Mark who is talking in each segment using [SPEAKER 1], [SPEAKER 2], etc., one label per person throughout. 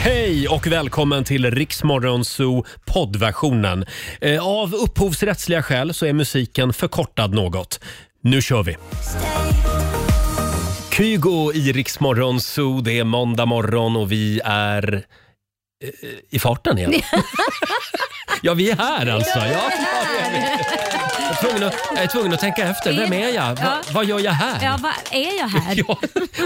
[SPEAKER 1] Hej och välkommen till Riksmorgon Zoo poddversionen. Eh, Av upphovsrättsliga skäl så är musiken förkortad något. Nu kör vi! Kygo i Riksmorgon Zoo, det är måndag morgon och vi är eh, i farten igen. ja, vi är här alltså. Ja, ja, det är vi. jag, är tvungen att, jag är tvungen att tänka efter. Vem är jag? Va,
[SPEAKER 2] Ja.
[SPEAKER 1] vad gör jag här?
[SPEAKER 2] Ja, vad är jag här?
[SPEAKER 1] Ja,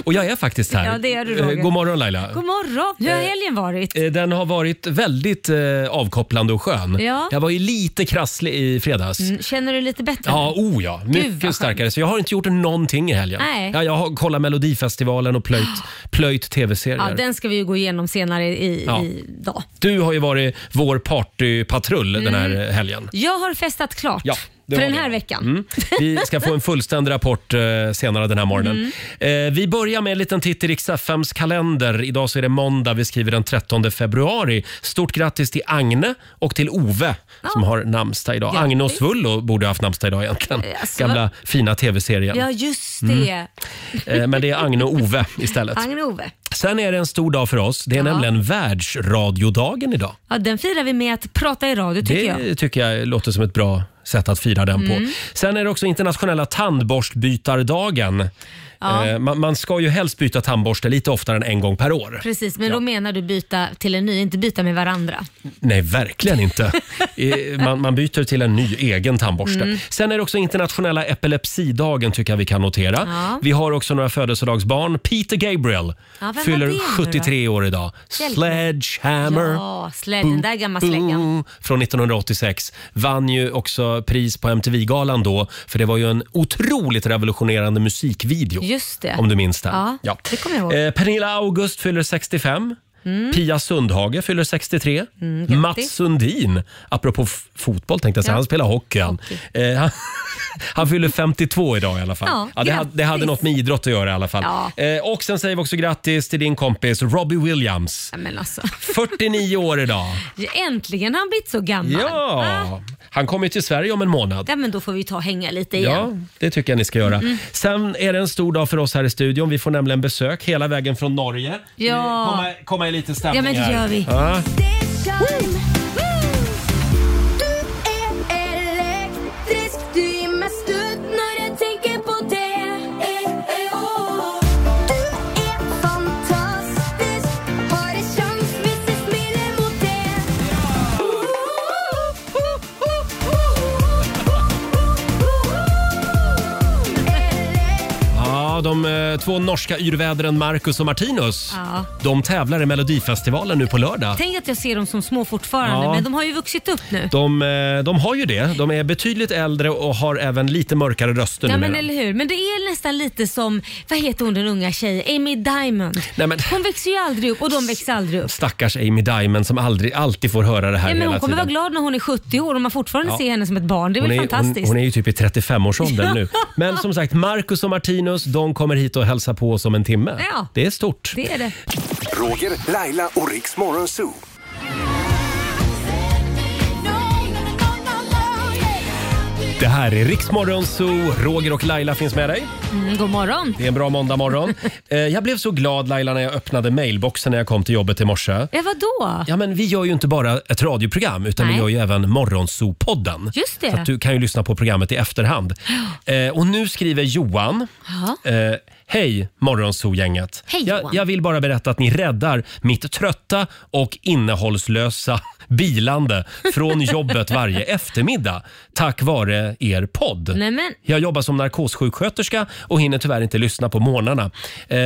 [SPEAKER 1] och jag är faktiskt här.
[SPEAKER 2] Ja, det är du,
[SPEAKER 1] Eh,
[SPEAKER 2] Roger.
[SPEAKER 1] God morgon Laila.
[SPEAKER 2] God morgon! Hur har helgen varit?
[SPEAKER 1] Eh, Den har varit väldigt eh, avkopplande och skön.
[SPEAKER 2] Ja.
[SPEAKER 1] Jag var ju lite krasslig i fredags.
[SPEAKER 2] Mm, Känner du dig lite bättre?
[SPEAKER 1] Ja, oh ja.
[SPEAKER 2] vad
[SPEAKER 1] Mycket
[SPEAKER 2] skönt.
[SPEAKER 1] starkare. Så jag har inte gjort någonting i helgen.
[SPEAKER 2] Nej.
[SPEAKER 1] Ja, jag har kollat Melodifestivalen och plöjt, plöjt
[SPEAKER 2] Ja,
[SPEAKER 1] tv-serier.
[SPEAKER 2] den ska vi ju gå igenom senare i,
[SPEAKER 1] Ja.
[SPEAKER 2] i dag. Mm.
[SPEAKER 1] Du har ju varit vår partypatrull den här helgen.
[SPEAKER 2] Jag har festat klart
[SPEAKER 1] Ja, det
[SPEAKER 2] för
[SPEAKER 1] har
[SPEAKER 2] den
[SPEAKER 1] vi.
[SPEAKER 2] här veckan.
[SPEAKER 1] Mm. Vi ska få en fullständig rapport eh, senare den här morgonen.
[SPEAKER 2] Mm.
[SPEAKER 1] Eh, vi börjar med en liten titt i riks FMs kalender. Idag så är det måndag, vi skriver den 13 februari. Stort grattis till Agne och till Ove som har namnsdag idag.
[SPEAKER 2] Grattis.
[SPEAKER 1] Agne och Svullo borde ha haft namnsdag idag egentligen.
[SPEAKER 2] Jaså?
[SPEAKER 1] Gamla fina tv-serien.
[SPEAKER 2] Ja, just
[SPEAKER 1] Mm.
[SPEAKER 2] det.
[SPEAKER 1] Eh, men det är Agne och Ove istället.
[SPEAKER 2] Agne och Ove.
[SPEAKER 1] Sen är det en stor dag för oss. Det är nämligen världsradiodagen idag.
[SPEAKER 2] Ja, den firar vi med att prata i radio tycker jag. Mm.
[SPEAKER 1] Det tycker jag låter som ett bra sätt att fira den på. Sen är det också internationella tandborstbytardagen. Eh, man, man ska ju helst byta tandborste lite oftare än en gång per år.
[SPEAKER 2] Precis, men då menar du byta till en ny, inte byta med varandra.
[SPEAKER 1] Nej, verkligen inte. Eh, man, man byter till en ny egen tandborste.
[SPEAKER 2] Mm.
[SPEAKER 1] Sen är det också internationella epilepsidagen tycker jag vi kan notera.
[SPEAKER 2] Ja.
[SPEAKER 1] Vi har också några födelsedagsbarn. Peter Gabriel
[SPEAKER 2] vem var det nu
[SPEAKER 1] fyller
[SPEAKER 2] då?
[SPEAKER 1] 73 år idag.
[SPEAKER 2] Hjälp mig.
[SPEAKER 1] Sledgehammer.
[SPEAKER 2] Ja, slä, den där gamla släggan.
[SPEAKER 1] Boom från 1986. Vann ju också pris på MTV-galan då, för det var ju en otroligt revolutionerande musikvideo.
[SPEAKER 2] Just det.
[SPEAKER 1] Om du minns den.
[SPEAKER 2] Ja, det kommer jag ihåg. Mm.
[SPEAKER 1] Eh, Pernilla August fyller 65.
[SPEAKER 3] Mm.
[SPEAKER 1] Pia Sundhage fyller 63. Mats Sundin, apropå f- fotboll tänkte jag säga,
[SPEAKER 2] Ja.
[SPEAKER 1] han spelar hockey. Han, eh, han, han fyller 52 idag i alla fall.
[SPEAKER 2] Ja,
[SPEAKER 1] det, hade, det hade
[SPEAKER 2] grattis.
[SPEAKER 1] något med idrott att göra i alla fall.
[SPEAKER 2] Ja.
[SPEAKER 1] Eh, och sen säger vi också grattis till din kompis Robbie Williams.
[SPEAKER 2] Ja, men alltså.
[SPEAKER 1] 49 år idag.
[SPEAKER 2] Äntligen har han blivit så gammal. Ah.
[SPEAKER 1] Ja, han kommer ju till Sverige om en månad.
[SPEAKER 2] Ja, men då får vi ta och hänga lite
[SPEAKER 1] Ja,
[SPEAKER 2] igen.
[SPEAKER 1] det tycker jag ni ska göra.
[SPEAKER 2] Mm.
[SPEAKER 1] Sen är det en stor dag för oss här i studion. Vi får nämligen besök hela vägen från Norge.
[SPEAKER 2] Ja.
[SPEAKER 1] Vi Komma, komma i lite
[SPEAKER 2] Ja,
[SPEAKER 1] stämning
[SPEAKER 2] men det
[SPEAKER 1] här.
[SPEAKER 2] gör vi.
[SPEAKER 1] Ja. Ja, de eh, två norska yrvädren Marcus och Martinus
[SPEAKER 2] Ja.
[SPEAKER 1] de tävlar i Melodifestivalen nu på lördag.
[SPEAKER 2] Tänk att jag ser dem som små fortfarande,
[SPEAKER 1] Ja.
[SPEAKER 2] men de har ju vuxit upp nu.
[SPEAKER 1] De, eh, de har ju det. De är betydligt äldre och har även lite mörkare röster
[SPEAKER 2] Ja
[SPEAKER 1] numera.
[SPEAKER 2] men eller hur. Men det är nästan lite som, vad heter hon den unga tjejen, Amy Diamond.
[SPEAKER 1] Nej, men-
[SPEAKER 2] Hon växer ju aldrig upp och de växer aldrig upp.
[SPEAKER 1] Stackars Amy Diamond som aldrig, alltid får höra det här
[SPEAKER 2] Ja, men
[SPEAKER 1] hela
[SPEAKER 2] hon kommer
[SPEAKER 1] tiden.
[SPEAKER 2] vara glad när hon är 70 år och man fortfarande ser henne som ett barn. Det är
[SPEAKER 1] Hon
[SPEAKER 2] väl
[SPEAKER 1] är, hon,
[SPEAKER 2] fantastiskt.
[SPEAKER 1] hon är ju typ i 35-årsåldern nu. Men som sagt, Marcus och Martinus de kommer hit och hälsar på oss om en timme.
[SPEAKER 2] Ja.
[SPEAKER 1] Det är stort.
[SPEAKER 2] Det är det.
[SPEAKER 4] Roger, Laila och Riks Morgonzoo.
[SPEAKER 1] Det här är Riksmorgon Zoo. Roger och Laila finns med dig.
[SPEAKER 2] Mm, god morgon.
[SPEAKER 1] Det är en bra måndagmorgon. Eh, jag blev så glad Laila när jag öppnade mailboxen när jag kom till jobbet i morse.
[SPEAKER 2] Ja vadå?
[SPEAKER 1] Ja, men vi gör ju inte bara ett radioprogram utan vi
[SPEAKER 2] Nej.
[SPEAKER 1] gör ju även Morgonzoo-podden.
[SPEAKER 2] Just det.
[SPEAKER 1] Så att du kan ju lyssna på programmet i efterhand. Eh, och nu skriver Johan.
[SPEAKER 2] Ja.
[SPEAKER 1] Eh, Hej Morgonzoo-gänget.
[SPEAKER 2] Hej,
[SPEAKER 1] jag,
[SPEAKER 2] Johan.
[SPEAKER 1] jag vill bara berätta att ni räddar mitt trötta och innehållslösa bilande från jobbet varje eftermiddag tack vare er podd.
[SPEAKER 2] Nej, men-
[SPEAKER 1] Jag jobbar som narkossjuksköterska och hinner tyvärr inte lyssna på morgnarna. Eh,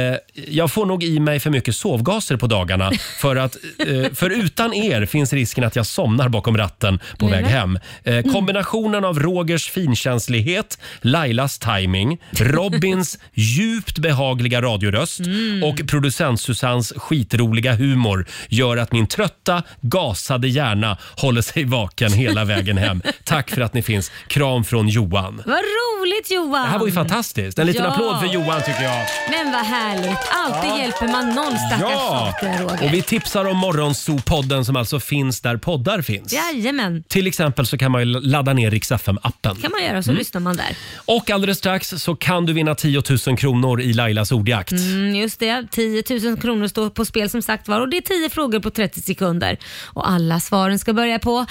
[SPEAKER 1] jag får nog i mig för mycket sovgaser på dagarna för att eh, för utan er finns risken att jag somnar bakom ratten på väg hem. Eh, kombinationen av Rogers finkänslighet, Lailas timing, Robins djupt behagliga radioröst
[SPEAKER 2] Mm.
[SPEAKER 1] och producent Susans skitroliga humor gör att min trötta, gasade gärna håller sig vaken hela vägen hem. Tack för att ni finns. Kram från Johan.
[SPEAKER 2] Vad roligt Johan!
[SPEAKER 1] Det här var ju fantastiskt. En liten
[SPEAKER 2] Ja.
[SPEAKER 1] applåd för Johan tycker jag.
[SPEAKER 2] Men vad härligt. Alltid hjälper man någon stackars
[SPEAKER 1] Ja!
[SPEAKER 2] sate, Roger.
[SPEAKER 1] Och vi tipsar om Morgonzoo-podden som alltså finns där poddar finns.
[SPEAKER 2] Jajamän,
[SPEAKER 1] Till exempel så kan man ju ladda ner Rix FM-appen.
[SPEAKER 2] kan man
[SPEAKER 1] Mm.
[SPEAKER 2] göra så lyssnar man där.
[SPEAKER 1] Och alldeles strax så kan du vinna 10 000 kronor i Lailas ordjakt.
[SPEAKER 2] Mm, just det, 10 000 kronor står på spel som sagt var och det är 10 frågor på 30 sekunder. Och alla svaren ska börja på...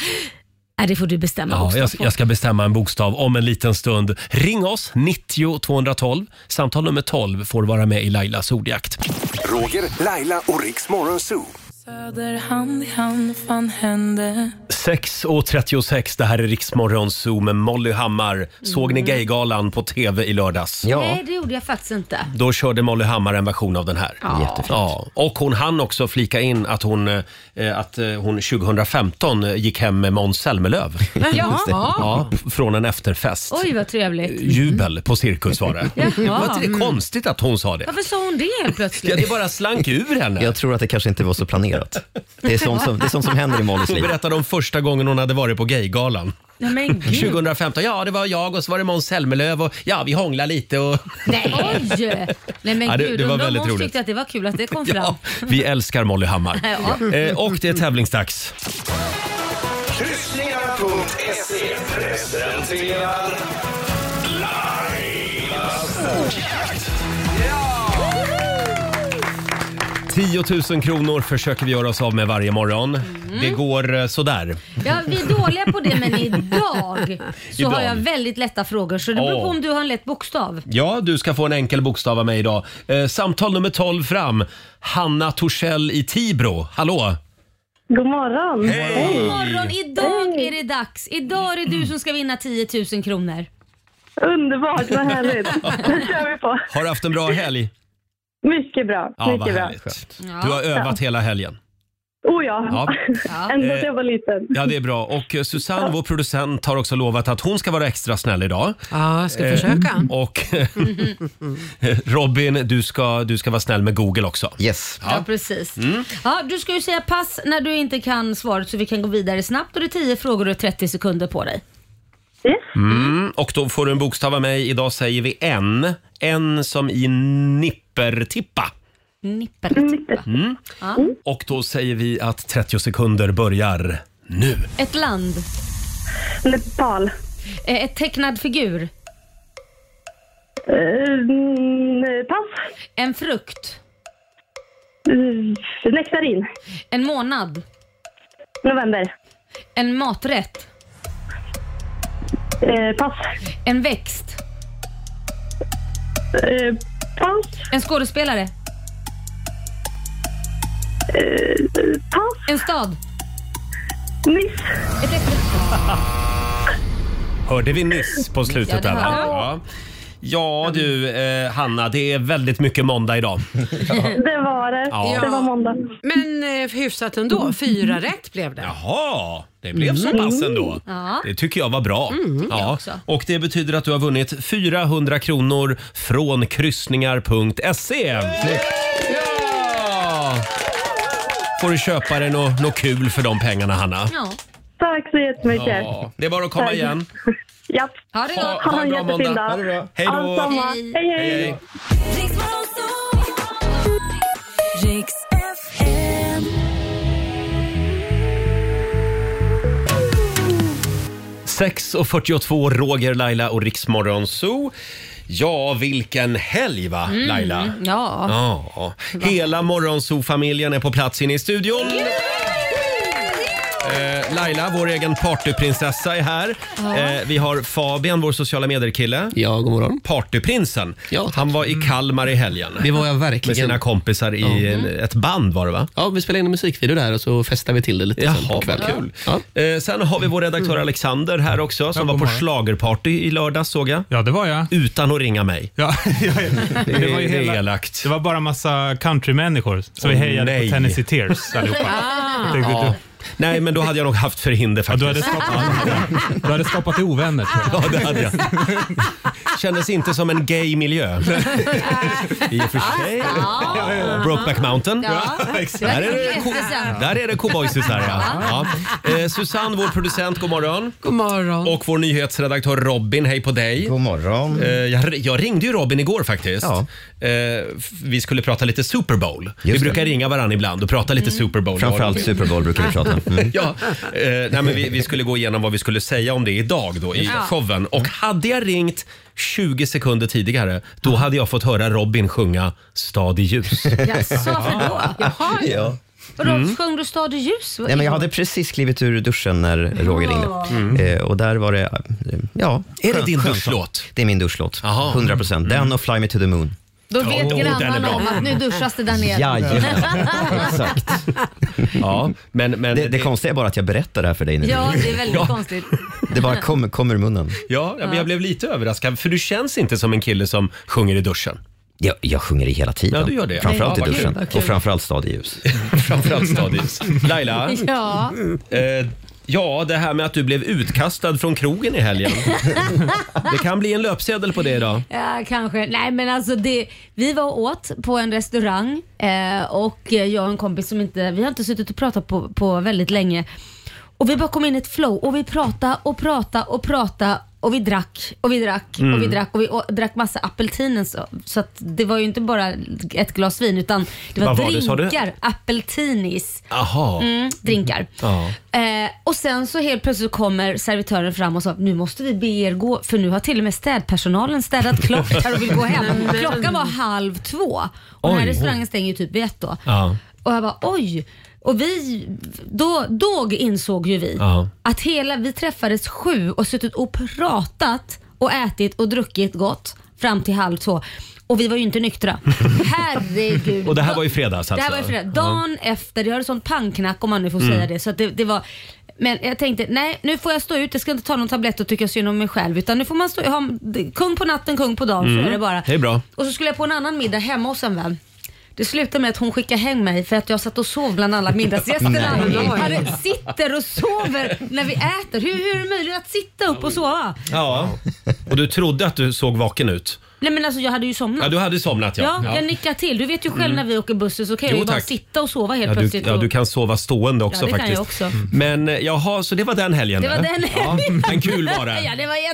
[SPEAKER 2] Nej, det får du bestämma
[SPEAKER 1] Ja,
[SPEAKER 2] också.
[SPEAKER 1] jag, jag ska bestämma en bokstav om en liten stund. Ring oss, 90 212. Samtal nummer 12 får vara med i Lailas ordjakt.
[SPEAKER 4] Roger, Laila och Riks Morgonzoo.
[SPEAKER 5] Söder hand i hand, fan hände?
[SPEAKER 1] 6.36, det här är Riksmorgon Zoo med Molly Hammar. Såg ni Gaygalan på TV i lördags?
[SPEAKER 6] Ja,
[SPEAKER 2] Nej, det gjorde jag faktiskt inte.
[SPEAKER 1] Då körde Molly Hammar en version av den här.
[SPEAKER 6] jättefint.
[SPEAKER 1] Ja, och hon hann också flika in att hon, eh, att eh, hon 2015 eh, gick hem med Måns Zelmerlöw.
[SPEAKER 2] Jaha.
[SPEAKER 1] Ja, p- från en efterfest.
[SPEAKER 2] Oj, vad
[SPEAKER 1] Eh,
[SPEAKER 2] trevligt.
[SPEAKER 1] Jubel på cirkus var det.
[SPEAKER 2] Jaha.
[SPEAKER 1] Var inte det konstigt att hon sa det?
[SPEAKER 2] Varför sa hon det helt
[SPEAKER 1] Ja, det
[SPEAKER 2] plötsligt?
[SPEAKER 1] bara slank ur henne.
[SPEAKER 6] Jag tror att det kanske inte var så planerat. Det är sånt som, det är sånt som händer i Mollys
[SPEAKER 1] Hon
[SPEAKER 6] liv.
[SPEAKER 1] berättade om första gången hon hade varit på Gaygalan.
[SPEAKER 2] Nej, men gud.
[SPEAKER 1] 2015, ja det var jag och så var det Måns Zelmerlöw och ja vi hånglade lite och
[SPEAKER 2] Nej. Oj! Nej men
[SPEAKER 1] Ja, det-
[SPEAKER 2] gud,
[SPEAKER 1] det var
[SPEAKER 2] undrar om
[SPEAKER 1] väldigt
[SPEAKER 2] hon
[SPEAKER 1] roligt.
[SPEAKER 2] tyckte att det var kul att det kom fram.
[SPEAKER 1] ja, vi älskar Molly Hammar.
[SPEAKER 2] Ja.
[SPEAKER 1] Eh, och det är tävlingsdags.
[SPEAKER 7] Kryssningar.se presenterar Lailas ordjakt.
[SPEAKER 1] 10 000 kronor försöker vi göra oss av med varje morgon.
[SPEAKER 2] Mm.
[SPEAKER 1] Det går eh, sådär.
[SPEAKER 2] Ja, vi är dåliga på det men idag så
[SPEAKER 1] Idag.
[SPEAKER 2] har jag väldigt lätta frågor så det beror på
[SPEAKER 1] Åh.
[SPEAKER 2] om du har en lätt bokstav.
[SPEAKER 1] Ja, du ska få en enkel bokstav av mig idag. Eh, samtal nummer 12 fram. Hanna Torssell i Tibro. Hallå!
[SPEAKER 8] God morgon.
[SPEAKER 2] God morgon, idag är det dags. Idag är det
[SPEAKER 1] Mm.
[SPEAKER 2] du som ska vinna 10 000 kronor.
[SPEAKER 8] Underbart, vad härligt. Det kör vi på.
[SPEAKER 1] Har du haft en bra helg?
[SPEAKER 8] Mycket bra.
[SPEAKER 1] Ja, vad
[SPEAKER 8] mycket bra.
[SPEAKER 1] härligt.
[SPEAKER 2] Ja.
[SPEAKER 1] Du har övat hela helgen.
[SPEAKER 8] Oh ja.
[SPEAKER 1] Ja.
[SPEAKER 8] Ändå
[SPEAKER 1] Eh.
[SPEAKER 8] att jag var liten.
[SPEAKER 1] Ja, det är bra. Och eh, Susanne, vår producent, har också lovat att hon ska vara extra snäll idag.
[SPEAKER 9] Ja, jag ska
[SPEAKER 1] Eh,
[SPEAKER 9] försöka.
[SPEAKER 1] Och Robin, du ska, du ska vara snäll med Google också.
[SPEAKER 6] Yes.
[SPEAKER 2] Ja, precis.
[SPEAKER 1] Mm.
[SPEAKER 2] Ja, du ska ju säga pass när du inte kan svaret så vi kan gå vidare snabbt och det är 10 frågor och 30 sekunder på dig.
[SPEAKER 8] Yes.
[SPEAKER 1] Mm, och då får du en bokstav av mig. Idag säger vi en. En som i nippertippa. Mm.
[SPEAKER 2] Nippert.
[SPEAKER 8] Mm.
[SPEAKER 1] Och då säger vi att 30 sekunder börjar nu.
[SPEAKER 2] Ett land,
[SPEAKER 8] Nepal.
[SPEAKER 2] eh, ett tecknad figur,
[SPEAKER 8] Eh, mm, pass.
[SPEAKER 2] en frukt,
[SPEAKER 8] Eh, Nektarin.
[SPEAKER 2] en månad,
[SPEAKER 8] November.
[SPEAKER 2] en maträtt,
[SPEAKER 8] Eh, pass.
[SPEAKER 2] en växt,
[SPEAKER 8] Eh, pass.
[SPEAKER 2] en skådespelare,
[SPEAKER 8] Pass.
[SPEAKER 2] en stad.
[SPEAKER 8] Miss.
[SPEAKER 1] Hörde vi nyss på slutet?
[SPEAKER 2] Ja,
[SPEAKER 1] där,
[SPEAKER 2] det
[SPEAKER 1] va?
[SPEAKER 2] hörde jag.
[SPEAKER 1] ja. ja du, eh, Hanna, det är väldigt mycket måndag idag.
[SPEAKER 8] Det var det.
[SPEAKER 1] Ja.
[SPEAKER 8] Det var måndag.
[SPEAKER 9] Men eh, hyfsat ändå. Fyra rätt blev det.
[SPEAKER 1] Jaha, det blev så pass ändå.
[SPEAKER 2] Ja.
[SPEAKER 1] Det tycker jag var bra. ja.
[SPEAKER 2] också.
[SPEAKER 1] Och det betyder att du har vunnit 400 kronor från kryssningar.se. E. Ja! Får du köpa dig något nå kul för de pengarna, Hanna.
[SPEAKER 2] Ja.
[SPEAKER 8] Tack så jättemycket.
[SPEAKER 1] Ja, det är bara att komma
[SPEAKER 8] Tack.
[SPEAKER 1] igen.
[SPEAKER 8] Japp.
[SPEAKER 2] Ha det gott.
[SPEAKER 8] Ha
[SPEAKER 1] Ha en
[SPEAKER 8] en
[SPEAKER 1] bra
[SPEAKER 8] jättefin
[SPEAKER 1] måndag.
[SPEAKER 8] dag.
[SPEAKER 1] Ha det bra. Hej då.
[SPEAKER 8] Allsamma.
[SPEAKER 2] Hej.
[SPEAKER 8] Hej, hej.
[SPEAKER 1] Hej.
[SPEAKER 5] Riks FM.
[SPEAKER 1] Sex och 42, Roger, Laila och Riksmorgon Zoo. Ja, vilken helg va, Ah, Laila?
[SPEAKER 2] Mm.
[SPEAKER 1] Ah.
[SPEAKER 2] Ja.
[SPEAKER 1] Ja, hela Morgonzoo-familjen är på plats inne i studion. Eh, Laila, vår egen partyprinsessa är här. Eh, vi har Fabian, vår sociala medier-kille.
[SPEAKER 10] Ja, god morgon.
[SPEAKER 1] Partyprinsen.
[SPEAKER 10] Ja, tack.
[SPEAKER 1] Han var i Kalmar i helgen
[SPEAKER 10] Det var jag
[SPEAKER 1] med
[SPEAKER 10] verkligen.
[SPEAKER 1] sina kompisar i en, ett band var det va?
[SPEAKER 10] Ja, vi spelade in en musikvideo där och så festade vi till det lite sen på
[SPEAKER 1] Jaha, vad
[SPEAKER 10] kvällen.
[SPEAKER 1] kul.
[SPEAKER 10] Ja.
[SPEAKER 1] Eh, sen har vi vår redaktör Alexander här också som var på schlagerparty i lördags såg jag.
[SPEAKER 11] Ja, det var jag.
[SPEAKER 1] Utan att ringa mig.
[SPEAKER 11] Ja, ja, ja.
[SPEAKER 1] Det,
[SPEAKER 11] Det var ju
[SPEAKER 1] det är
[SPEAKER 11] hela-
[SPEAKER 1] elakt.
[SPEAKER 11] Det var bara massa countrymänniskor, så vi
[SPEAKER 1] Åh,
[SPEAKER 11] hejade
[SPEAKER 1] nej.
[SPEAKER 3] Ah.
[SPEAKER 2] Ah.
[SPEAKER 11] på Tennessee Tears allihopa. Jag tänkte,
[SPEAKER 1] Ja.
[SPEAKER 11] du,
[SPEAKER 1] Nej, men då hade jag nog haft förhinder
[SPEAKER 11] Ja, du,
[SPEAKER 1] faktiskt.
[SPEAKER 11] hade skapat, du hade skapat dig ovänner tror jag.
[SPEAKER 1] Ja, det hade jag. Kändes inte som en gay miljö. I och för sig. Brokeback Mountain.
[SPEAKER 2] Ah, Ja.
[SPEAKER 1] exakt. Där är det, ko- där är det cowboysisar ja. ja. Eh, Susanne, vår producent, god morgon.
[SPEAKER 9] God morgon.
[SPEAKER 1] Och vår nyhetsredaktör Robin, hej på dig.
[SPEAKER 6] God morgon.
[SPEAKER 1] Eh, Jag, jag ringde ju Robin igår faktiskt.
[SPEAKER 6] Ja.
[SPEAKER 1] Eh, f- Vi skulle prata lite Super Bowl. vi
[SPEAKER 6] det.
[SPEAKER 1] brukar ringa varandra ibland och prata
[SPEAKER 2] Mm.
[SPEAKER 1] lite Super Bowl.
[SPEAKER 6] Framförallt
[SPEAKER 1] Robin.
[SPEAKER 6] Super Bowl brukar vi prata. Mm.
[SPEAKER 1] Ja, eh, nej, men vi, vi skulle gå igenom vad vi skulle säga om det idag då i showen. Och hade jag ringt 20 sekunder tidigare, då hade jag fått höra Robin sjunga Stad i ljus.
[SPEAKER 2] Jaså, varför då? Jaha,
[SPEAKER 6] Ja.
[SPEAKER 2] Vadå,
[SPEAKER 1] Mm.
[SPEAKER 2] sjöng du Stad i ljus?
[SPEAKER 6] Nej, men jag hade precis klivit ur duschen när Roger ringde. Eh, och där var det, eh, ja.
[SPEAKER 1] Mm. Är det
[SPEAKER 6] skön-
[SPEAKER 1] din
[SPEAKER 6] skönsång.
[SPEAKER 1] duschlåt?
[SPEAKER 6] Det är min duschlåt.
[SPEAKER 1] Jaha. Mm.
[SPEAKER 6] 100 procent. Den och Fly Me To The Moon.
[SPEAKER 2] Då vet
[SPEAKER 1] den är
[SPEAKER 2] grannarna
[SPEAKER 1] bra.
[SPEAKER 2] om att nu duschas det där nere.
[SPEAKER 6] Jajamän, exakt.
[SPEAKER 1] Ja, men, men
[SPEAKER 6] Det, det konstiga är bara att jag berättar det här för dig nu.
[SPEAKER 2] Ja, det är väldigt
[SPEAKER 1] Ja.
[SPEAKER 2] konstigt.
[SPEAKER 6] Det bara kommer kom ur munnen.
[SPEAKER 1] Ja, men jag blev lite överraskad för du känns inte som en kille som sjunger i duschen.
[SPEAKER 6] Jag, jag sjunger det hela tiden.
[SPEAKER 1] Ja, du gör det.
[SPEAKER 6] Framförallt
[SPEAKER 1] Ja,
[SPEAKER 6] i
[SPEAKER 1] vad kul,
[SPEAKER 6] duschen
[SPEAKER 1] vad
[SPEAKER 6] och framförallt stad i ljus.
[SPEAKER 1] Framförallt Stad i ljus. Laila,
[SPEAKER 2] Ja,
[SPEAKER 1] eh, ja det här med att du blev utkastad från krogen i helgen. Det kan bli en löpsedel på det idag.
[SPEAKER 2] ja, kanske. Nej, men alltså det, vi var och åt på en restaurang eh, och jag och en kompis som inte, vi har inte suttit och pratat på, på väldigt länge. Och vi bara kom in i ett flow och vi pratade och pratade och pratade och vi drack och vi drack och vi
[SPEAKER 1] Mm.
[SPEAKER 2] drack och vi å- drack massa apeltinen så, så att det var ju inte bara ett glas vin utan det var
[SPEAKER 1] Vad var det, sa du?
[SPEAKER 2] drinkar, apeltinis.
[SPEAKER 1] Aha.
[SPEAKER 2] Mm, drinkar.
[SPEAKER 1] Ja.
[SPEAKER 2] Eh, och sen så helt plötsligt kommer servitören fram och sa nu måste vi be er gå för nu har till och med städpersonalen städat klart här och vill gå hem. Klockan var halv två och den här
[SPEAKER 1] Oj.
[SPEAKER 2] restaurangen stänger ju typ vid ett då.
[SPEAKER 1] Ja.
[SPEAKER 2] Och jag bara oj. Och vi, då, då insåg ju vi
[SPEAKER 1] Ja.
[SPEAKER 2] att hela, vi träffades sju och suttit och pratat och ätit och druckit gott fram till halv två. Och vi var ju inte nyktra. Herregud.
[SPEAKER 1] Och det här var i fredags alltså?
[SPEAKER 2] Det
[SPEAKER 1] Mm.
[SPEAKER 2] här var ju fredag. Dagen efter, jag hade sånt pangknack om man nu får säga det. Så att det, det var, men jag tänkte, nej nu får jag stå ut, jag ska inte ta någon tablett och tycka synd om mig själv. Utan nu får man stå, ha, kung på natten, kung på dagen.
[SPEAKER 1] Mm.
[SPEAKER 2] Så är det bara.
[SPEAKER 1] Det är bra.
[SPEAKER 2] Och så skulle jag på en annan middag hemma hos en vän. Det slutade med att hon skickade hem mig för att jag satt och sov bland alla middagsgästerna. Han sitter och sover när vi äter. Hur, hur är det möjligt att sitta upp och sova?
[SPEAKER 1] Ja. Och du trodde att du såg vaken ut?
[SPEAKER 2] Nej men alltså jag hade ju somnat.
[SPEAKER 1] Ja, du hade somnat ja. Mm.
[SPEAKER 2] Ja, jag nickar till. Du vet ju själv när vi åker bussen så kan jag
[SPEAKER 1] Jo,
[SPEAKER 2] ju bara
[SPEAKER 1] tack.
[SPEAKER 2] sitta och sova helt
[SPEAKER 1] Ja, du,
[SPEAKER 2] plötsligt.
[SPEAKER 1] ja,
[SPEAKER 2] och-
[SPEAKER 1] du kan sova stående också
[SPEAKER 2] Ja, det kan
[SPEAKER 1] faktiskt.
[SPEAKER 2] jag också.
[SPEAKER 1] Men eh, jaha, så det var den helgen.
[SPEAKER 2] Det var
[SPEAKER 1] där.
[SPEAKER 2] den helgen.
[SPEAKER 1] Ja, en kul var det.
[SPEAKER 2] Ja, det var
[SPEAKER 1] Ja,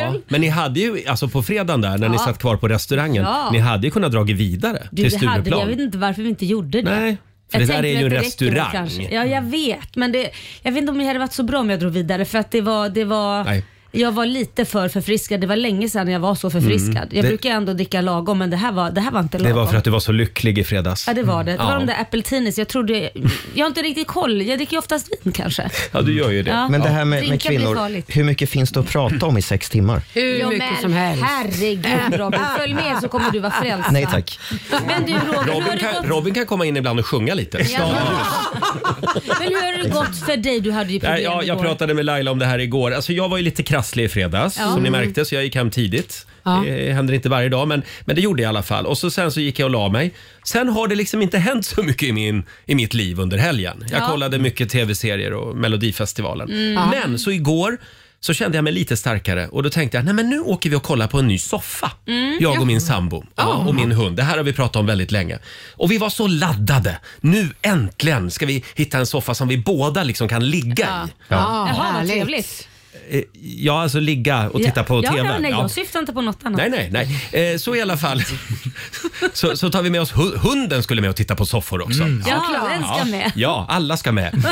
[SPEAKER 2] jättekul.
[SPEAKER 1] men ni hade ju, alltså på fredagen där när ni satt kvar på restaurangen,
[SPEAKER 2] Ja.
[SPEAKER 1] ni hade ju kunnat dra vidare
[SPEAKER 2] Du,
[SPEAKER 1] till
[SPEAKER 2] det hade vi. Jag
[SPEAKER 1] Stureplan.
[SPEAKER 2] vet inte varför vi inte gjorde det.
[SPEAKER 1] Nej, för
[SPEAKER 2] Jag
[SPEAKER 1] det där
[SPEAKER 2] tänkte
[SPEAKER 1] är ju
[SPEAKER 2] att
[SPEAKER 1] en
[SPEAKER 2] det räcker väl
[SPEAKER 1] restaurang.
[SPEAKER 2] kanske. Ja, jag vet. Men det, jag vet inte om det hade varit så bra om jag drog vidare för att det var... Det var
[SPEAKER 1] Nej.
[SPEAKER 2] Jag var lite för förfriskad. Det var länge sedan jag var så förfriskad. Jag
[SPEAKER 1] Mm. Det-
[SPEAKER 2] brukar ändå dricka lagom men det här var, det här var inte lagom.
[SPEAKER 1] Det var för att du var så lycklig i fredags. Mm.
[SPEAKER 2] Ja det var det. Det var
[SPEAKER 1] Ja.
[SPEAKER 2] de där apeltinis. Jag trodde... Jag har inte riktigt koll. Jag dricker ju oftast vin kanske.
[SPEAKER 1] Ja, du gör ju det.
[SPEAKER 2] Ja.
[SPEAKER 6] Men det här med, med
[SPEAKER 2] Drinkar blir
[SPEAKER 6] kvinnor,
[SPEAKER 2] farligt.
[SPEAKER 6] hur mycket finns det att prata om i sex timmar?
[SPEAKER 9] Hur
[SPEAKER 2] Ja,
[SPEAKER 9] mycket
[SPEAKER 2] men
[SPEAKER 9] som helst.
[SPEAKER 2] Herregud Robin. Följ med så kommer du vara frälsad.
[SPEAKER 6] Nej tack.
[SPEAKER 2] Men du Roger, hur har
[SPEAKER 1] Robin,
[SPEAKER 2] det gått
[SPEAKER 1] kan, Robin kan komma in ibland och sjunga lite.
[SPEAKER 2] Men hur har det gått för dig? Du hade ju problem
[SPEAKER 1] Nej, ja, jag
[SPEAKER 2] igår.
[SPEAKER 1] pratade med Laila om det här igår. Alltså, jag var ju lite krasslig i fredags som
[SPEAKER 2] Mm.
[SPEAKER 1] ni märkte så jag gick hem tidigt.
[SPEAKER 9] Ja.
[SPEAKER 1] Det händer inte varje dag men, men det gjorde jag i alla fall. Och så, sen så gick jag och la mig. Sen har det liksom inte hänt så mycket i, min, i mitt liv under helgen. Jag
[SPEAKER 2] Ja. Mm.
[SPEAKER 1] kollade mycket tv-serier och Melodifestivalen. Men så igår så kände jag mig lite starkare och då tänkte jag nej men nu åker vi och kollar på en ny soffa.
[SPEAKER 2] Mm.
[SPEAKER 1] jag och min sambo ja, och min hund. Det här har vi pratat om väldigt länge. Och vi var så laddade. Nu äntligen ska vi hitta en soffa som vi båda liksom kan ligga i.
[SPEAKER 9] Ja,
[SPEAKER 2] Jaha, vad
[SPEAKER 9] härligt.
[SPEAKER 2] trevligt.
[SPEAKER 1] Eh, Ja, alltså ligga och titta på
[SPEAKER 2] ja,
[SPEAKER 1] TV.
[SPEAKER 2] Ja, nej,
[SPEAKER 1] Ja.
[SPEAKER 2] jag syftar inte på något annat.
[SPEAKER 1] Nej, nej, nej. Eh, så i alla fall. så, så tar vi med oss hu- hunden skulle med och titta på soffor också.
[SPEAKER 2] Ja, den ska med.
[SPEAKER 1] Ja, alla ska med.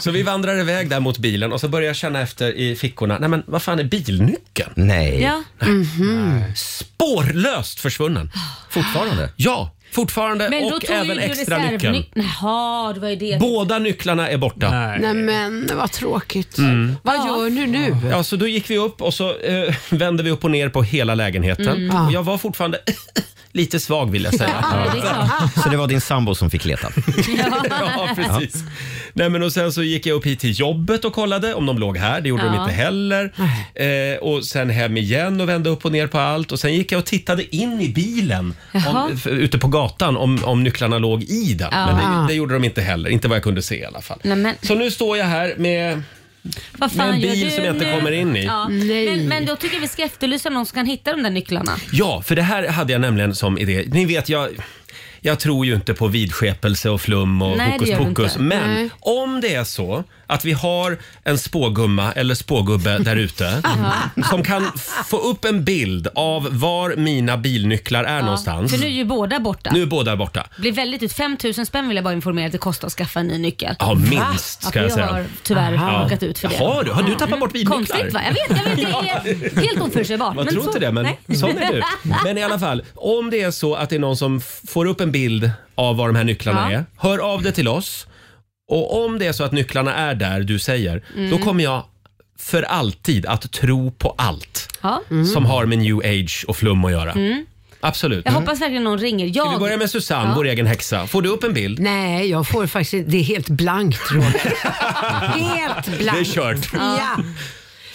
[SPEAKER 1] så vi vandrar iväg där mot bilen och så börjar jag känna efter i fickorna. Nej men vad fan är bilnyckeln?
[SPEAKER 6] Nej.
[SPEAKER 2] Ja. Mhm.
[SPEAKER 1] Spårlöst försvunnen.
[SPEAKER 6] Fortfarande?
[SPEAKER 1] Ja, fortfarande
[SPEAKER 2] Men då
[SPEAKER 1] och
[SPEAKER 2] tog
[SPEAKER 1] även
[SPEAKER 2] ju du
[SPEAKER 1] extra nyckeln.
[SPEAKER 2] reservnyckeln. Jaha, det var ju det.
[SPEAKER 1] Båda nycklarna är borta. Mm.
[SPEAKER 9] Nej men vad tråkigt. Vad gör du nu?
[SPEAKER 1] Ja,
[SPEAKER 2] Mm.
[SPEAKER 1] så då gick vi upp och så eh, vände vi upp och ner på hela lägenheten. Och jag var fortfarande
[SPEAKER 6] Lite svag vill jag säga.
[SPEAKER 2] Ja, det är klart.
[SPEAKER 6] Så det var din sambo som fick leta.
[SPEAKER 1] Ja, precis. Nej, men och sen så gick jag upp hit till jobbet och kollade om de låg här. Det gjorde de
[SPEAKER 2] Ja.
[SPEAKER 1] inte heller. Eh, och sen hem igen och vände upp och ner på allt. Och sen gick jag och tittade in i bilen
[SPEAKER 2] Jaha.
[SPEAKER 1] om, f- ute på gatan om, om nycklarna låg i den.
[SPEAKER 2] Ja.
[SPEAKER 1] Men det, det gjorde de inte heller. Inte vad jag kunde se i alla fall.
[SPEAKER 2] Nej, men-
[SPEAKER 1] Så nu står jag här med...
[SPEAKER 2] Vad fan
[SPEAKER 1] Med en
[SPEAKER 2] gör
[SPEAKER 1] bil
[SPEAKER 2] du
[SPEAKER 1] som jag inte
[SPEAKER 2] nu?
[SPEAKER 1] kommer in i.
[SPEAKER 2] Ja.
[SPEAKER 9] Nej.
[SPEAKER 2] Men, men då tycker jag vi ska efterlysa någon som kan hitta de där nycklarna.
[SPEAKER 1] Ja, för det här hade jag nämligen som idé. Ni vet, jag... Jag tror ju inte på vidskepelse och flum och
[SPEAKER 2] Nej, det
[SPEAKER 1] hokus
[SPEAKER 2] gör du
[SPEAKER 1] pokus.
[SPEAKER 2] inte.
[SPEAKER 1] Men
[SPEAKER 9] Nej.
[SPEAKER 1] om det är så att vi har en spågumma eller spågubbe där ute som kan få upp en bild av var mina bilnycklar är någonstans.
[SPEAKER 2] För nu är ju båda borta.
[SPEAKER 1] Nu är båda borta.
[SPEAKER 2] Blir väldigt ut. 5000 spänn vill jag bara informera att det kostar att skaffa en ny nyckel.
[SPEAKER 1] Ja, minst ska
[SPEAKER 2] Ja,
[SPEAKER 1] jag
[SPEAKER 2] för har
[SPEAKER 1] säga.
[SPEAKER 2] tyvärr
[SPEAKER 1] Ja.
[SPEAKER 2] råkat ut för det.
[SPEAKER 1] Har du? Har du tappat bort bilnycklar?
[SPEAKER 2] Konstigt va? Jag vet, jag vet. Det är helt oförutsägbart.
[SPEAKER 1] Man
[SPEAKER 2] men
[SPEAKER 1] tror
[SPEAKER 2] så-
[SPEAKER 1] inte det, men
[SPEAKER 2] nej.
[SPEAKER 1] sån är du. Men i alla fall, om det är så att det är någon som f- får upp en bild av var de här nycklarna
[SPEAKER 2] Ja.
[SPEAKER 1] är, hör av dig till oss. Och om det är så att nycklarna är där du säger,
[SPEAKER 2] Mm.
[SPEAKER 1] då kommer jag för alltid att tro på allt
[SPEAKER 2] Ja.
[SPEAKER 1] som har med new age och flum att göra.
[SPEAKER 12] Mm.
[SPEAKER 1] Absolut.
[SPEAKER 2] Mm. Jag hoppas verkligen någon ringer.
[SPEAKER 1] Mm. Ska vi
[SPEAKER 2] Jag,
[SPEAKER 1] börja med Susanne, vår egen häxa? Får du upp en bild?
[SPEAKER 12] Nej, jag får faktiskt Det är helt blankt, Roger. helt
[SPEAKER 1] Det är
[SPEAKER 12] blankt.
[SPEAKER 1] kört.
[SPEAKER 2] Mm.
[SPEAKER 12] Ja.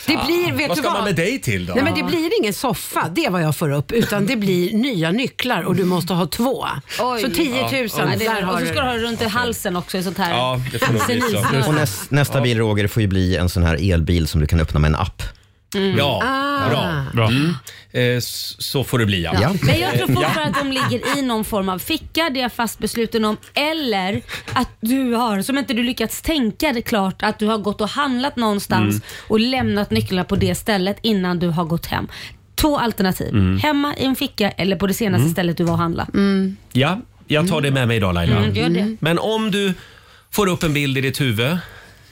[SPEAKER 12] Det blir, vet
[SPEAKER 1] Vad
[SPEAKER 12] du
[SPEAKER 1] ska
[SPEAKER 12] vad?
[SPEAKER 1] man med dig till då?
[SPEAKER 12] Nej, men det blir ingen soffa, det var jag för upp, utan det blir nya nycklar och du måste ha två.
[SPEAKER 2] Oj.
[SPEAKER 12] Så 10 000,
[SPEAKER 2] Nej, det
[SPEAKER 12] där
[SPEAKER 2] är,
[SPEAKER 12] har
[SPEAKER 2] och så ska
[SPEAKER 12] du.
[SPEAKER 2] du ha det runt i halsen också. i Sånt här.
[SPEAKER 1] Ja, det får nog bli så.
[SPEAKER 2] senilsnöre.
[SPEAKER 6] Och näs, nästa bil, Roger, får ju bli en sån här elbil som du kan öppna med en app.
[SPEAKER 1] Ja,
[SPEAKER 2] Ah.
[SPEAKER 1] bra. Mm. Eh, s- så får det bli ja. Eh,
[SPEAKER 6] Ja.
[SPEAKER 2] Men jag tror fortfarande att de ligger i någon form av ficka, det är jag fast besluten om. Eller att du har, som inte du lyckats tänka det klart, att du har gått och handlat någonstans
[SPEAKER 1] Mm.
[SPEAKER 2] och lämnat nycklarna på det stället innan du har gått hem. Två alternativ.
[SPEAKER 1] Mm.
[SPEAKER 2] Hemma i en ficka eller på det senaste stället du var och handlade. Mm,
[SPEAKER 1] Ja, jag tar det med mig idag Laila.
[SPEAKER 2] Gör det.
[SPEAKER 1] Men om du får upp en bild i ditt huvud,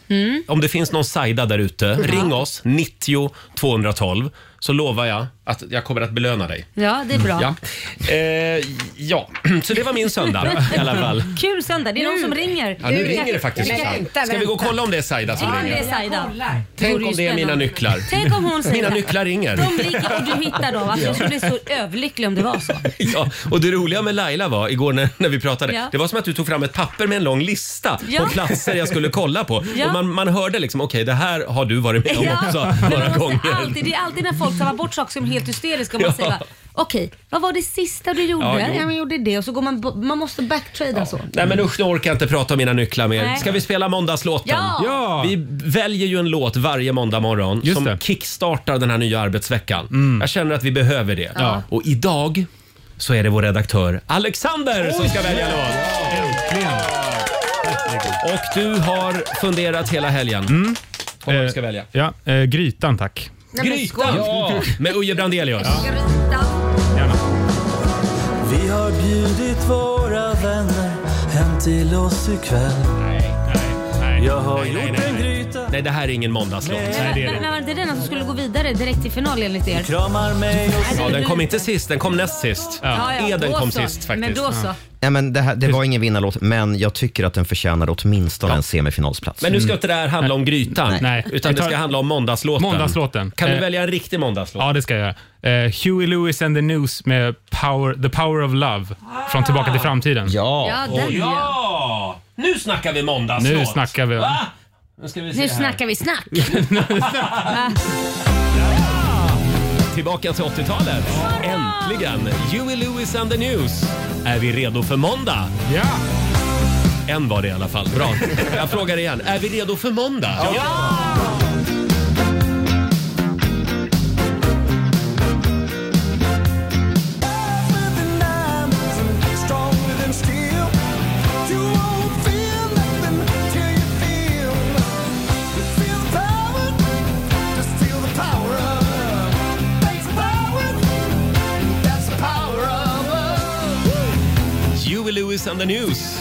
[SPEAKER 2] Mm.
[SPEAKER 1] om det finns någon sajda där ute, ring oss 90 212 så lovar jag att jag kommer att belöna dig.
[SPEAKER 2] Ja, det är bra.
[SPEAKER 1] Ja. Eh, ja, så det var min söndag i alla fall.
[SPEAKER 2] Kul söndag, det är någon som ringer.
[SPEAKER 1] Ja, nu ringer det faktiskt. Ska vi gå och kolla om det är Saida som
[SPEAKER 2] Ja, det är
[SPEAKER 1] ringer?
[SPEAKER 2] Saida.
[SPEAKER 1] Tänk
[SPEAKER 2] ju
[SPEAKER 1] om det är mina
[SPEAKER 2] spännande.
[SPEAKER 1] nycklar.
[SPEAKER 2] Tänk om hon
[SPEAKER 1] Mina
[SPEAKER 2] säger
[SPEAKER 1] nycklar ringer.
[SPEAKER 2] de ligger och du hittar dem. Alltså, jag skulle bli så överlycklig om det var så.
[SPEAKER 1] Ja, och det roliga med Laila var igår när, när vi pratade,
[SPEAKER 2] Ja.
[SPEAKER 1] det var som att du tog fram ett papper med en lång lista
[SPEAKER 2] Ja.
[SPEAKER 1] på platser jag skulle kolla på.
[SPEAKER 2] Ja.
[SPEAKER 1] Och man, man hörde liksom, okej det här har du varit med om också
[SPEAKER 2] men man
[SPEAKER 1] några
[SPEAKER 2] måste
[SPEAKER 1] gånger.
[SPEAKER 2] Alltid, det är alltid när folk tappar bort saker som är helt hysteriska. Och man
[SPEAKER 1] Ja.
[SPEAKER 2] säger bara, okej, vad var det sista du gjorde?
[SPEAKER 1] Ja,
[SPEAKER 2] Ja,
[SPEAKER 1] jo.
[SPEAKER 2] men jag gjorde det och så går man, bo- man måste backtrada så.
[SPEAKER 1] Nej men usch, nu orkar jag inte prata om mina nycklar mer.
[SPEAKER 2] Mm. Nej.
[SPEAKER 1] Ska vi spela måndagslåten?
[SPEAKER 2] Ja!
[SPEAKER 11] Ja.
[SPEAKER 1] Vi väljer ju en låt varje måndag morgon
[SPEAKER 11] Just
[SPEAKER 1] som
[SPEAKER 11] det.
[SPEAKER 1] kickstartar den här nya arbetsveckan.
[SPEAKER 7] Mm.
[SPEAKER 1] Jag känner att vi behöver det. Och idag så är det vår redaktör Alexander som ska välja låt. Och du har funderat hela helgen
[SPEAKER 7] Mm.
[SPEAKER 1] på vad du ska välja.
[SPEAKER 11] Ja, eh, grytan tack.
[SPEAKER 1] Grytan! Ja, med Uje Brandelius.
[SPEAKER 11] Gärna.
[SPEAKER 7] Vi har bjudit våra vänner hem till oss ikväll. Jag har
[SPEAKER 1] nej,
[SPEAKER 7] gjort
[SPEAKER 1] nej,
[SPEAKER 7] en gryta,
[SPEAKER 1] Nej, det här är ingen måndagslåt.
[SPEAKER 2] Men, men, men var det inte den som skulle gå vidare direkt till final enligt er?
[SPEAKER 7] kramar mig och
[SPEAKER 1] Ja, den kom inte sist, den kom näst sist.
[SPEAKER 2] Ja, ja,
[SPEAKER 1] Eden
[SPEAKER 2] då
[SPEAKER 1] kom
[SPEAKER 2] så.
[SPEAKER 1] sist
[SPEAKER 2] Men
[SPEAKER 1] faktiskt.
[SPEAKER 2] då så.
[SPEAKER 6] Nej, men det, här, det var ingen vinnarlåt, men jag tycker att den förtjänar åtminstone en semifinalsplats. Mm.
[SPEAKER 1] Men nu ska inte det här handla om grytan,
[SPEAKER 11] Nej.
[SPEAKER 1] utan det ska handla om måndagslåten.
[SPEAKER 11] Måndagslåten.
[SPEAKER 1] Kan du
[SPEAKER 11] Eh,
[SPEAKER 1] välja en riktig måndagslåt?
[SPEAKER 11] Ja, det ska jag göra. Eh, Huey Lewis and the News med power, The Power of Love från Tillbaka till framtiden.
[SPEAKER 6] Ja,
[SPEAKER 2] Ja, den ja.
[SPEAKER 1] Ja! Nu snackar vi måndagslåt!
[SPEAKER 11] Nu snackar vi.
[SPEAKER 1] Va? Nu ska vi se
[SPEAKER 2] Nu
[SPEAKER 1] här.
[SPEAKER 2] snackar vi snack.
[SPEAKER 1] Tillbaka till 80-talet. Äntligen! Huey Lewis and the News. Är vi redo för måndag?
[SPEAKER 11] Ja.
[SPEAKER 1] En var det i alla fall. Bra. Jag frågar igen. Är vi redo för måndag? Ja! Huey Lewis and the News.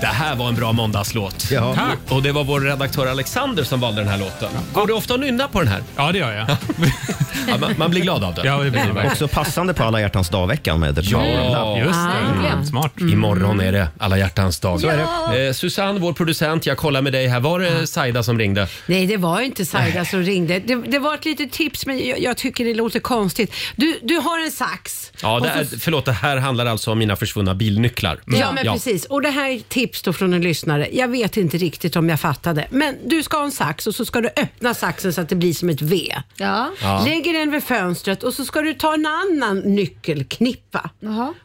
[SPEAKER 1] Det här var en bra måndagslåt.
[SPEAKER 11] Tack.
[SPEAKER 1] Och det var vår redaktör Alexander som valde den här låten. Går du ofta och nynnar på den här?
[SPEAKER 11] Ja, det gör jag.
[SPEAKER 1] ja, man, man blir glad av det.
[SPEAKER 6] Också passande på alla hjärtans dag-veckan med ett
[SPEAKER 1] Ja,
[SPEAKER 6] Power of Love.
[SPEAKER 1] just det. Mm. Smart. Imorgon är det alla hjärtans dag.
[SPEAKER 12] Så är det.
[SPEAKER 1] Eh, Susanne, vår producent, jag kollar med dig här. Var det Saida som ringde?
[SPEAKER 12] Nej, det var inte Saida som ringde. Det, det var ett litet tips, men jag, jag tycker det låter konstigt. Du, du har en sax.
[SPEAKER 1] Ja,
[SPEAKER 12] Och
[SPEAKER 1] det
[SPEAKER 12] så-
[SPEAKER 1] är, förlåt, det här handlar alltså om mina försvunna bilnycklar.
[SPEAKER 12] Ja, men precis. Och det här är ett tips då från en lyssnare. Jag vet inte riktigt om jag fattade. Men du ska ha en sax och så ska du öppna saxen så att det blir som ett V.
[SPEAKER 2] Ja.
[SPEAKER 12] Ja. Lägger den vid fönstret och så ska du ta en annan nyckelknippa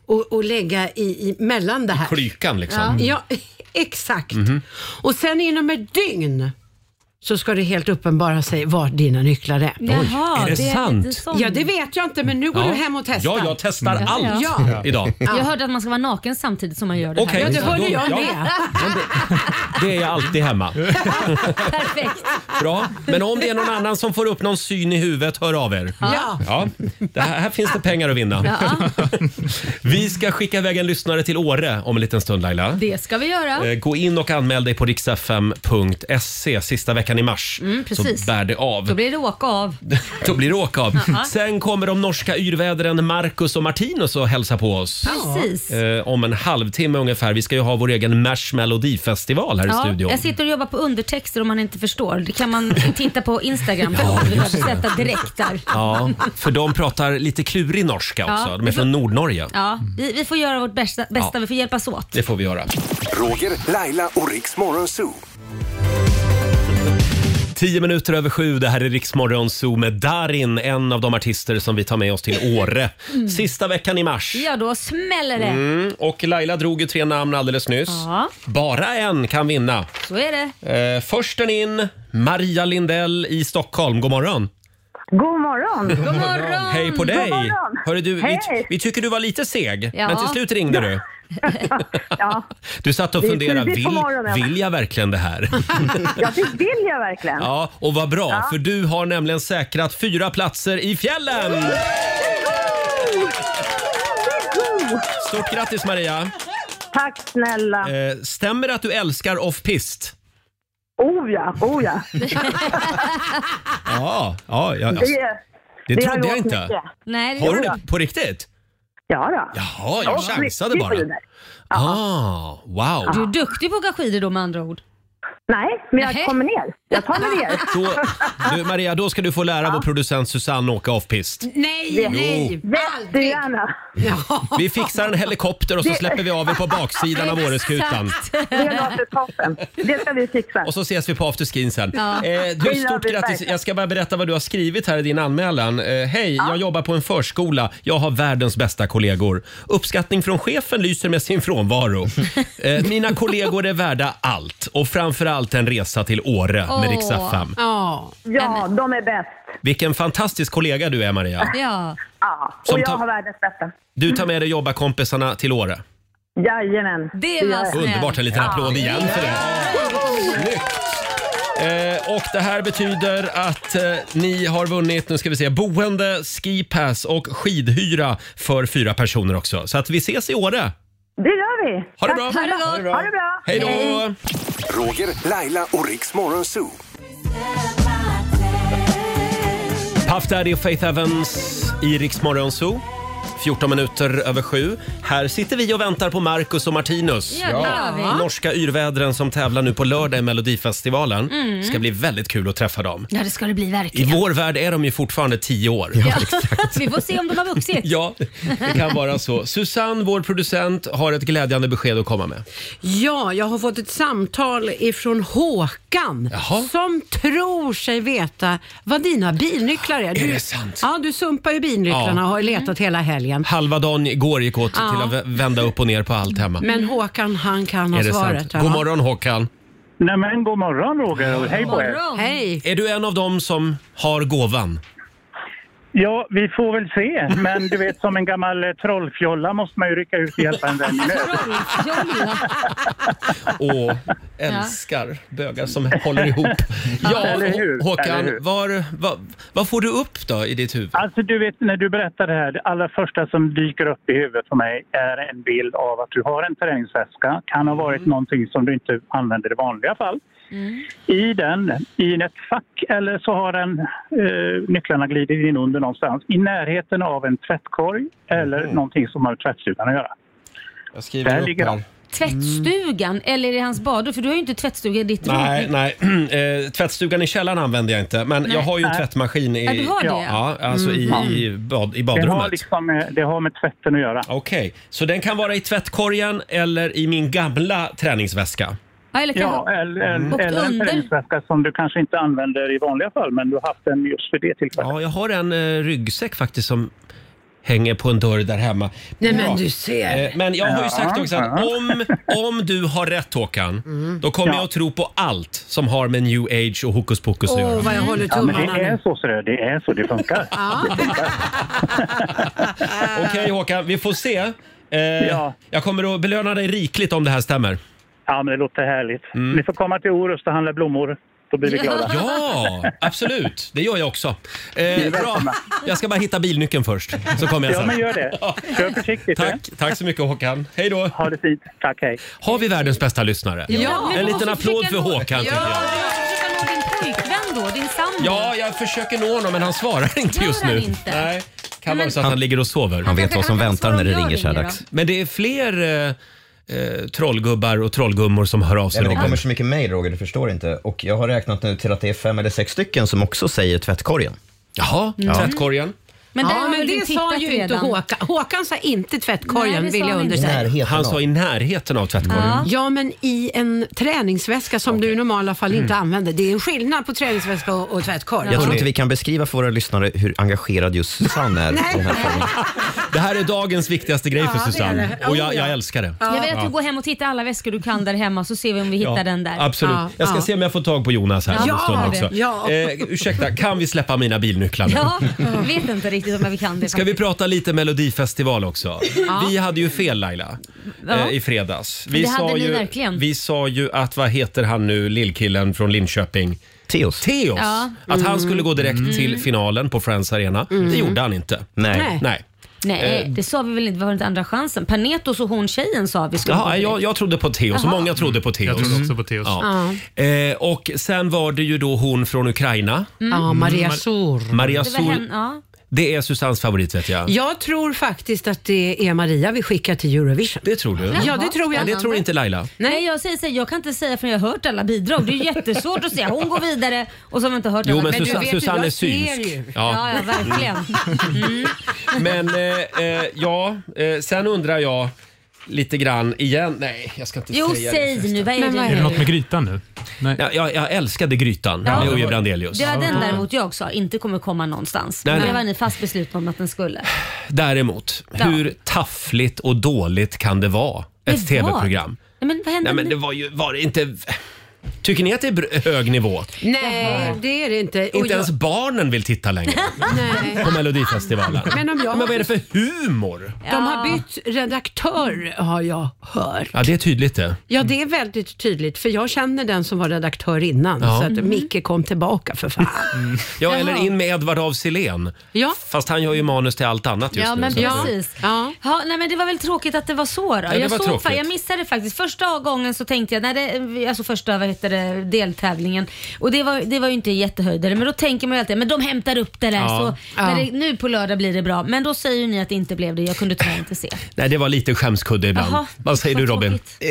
[SPEAKER 12] och, och lägga i, i mellan det här.
[SPEAKER 1] Klykan liksom.
[SPEAKER 12] Ja, exakt. Och sen inom ett dygn så ska det helt uppenbara sig var dina nycklar är.
[SPEAKER 1] Jaha, Oj, är det det är sant? lite sån-
[SPEAKER 12] Ja, det vet jag inte, men nu går
[SPEAKER 1] Ja.
[SPEAKER 12] du hem och testar.
[SPEAKER 1] Ja, jag testar
[SPEAKER 2] Ja,
[SPEAKER 1] allt
[SPEAKER 12] Mm. ja. Ja.
[SPEAKER 1] idag.
[SPEAKER 2] Jag hörde att man ska vara naken samtidigt som man gör det
[SPEAKER 1] Okej,
[SPEAKER 2] här.
[SPEAKER 1] Ja, det hörde då- jag ja. med. Det är jag alltid hemma.
[SPEAKER 2] Perfekt.
[SPEAKER 1] Bra. Men om det är någon annan som får upp någon syn i huvudet, hör av er.
[SPEAKER 2] Ja.
[SPEAKER 1] ja. Det här, här finns det pengar att vinna.
[SPEAKER 2] Ja.
[SPEAKER 1] Vi ska skicka iväg en lyssnare till Åre om en liten stund Laila.
[SPEAKER 2] Det ska vi göra.
[SPEAKER 1] Eh, Gå in och anmäl dig på riksfm.se sista veckan i mars.
[SPEAKER 2] Mm, precis.
[SPEAKER 1] Så bär det av.
[SPEAKER 2] Då blir det åka av.
[SPEAKER 1] Då blir det åka av.
[SPEAKER 2] Ja.
[SPEAKER 1] Sen kommer de norska yrvädren Marcus och Martinus och hälsa på oss.
[SPEAKER 2] Precis.
[SPEAKER 1] Eh, om en halvtimme ungefär. Vi ska ju ha vår egen Marshmelodifestival här i studion.
[SPEAKER 2] jag sitter och jobbar på undertexter om man inte förstår. Det kan man titta på Instagram. Ja, vi har sätta direkt där.
[SPEAKER 1] Ja, för de pratar lite klurig norska
[SPEAKER 2] Ja,
[SPEAKER 1] också. de
[SPEAKER 2] vi
[SPEAKER 1] är
[SPEAKER 2] får-
[SPEAKER 1] från Nordnorge.
[SPEAKER 2] Ja, vi, vi får göra vårt bästa, bästa
[SPEAKER 1] Ja.
[SPEAKER 2] vi får hjälpas åt.
[SPEAKER 1] Det får vi göra.
[SPEAKER 4] Roger, Laila och Riks Morgonzoo.
[SPEAKER 1] Tio minuter över sju, det här är Riksmorgon Zoo med Darin, en av de artister som vi tar med oss till Åre.
[SPEAKER 2] Mm.
[SPEAKER 1] Sista veckan i mars.
[SPEAKER 2] Ja, då smäller det.
[SPEAKER 1] Mm, och Laila drog ju tre namn alldeles nyss.
[SPEAKER 2] Ja.
[SPEAKER 1] Bara en kan vinna.
[SPEAKER 2] Så är det.
[SPEAKER 1] Eh, försten in, Maria Lindell i Stockholm. God morgon!
[SPEAKER 8] God morgon!
[SPEAKER 2] God morgon!
[SPEAKER 1] Hej på
[SPEAKER 8] God
[SPEAKER 1] dig!
[SPEAKER 8] morgon.
[SPEAKER 1] Hörru du, vi,
[SPEAKER 8] Hej.
[SPEAKER 1] vi tycker du var lite seg,
[SPEAKER 8] Ja.
[SPEAKER 1] men till slut ringde du.
[SPEAKER 8] Ja.
[SPEAKER 1] Du satt och
[SPEAKER 8] Det är
[SPEAKER 1] funderade,
[SPEAKER 8] tidigt på
[SPEAKER 1] vill,
[SPEAKER 8] morgonen.
[SPEAKER 1] vill jag verkligen det här?
[SPEAKER 8] ja, det vill jag verkligen.
[SPEAKER 1] Ja, och vad bra,
[SPEAKER 8] Ja.
[SPEAKER 1] för du har nämligen säkrat fyra platser i fjällen! Stort grattis Maria!
[SPEAKER 8] Tack snälla!
[SPEAKER 1] Eh, stämmer det att du älskar off-pist?
[SPEAKER 8] Oh ja, oh ja.
[SPEAKER 1] Ja, ja, ja. Alltså, det
[SPEAKER 8] har
[SPEAKER 1] trodde jag
[SPEAKER 8] gjort
[SPEAKER 1] inte.
[SPEAKER 8] mycket.
[SPEAKER 2] Nej,
[SPEAKER 1] Har du det på riktigt?
[SPEAKER 8] Ja, då.
[SPEAKER 1] Jaha, jag chansade bara. Ah,
[SPEAKER 2] Du
[SPEAKER 1] wow.
[SPEAKER 2] är duktig på att åka skidor då med andra ord.
[SPEAKER 8] Nej, men jag kommer ner. Jag tar mig ner.
[SPEAKER 1] Då, du, Maria, då ska du få lära vår producent Susanne åka off-pist.
[SPEAKER 12] Nej,
[SPEAKER 1] nej,
[SPEAKER 8] Jättegärna.
[SPEAKER 1] Vi fixar en helikopter och så
[SPEAKER 8] Det-
[SPEAKER 1] släpper vi av er på baksidan av Åreskutan.
[SPEAKER 8] Det låter toppen. Det ska vi fixa.
[SPEAKER 1] Och så ses vi på afterskin sen.
[SPEAKER 8] Ja.
[SPEAKER 1] Eh,
[SPEAKER 8] Det
[SPEAKER 1] du,
[SPEAKER 8] gör
[SPEAKER 1] stort
[SPEAKER 8] vi
[SPEAKER 1] grattis.
[SPEAKER 8] verkligen.
[SPEAKER 1] Jag ska bara berätta vad du har skrivit här i din anmälan. Eh, Hej, jag jobbar på en förskola. Jag har världens bästa kollegor. Uppskattning från chefen lyser med sin frånvaro. Eh, mina kollegor är värda allt och framförallt en resa till Åre med Rix FM.
[SPEAKER 8] Ja, de är bäst.
[SPEAKER 1] Vilken fantastisk kollega du är Maria.
[SPEAKER 2] Ja.
[SPEAKER 8] ja.
[SPEAKER 1] Som
[SPEAKER 8] Och jag
[SPEAKER 1] tar-
[SPEAKER 8] har världens bästa.
[SPEAKER 1] Du tar med dig jobbarkompisarna till Åre.
[SPEAKER 8] Jajamän.
[SPEAKER 2] Det
[SPEAKER 8] gör jag.
[SPEAKER 1] Underbart, en liten applåd igen för det. Eh, och det här betyder att eh, ni har vunnit, nu ska vi se, boende, skipass och skidhyra för fyra personer också. Så att vi ses i Åre.
[SPEAKER 8] Det gör vi.
[SPEAKER 1] Ha det
[SPEAKER 8] Tack
[SPEAKER 1] bra.
[SPEAKER 8] snälla.
[SPEAKER 1] Ha det bra.
[SPEAKER 8] Ha det bra.
[SPEAKER 1] Hej då!
[SPEAKER 4] Roger, Laila och Riks Morgonzoo.
[SPEAKER 1] Puff Daddy och Faith Evans i Rix Morgon Zoo. 14 minuter över sju. Här sitter vi och väntar på Marcus och Martinus.
[SPEAKER 2] Ja, det gör vi.
[SPEAKER 1] Norska yrvädren som tävlar nu på lördag i Melodifestivalen.
[SPEAKER 2] Mm.
[SPEAKER 1] Det ska bli väldigt kul att träffa dem.
[SPEAKER 2] Ja, det ska det bli
[SPEAKER 1] I
[SPEAKER 2] verkligen.
[SPEAKER 1] vår värld är de ju fortfarande tio år.
[SPEAKER 2] Ja, vi får se om de har vuxit.
[SPEAKER 1] Ja, det kan vara så. Susanne, vår producent, har ett glädjande besked att komma med.
[SPEAKER 12] Ja, jag har fått ett samtal ifrån Håkan som tror sig veta vad dina bilnycklar är. Du,
[SPEAKER 1] det sant?
[SPEAKER 12] Ja, du sumpar ju bilnycklarna
[SPEAKER 1] Ja. Mm.
[SPEAKER 12] och har letat hela helgen.
[SPEAKER 1] Halva dagen igår gick åt
[SPEAKER 12] Ja.
[SPEAKER 1] till att vä- vända upp och ner på allt hemma.
[SPEAKER 12] Men Håkan, han kan ha
[SPEAKER 1] är det
[SPEAKER 12] svaret.
[SPEAKER 1] sant? God morgon Håkan.
[SPEAKER 13] Nej men god morgon Roger och hej på er.
[SPEAKER 12] Hej.
[SPEAKER 1] Är du en av dem som har gåvan?
[SPEAKER 13] Ja, vi får väl se. Men du vet, som en gammal eh, trollfjolla måste man ju rycka ut och hjälpa en vän i nöd.
[SPEAKER 1] Åh, älskar bögar som håller ihop. Ja,
[SPEAKER 13] Eller hur?
[SPEAKER 1] Håkan,
[SPEAKER 13] Eller hur?
[SPEAKER 1] Var, vad, vad får du upp då i ditt huvud?
[SPEAKER 13] Alltså du vet när du berättar det här, det allra första som dyker upp i huvudet på mig är en bild av att du har en terrängväska, kan ha varit någonting som du inte använder i vanliga fall.
[SPEAKER 2] Mm.
[SPEAKER 13] I den, i ett fack eller så har den eh, nycklarna glidit in under någonstans i närheten av en tvättkorg eller någonting som har med tvättstugan att göra.
[SPEAKER 1] Jag skriver
[SPEAKER 13] Där
[SPEAKER 1] upp
[SPEAKER 13] ligger
[SPEAKER 1] här.
[SPEAKER 13] de.
[SPEAKER 2] Tvättstugan eller i hans badrum? För du har ju inte tvättstuga i ditt
[SPEAKER 1] Nej,
[SPEAKER 2] rum.
[SPEAKER 1] nej. Eh, tvättstugan i källaren använder jag inte, men
[SPEAKER 2] Nej.
[SPEAKER 1] jag har ju en
[SPEAKER 2] Nej.
[SPEAKER 1] tvättmaskin i,
[SPEAKER 2] Ja, du har det,
[SPEAKER 1] Ja,
[SPEAKER 2] ja.
[SPEAKER 1] alltså
[SPEAKER 2] Mm.
[SPEAKER 1] i, i, bad, i
[SPEAKER 13] Det har,
[SPEAKER 1] badrummet.
[SPEAKER 13] liksom, eh, det har med tvätten att göra.
[SPEAKER 1] Okej, så den kan vara i tvättkorgen eller i min gamla träningsväska.
[SPEAKER 2] Ja, eller, kan-
[SPEAKER 13] Ja, eller,
[SPEAKER 1] Mm. Och
[SPEAKER 13] eller en
[SPEAKER 1] under.
[SPEAKER 13] terrängväska som du kanske inte använder i vanliga fall men du har haft den just för det tillfället.
[SPEAKER 1] Ja, jag har en eh, ryggsäck faktiskt som hänger på en dörr där hemma.
[SPEAKER 13] Nej,
[SPEAKER 1] Bra.
[SPEAKER 13] men du ser.
[SPEAKER 1] Eh, Men jag har ju
[SPEAKER 13] Ja,
[SPEAKER 1] sagt också att
[SPEAKER 13] ja.
[SPEAKER 1] om, om du har rätt Håkan,
[SPEAKER 13] Mm.
[SPEAKER 1] då kommer
[SPEAKER 13] Ja.
[SPEAKER 1] jag att tro på allt som har med new age och hokus pokus att
[SPEAKER 13] Åh,
[SPEAKER 1] göra.
[SPEAKER 13] vad jag håller Ja, men det tummarna nu. är
[SPEAKER 1] så, det är så det funkar. Okej Håkan, vi får se. Eh, Jag kommer att belöna dig rikligt om det här stämmer.
[SPEAKER 13] Ja, men det låter härligt.
[SPEAKER 1] Mm.
[SPEAKER 13] Ni får komma till Orust och handla blommor. Då blir vi glada.
[SPEAKER 1] Ja, absolut. Det gör jag också. Eh, bra. Jag ska bara hitta bilnyckeln först, så kommer jag
[SPEAKER 13] Ja,
[SPEAKER 1] sen.
[SPEAKER 13] men gör det. Kör försiktigt. eh?
[SPEAKER 1] Tack, tack så mycket Håkan. Hej då.
[SPEAKER 13] Ha det fint. Tack, hej.
[SPEAKER 1] Har vi världens bästa lyssnare?
[SPEAKER 2] Ja, men
[SPEAKER 1] en
[SPEAKER 2] du
[SPEAKER 1] liten
[SPEAKER 2] måste
[SPEAKER 1] applåd
[SPEAKER 2] försöka
[SPEAKER 1] för
[SPEAKER 2] nå-
[SPEAKER 1] Håkan
[SPEAKER 2] Ja,
[SPEAKER 1] tycker jag.
[SPEAKER 2] du ska nå din pojkvän då, din sambo.
[SPEAKER 1] Ja, jag försöker nå honom men han svarar inte
[SPEAKER 2] Gör
[SPEAKER 1] just
[SPEAKER 2] han
[SPEAKER 1] nu.
[SPEAKER 2] inte?
[SPEAKER 1] Nej. Kan
[SPEAKER 2] Men-
[SPEAKER 1] vara så att han ligger och sover.
[SPEAKER 6] Han vet vad som väntar när det ringer så här dags.
[SPEAKER 1] Men det är fler eh, eh, trollgubbar och trollgummor som hör av sig.
[SPEAKER 6] Nej, men det
[SPEAKER 1] Robin.
[SPEAKER 6] kommer så mycket mejl Roger, du förstår inte. Och jag har räknat nu till att det är fem eller sex stycken som också säger tvättkorgen.
[SPEAKER 1] Jaha,
[SPEAKER 2] Mm.
[SPEAKER 6] ja.
[SPEAKER 1] tvättkorgen.
[SPEAKER 2] Men där
[SPEAKER 12] ja,
[SPEAKER 2] har
[SPEAKER 12] men
[SPEAKER 2] väl
[SPEAKER 12] det
[SPEAKER 2] du
[SPEAKER 12] sa
[SPEAKER 2] tittat
[SPEAKER 12] ju inte
[SPEAKER 2] redan?
[SPEAKER 12] Håkan. Håkan sa inte tvättkorgen
[SPEAKER 2] Nej, det sa
[SPEAKER 12] vill jag
[SPEAKER 2] han inte.
[SPEAKER 12] understryka.
[SPEAKER 1] han sa i närheten av tvättkorgen.
[SPEAKER 12] Ja. men i en träningsväska som du i normala fall
[SPEAKER 1] Mm.
[SPEAKER 12] inte använder. Det är en skillnad på träningsväska och, och tvättkorg.
[SPEAKER 6] Jag tror inte vi kan beskriva för våra lyssnare hur engagerad just Susanne är i den här frågan.
[SPEAKER 1] Det här är dagens viktigaste grej för
[SPEAKER 2] Ja, det är
[SPEAKER 1] Susanne.
[SPEAKER 2] det.
[SPEAKER 1] Och jag,
[SPEAKER 2] Oh, ja.
[SPEAKER 1] jag älskar det.
[SPEAKER 2] Jag vill att
[SPEAKER 1] Ja.
[SPEAKER 2] du går hem och tittar i alla väskor du kan där hemma så ser vi om vi hittar
[SPEAKER 1] Ja,
[SPEAKER 2] den där.
[SPEAKER 1] Absolut.
[SPEAKER 2] Ja.
[SPEAKER 1] jag ska
[SPEAKER 2] Ja.
[SPEAKER 1] se om jag får tag på Jonas här
[SPEAKER 2] Ja,
[SPEAKER 1] om en stund
[SPEAKER 2] gör det.
[SPEAKER 1] också.
[SPEAKER 2] Ja.
[SPEAKER 1] Eh, ursäkta, kan vi släppa mina bilnycklar nu?
[SPEAKER 2] Ja, jag vet inte riktigt om jag kan det.
[SPEAKER 1] Ska vi prata lite Melodifestival också?
[SPEAKER 2] Ja.
[SPEAKER 1] Vi hade ju fel Laila
[SPEAKER 2] Ja.
[SPEAKER 1] eh, i fredags. Vi
[SPEAKER 2] Det hade ni
[SPEAKER 1] ju,
[SPEAKER 2] verkligen.
[SPEAKER 1] vi sa ju att, vad heter han nu, lillkillen från Linköping?
[SPEAKER 6] Teos.
[SPEAKER 1] Teos.
[SPEAKER 2] Ja.
[SPEAKER 1] Att han
[SPEAKER 2] Mm.
[SPEAKER 1] skulle gå direkt
[SPEAKER 2] Mm.
[SPEAKER 1] till finalen på Friends Arena. Det
[SPEAKER 2] Mm.
[SPEAKER 1] gjorde han inte.
[SPEAKER 2] Nej.
[SPEAKER 1] Nej.
[SPEAKER 2] Nej,
[SPEAKER 1] Eh.
[SPEAKER 2] det sa vi väl inte. Var det inte andra chansen? Panetos och hon tjejen sa vi skulle
[SPEAKER 1] Jaha, jag, jag trodde på Teos och
[SPEAKER 2] Jaha.
[SPEAKER 1] många trodde på Teos.
[SPEAKER 11] Jag trodde också på
[SPEAKER 1] Teos.
[SPEAKER 2] Ja.
[SPEAKER 1] Eh, och sen var det ju då hon från Ukraina.
[SPEAKER 12] Mm. Ja, Maria Sor.
[SPEAKER 1] Maria
[SPEAKER 12] Det var
[SPEAKER 1] Sor.
[SPEAKER 12] hen- ja.
[SPEAKER 1] Det är Susans favorit vet jag.
[SPEAKER 12] Jag tror faktiskt att det är Maria vi skickar till Eurovision.
[SPEAKER 1] Det tror du?
[SPEAKER 12] Ja, det tror jag.
[SPEAKER 1] Men det tror inte Laila.
[SPEAKER 2] Nej. jag säger så här, jag kan inte säga förrän jag har hört alla bidrag. Det är jättesvårt att säga. Hon går vidare och så har man inte hört
[SPEAKER 1] Jo,
[SPEAKER 2] alla.
[SPEAKER 1] men Susa- Susanne är synsk. Ja. Mm.
[SPEAKER 2] Ja. ja, verkligen.
[SPEAKER 1] Men eh, eh, ja, eh, sen undrar jag lite grann igen. Nej, jag ska inte
[SPEAKER 2] Jo,
[SPEAKER 1] säga
[SPEAKER 2] säg
[SPEAKER 1] det.
[SPEAKER 2] nu. Vad är
[SPEAKER 1] Men
[SPEAKER 2] det
[SPEAKER 1] vad
[SPEAKER 2] nu?
[SPEAKER 1] är det?
[SPEAKER 11] Något med grytan nu? Nej.
[SPEAKER 1] Ja, jag, jag älskade Grytan
[SPEAKER 2] Ja.
[SPEAKER 1] med Uje Brandelius.
[SPEAKER 2] Det var den däremot jag sa inte kommer komma någonstans.
[SPEAKER 1] Nej,
[SPEAKER 2] men
[SPEAKER 1] nej.
[SPEAKER 2] det var ni fast beslutna om att den skulle.
[SPEAKER 1] Däremot,
[SPEAKER 2] Ja.
[SPEAKER 1] hur taffligt och dåligt kan det vara? Ett
[SPEAKER 2] Det var-
[SPEAKER 1] tv-program.
[SPEAKER 2] Nej, men vad hände
[SPEAKER 1] Nej, men det
[SPEAKER 2] nu?
[SPEAKER 1] var ju, var det inte... Tycker ni att det är br- hög nivå?
[SPEAKER 12] Nej, det är det inte. Och
[SPEAKER 1] Inte ens barnen vill titta längre
[SPEAKER 12] Nej.
[SPEAKER 1] på Melodifestivalen.
[SPEAKER 12] Men om jag-
[SPEAKER 1] men vad är det för humor?
[SPEAKER 12] De har bytt redaktör har jag hört.
[SPEAKER 1] Ja, det är tydligt det.
[SPEAKER 12] Ja, det är väldigt tydligt för jag känner den som var redaktör innan.
[SPEAKER 1] Ja.
[SPEAKER 12] Så att
[SPEAKER 1] Mhm.
[SPEAKER 12] Micke kom tillbaka för fan.
[SPEAKER 1] Mm. Ja, eller in med Edvard af Sillén.
[SPEAKER 12] Ja.
[SPEAKER 1] Fast han gör ju manus till allt annat just
[SPEAKER 2] Ja
[SPEAKER 1] nu.
[SPEAKER 2] men
[SPEAKER 1] så att-
[SPEAKER 2] precis. Ja. nej, men det var väl tråkigt att det var så. Då.
[SPEAKER 1] det
[SPEAKER 2] jag,
[SPEAKER 1] var
[SPEAKER 2] såg,
[SPEAKER 1] tråkigt.
[SPEAKER 2] fa- jag missade faktiskt. Första gången så tänkte jag, när det, alltså första vad heter det, deltävlingen och det var, det var ju inte en jättehöjdare men då tänker man ju alltid men de hämtar upp det där
[SPEAKER 1] Ja.
[SPEAKER 2] så när det, nu på lördag blir det bra. Men då säger ju ni att det inte blev det. Jag kunde tyvärr inte se.
[SPEAKER 1] Nej, det var lite skämskudde ibland.
[SPEAKER 2] Jaha,
[SPEAKER 1] Vad säger du Robin?
[SPEAKER 6] Eh,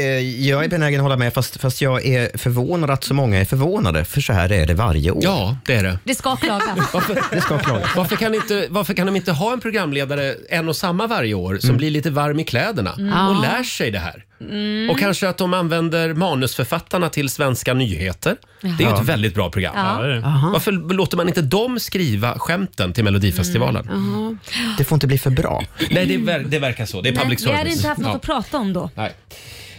[SPEAKER 6] Jag är benägen att hålla med, fast, fast jag är förvånad att så många är förvånade, för så här är det varje år.
[SPEAKER 1] Ja, det är det.
[SPEAKER 2] Det ska klaga.
[SPEAKER 6] Det ska klaga.
[SPEAKER 1] Varför kan, inte, varför kan de inte ha en programledare en och samma varje år som blir lite varm i kläderna
[SPEAKER 2] Mm.
[SPEAKER 1] och
[SPEAKER 2] Ja.
[SPEAKER 1] lär sig det här?
[SPEAKER 2] Mm.
[SPEAKER 1] Och kanske att de använder manusförfattarna till Svenska nyheter. Det är ju
[SPEAKER 2] Ja.
[SPEAKER 1] ett väldigt bra program.
[SPEAKER 2] Ja. Ja, det är det.
[SPEAKER 1] Varför låter man inte dem skriva skämten till Melodifestivalen?
[SPEAKER 2] Ja.
[SPEAKER 6] Det får inte bli för bra.
[SPEAKER 1] Nej, det, ver- det verkar så. Det är
[SPEAKER 2] Nej,
[SPEAKER 1] public
[SPEAKER 2] Vi
[SPEAKER 1] service.
[SPEAKER 2] hade inte haft något
[SPEAKER 1] Ja.
[SPEAKER 2] att prata om då.
[SPEAKER 1] Nej.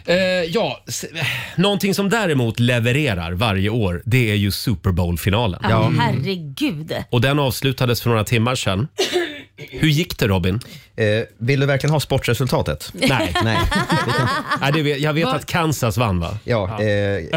[SPEAKER 1] Eh, ja, s- eh, någonting som däremot levererar varje år, det är ju Super Bowl-finalen.
[SPEAKER 2] Ja, Mm. herregud.
[SPEAKER 1] Och den avslutades för några timmar sedan. Hur gick det Robin?
[SPEAKER 6] Eh, vill du verkligen ha sportresultatet?
[SPEAKER 1] Nej.
[SPEAKER 6] Nej.
[SPEAKER 1] Nej, det vet, jag vet
[SPEAKER 6] Vad-
[SPEAKER 1] att Kansas vann va? Mm.
[SPEAKER 6] Ja, eh,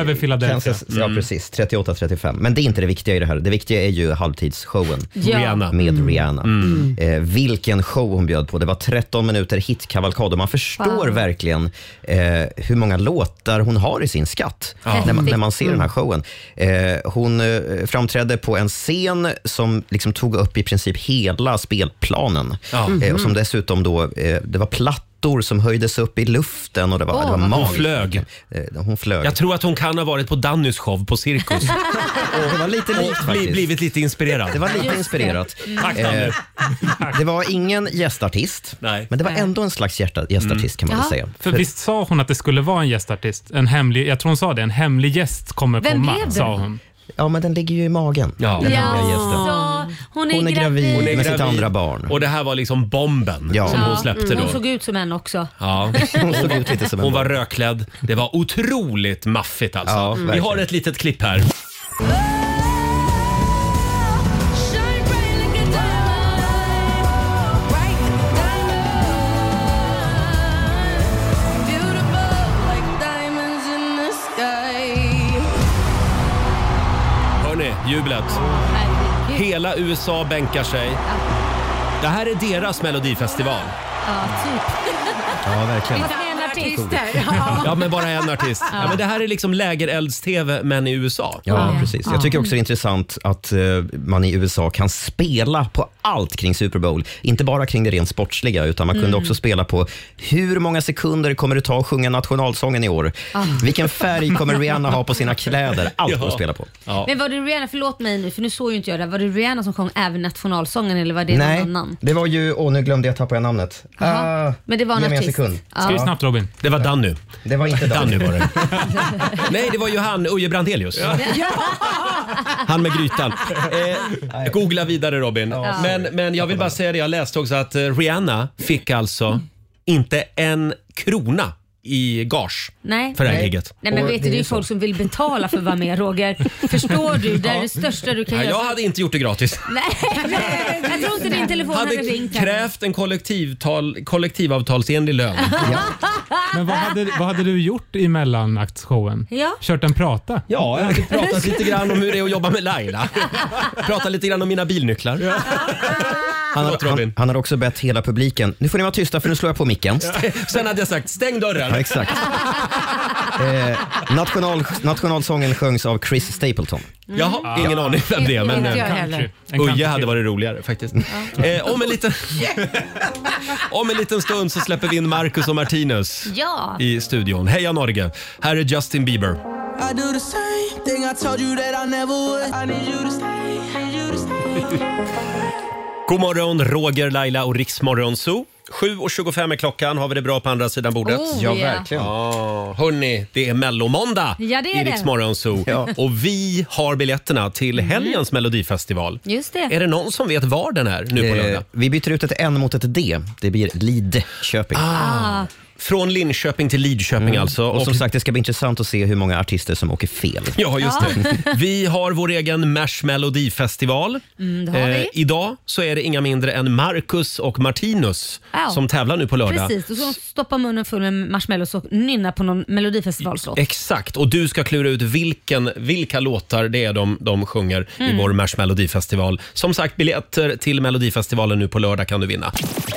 [SPEAKER 11] Över Philadelphia.
[SPEAKER 6] Kansas, ja, precis. 38-35. Men det är inte det viktiga i det här. Det viktiga är ju halvtidsshowen
[SPEAKER 1] Ja. Rihanna.
[SPEAKER 6] med
[SPEAKER 1] Mm.
[SPEAKER 6] Rihanna.
[SPEAKER 1] Mm.
[SPEAKER 6] Eh, vilken show hon bjöd på. Det var 13 minuter hitkavalkad och man förstår
[SPEAKER 1] Wow.
[SPEAKER 6] verkligen eh, hur måga låtar hon har i sin skatt
[SPEAKER 1] Ja.
[SPEAKER 6] när, man, när man ser
[SPEAKER 1] Mm.
[SPEAKER 6] den här showen. Eh, hon eh, framträdde på en scen som liksom tog upp i princip hela spelplanen.
[SPEAKER 1] Ja.
[SPEAKER 6] Eh, och som
[SPEAKER 1] Mhm.
[SPEAKER 6] dessutom då, eh, det var plattor som höjdes upp i luften och det var,
[SPEAKER 1] Åh,
[SPEAKER 6] det var
[SPEAKER 1] vad coolt.
[SPEAKER 6] magiskt.
[SPEAKER 1] Hon flög.
[SPEAKER 6] Eh, Hon flög.
[SPEAKER 1] Jag tror att hon kan ha varit på Dannys show på Cirkus.
[SPEAKER 6] det var lite likt
[SPEAKER 1] Och bli,
[SPEAKER 6] faktiskt.
[SPEAKER 1] blivit lite inspirerad.
[SPEAKER 6] Det var lite inspirerat.
[SPEAKER 1] Tack
[SPEAKER 6] Eh,
[SPEAKER 1] Danny.
[SPEAKER 6] Det var ingen gästartist, men det var ändå en slags hjärta, gästartist kan
[SPEAKER 1] Mm.
[SPEAKER 6] man väl säga.
[SPEAKER 11] För visst sa hon att det skulle vara en gästartist? En hemlig, jag tror hon sa det, en hemlig gäst kommer
[SPEAKER 2] Vem
[SPEAKER 11] komma.
[SPEAKER 2] blev det?
[SPEAKER 11] sa hon.
[SPEAKER 6] Ja, men den ligger ju i magen.
[SPEAKER 1] Ja.
[SPEAKER 6] Den hemliga gästen.
[SPEAKER 2] Så, hon, är
[SPEAKER 6] Hon är gravid
[SPEAKER 2] gravid.
[SPEAKER 6] med sitt
[SPEAKER 1] gravid.
[SPEAKER 6] andra barn.
[SPEAKER 1] Och det här var liksom bomben som hon släppte
[SPEAKER 2] mm,
[SPEAKER 1] då.
[SPEAKER 2] Hon såg ut som en också.
[SPEAKER 1] Ja.
[SPEAKER 2] Hon såg
[SPEAKER 1] var-
[SPEAKER 2] ut lite som en
[SPEAKER 1] hon var rökklädd. Det var otroligt maffigt alltså.
[SPEAKER 6] Ja,
[SPEAKER 1] Vi
[SPEAKER 6] verkligen.
[SPEAKER 1] har ett litet klipp här. Hörni, jublet. Hela USA bänkar sig. Det här är deras melodifestival.
[SPEAKER 2] Ja, typ.
[SPEAKER 6] Ja, verkligen.
[SPEAKER 2] Fast med en artist där.
[SPEAKER 1] Ja, men bara en artist.
[SPEAKER 2] Ja.
[SPEAKER 1] Ja, men det här är liksom lägerelds-tv, men i USA.
[SPEAKER 6] Ja, precis. Jag tycker också det är intressant att eh, man i USA kan spela på allt kring Super Bowl. Inte bara kring det rent sportsliga, utan man kunde
[SPEAKER 14] Mm.
[SPEAKER 6] också spela på hur många sekunder kommer det ta att sjunga nationalsången i år?
[SPEAKER 2] Ah.
[SPEAKER 6] Vilken färg kommer Rihanna ha på sina kläder? Allt går att spela på.
[SPEAKER 2] Men var det Rihanna, förlåt mig nu för nu såg ju inte jag det, var det Rihanna som sjöng även nationalsången eller var det
[SPEAKER 6] Nej,
[SPEAKER 2] någon annan?
[SPEAKER 6] det var ju... Åh, nu glömde jag tappa jag namnet.
[SPEAKER 2] Jaha.
[SPEAKER 6] Ah,
[SPEAKER 2] Men det var en
[SPEAKER 6] ge mig
[SPEAKER 2] artist.
[SPEAKER 6] sekund.
[SPEAKER 2] Ja. Skriv snabbt,
[SPEAKER 1] Robin. Det var Danny.
[SPEAKER 6] Det var inte Danny.
[SPEAKER 1] var det. Nej, det var ju han, Uje Brandelius. Han med grytan. Eh, googla vidare Robin.
[SPEAKER 7] Ja.
[SPEAKER 1] Men, men jag vill bara säga det, jag läste också att eh, Rihanna fick alltså inte en krona i gage
[SPEAKER 2] Nej.
[SPEAKER 1] för det här
[SPEAKER 2] Nej.
[SPEAKER 1] giget.
[SPEAKER 2] Nej men
[SPEAKER 1] Och
[SPEAKER 2] vet du, det är ju
[SPEAKER 1] så.
[SPEAKER 2] folk som vill betala för att vara med Roger. Förstår du? Det är det största du kan
[SPEAKER 1] Ja, jag
[SPEAKER 2] göra.
[SPEAKER 1] hade inte gjort det gratis.
[SPEAKER 2] Nej, nej, jag tror inte din telefon hade,
[SPEAKER 1] hade
[SPEAKER 2] ringt henne.
[SPEAKER 1] krävt en kollektivtal, kollektivavtalsenlig lön.
[SPEAKER 11] Men vad hade, vad hade du gjort i mellanaktshowen?
[SPEAKER 2] Ja.
[SPEAKER 11] Kört en prata?
[SPEAKER 1] Ja, jag hade pratat lite grann om hur det är att jobba med Laila. Pratat lite grann om mina bilnycklar.
[SPEAKER 6] Han, har- han, han har också bett hela publiken, nu får ni vara tysta för nu slår jag på micken.
[SPEAKER 1] Sen hade jag sagt stäng dörren.
[SPEAKER 6] Ja, exakt. Eh, national, nationalsången sjöngs av Chris Stapleton.
[SPEAKER 2] Mm.
[SPEAKER 1] Jaha, ingen aning vem det är men
[SPEAKER 6] Inte Mm. jag
[SPEAKER 1] eh,
[SPEAKER 6] heller. En
[SPEAKER 1] Uje hade varit roligare faktiskt. Eh, om, en liten, om en liten stund så släpper vi in Marcus och Martinus
[SPEAKER 2] Ja.
[SPEAKER 1] i studion. Heja Norge! Här är Justin Bieber.
[SPEAKER 7] I do the same thing I told you that I never would. I need you to stay, need you to stay.
[SPEAKER 1] God morgon, Roger, Laila och Riksmorgon Zoo. 7.25 är klockan. Har vi det bra på andra sidan bordet?
[SPEAKER 2] Oh, Ja, yeah. verkligen.
[SPEAKER 1] Ja, hörni, det är mellomåndag
[SPEAKER 2] Ja, det Mm. är
[SPEAKER 1] i
[SPEAKER 2] det.
[SPEAKER 1] Riksmorgon Zoo.
[SPEAKER 2] Ja.
[SPEAKER 1] Och vi har biljetterna till helgens melodifestival.
[SPEAKER 2] Just det.
[SPEAKER 1] Är det någon som vet var den är nu på
[SPEAKER 6] Eh,
[SPEAKER 1] lördag?
[SPEAKER 6] vi byter ut ett N mot ett D. Det blir Lidköping.
[SPEAKER 2] Ah.
[SPEAKER 1] Från Linköping till Lidköping alltså.
[SPEAKER 6] Och, som
[SPEAKER 1] Och-
[SPEAKER 6] sagt, det ska bli intressant att se hur många artister som åker fel.
[SPEAKER 1] Ja, just
[SPEAKER 6] Ja.
[SPEAKER 1] det. Vi har vår egen Mash Melodifestival. Eh,
[SPEAKER 2] Mm, det har vi.
[SPEAKER 1] idag så är det inga mindre än Marcus och Martinus
[SPEAKER 2] Ja.
[SPEAKER 1] som tävlar nu på lördag.
[SPEAKER 2] Precis, då ska de stoppa munnen full med marshmallows och nynna på någon melodifestivalslåt.
[SPEAKER 1] Exakt, och du ska klura ut vilken, vilka låtar det är de, de sjunger
[SPEAKER 2] Mm.
[SPEAKER 1] i vår Mash Melodifestival. Som sagt, biljetter till Melodifestivalen nu på lördag kan du vinna.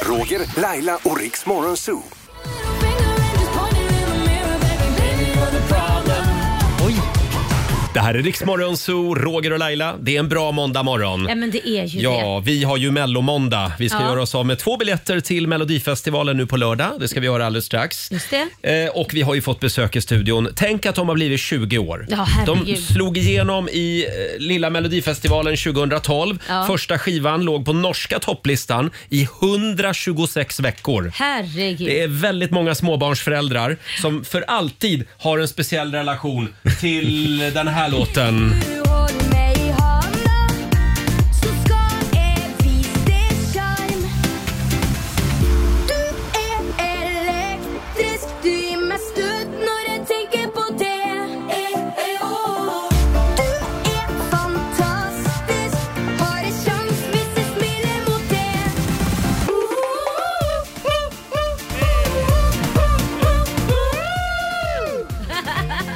[SPEAKER 4] Roger, Laila och Riks Morgonzoo.
[SPEAKER 1] Det här är Riksmorgon Zoo, Roger och Laila. Det är en bra måndag morgon.
[SPEAKER 2] Ja men det är ju det.
[SPEAKER 1] Ja, vi har ju mellomåndag. Vi ska
[SPEAKER 2] Ja.
[SPEAKER 1] göra oss av med två biljetter till Melodifestivalen nu på lördag. Det ska vi göra alldeles strax.
[SPEAKER 2] Just det.
[SPEAKER 1] Eh, och vi har ju fått besök i studion. Tänk att de har blivit 20 år.
[SPEAKER 2] Ja,
[SPEAKER 1] de
[SPEAKER 2] herregud.
[SPEAKER 1] slog igenom i eh, Lilla Melodifestivalen 2012.
[SPEAKER 2] Ja.
[SPEAKER 1] Första skivan låg på norska topplistan i 126 veckor.
[SPEAKER 2] Herregud.
[SPEAKER 1] Det är väldigt många småbarnsföräldrar som för alltid har en speciell relation till den här låten.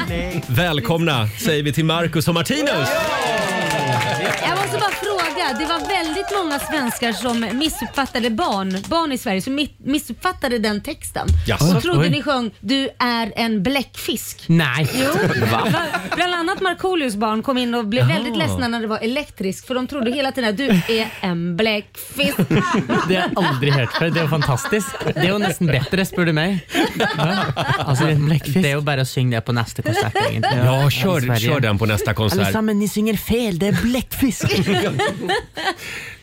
[SPEAKER 3] Mm.
[SPEAKER 1] Välkomna säger vi till Marcus och Martinus.
[SPEAKER 2] Jag måste bara fråga, det var väldigt många svenskar som missuppfattade barn, barn i Sverige som mi- missuppfattade den texten.
[SPEAKER 1] Jaså?
[SPEAKER 2] Och trodde
[SPEAKER 1] Oj.
[SPEAKER 2] ni sjöng “Du är en bläckfisk”.
[SPEAKER 1] Nej.
[SPEAKER 2] Jo.
[SPEAKER 1] Va?
[SPEAKER 2] Bland- Bland annat Markoolios barn kom in och blev
[SPEAKER 1] Jaha.
[SPEAKER 2] väldigt ledsna när det var elektrisk för de trodde hela tiden att du är en bläckfisk.
[SPEAKER 14] Det har jeg aldri hørt før. Det er jo fantastisk. Det er jo nesten bedre, spør du meg.
[SPEAKER 1] Alltså,
[SPEAKER 14] det er jo bare å synge det på neste konsert, egentlig.
[SPEAKER 1] Ja, kör-
[SPEAKER 14] I Sverige.
[SPEAKER 1] kör den på nästa konsert.
[SPEAKER 14] Alle sammen, ni synger fel, det er blekkfisk.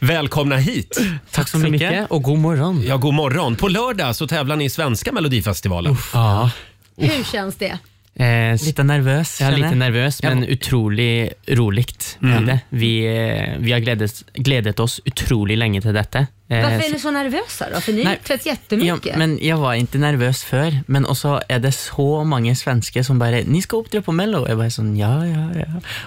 [SPEAKER 1] Välkomna hit. Tack så
[SPEAKER 14] mycket och god morgon.
[SPEAKER 1] Ja, god morgon. På lördag så tävlar ni i svenska melodifestivalen.
[SPEAKER 14] Ja.
[SPEAKER 2] Hur känns det?
[SPEAKER 14] Eh, lite nervös. Ja,
[SPEAKER 1] känner
[SPEAKER 14] lite
[SPEAKER 1] jag.
[SPEAKER 14] nervös, men utrolig roligt.
[SPEAKER 1] Mm.
[SPEAKER 14] är Det. Vi, eh, vi har gledet, gledet oss utrolig länge till detta. Eh,
[SPEAKER 2] Varför är
[SPEAKER 14] så-
[SPEAKER 2] ni så nervösa då? För ni har
[SPEAKER 14] Nej.
[SPEAKER 2] uppträtt jättemycket.
[SPEAKER 14] Ja, men jag var inte nervös för men också är det så många svenskar som bara, ni ska uppträda på Mello. Jag bara sån, ja, ja,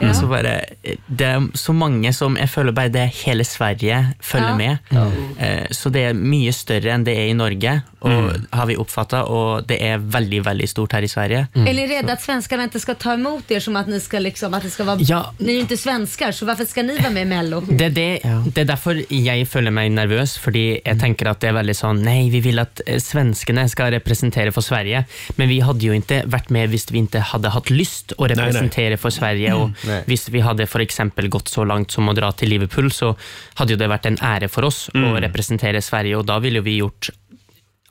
[SPEAKER 14] ja. Och så bara, eh, det är så många som, jag följer bara det är hela Sverige följer
[SPEAKER 10] Ja.
[SPEAKER 14] med.
[SPEAKER 10] Ja.
[SPEAKER 14] Eh, Så det är mycket större än det är i Norge, och
[SPEAKER 10] Mm.
[SPEAKER 14] har vi uppfattat. Och det är väldigt, väldigt stort här i Sverige.
[SPEAKER 1] Mm.
[SPEAKER 2] Är ni rädda att svenskarna inte ska ta emot er som att ni ska liksom, att det ska vara...
[SPEAKER 14] Ja.
[SPEAKER 2] Ni är ju inte svenskar, så varför ska ni vara med i Mello?
[SPEAKER 14] Det, er det, det er derfor jeg føler meg nervøs, fordi
[SPEAKER 1] Mm.
[SPEAKER 14] jeg tenker at det er veldig sånn Nei, vi vil at eh, svenskene skal representere for Sverige, men vi hadde jo ikke vært med hvis vi ikke hadde hatt lyst å
[SPEAKER 10] Nei, nei.
[SPEAKER 14] representere for
[SPEAKER 1] Mm.
[SPEAKER 14] Sverige. Og
[SPEAKER 10] Nei.
[SPEAKER 14] hvis vi hadde for eksempel gått så langt som å dra til Liverpool, så hadde jo det vært en ære for oss
[SPEAKER 1] Mm.
[SPEAKER 14] å representere Sverige, og da ville jo vi gjort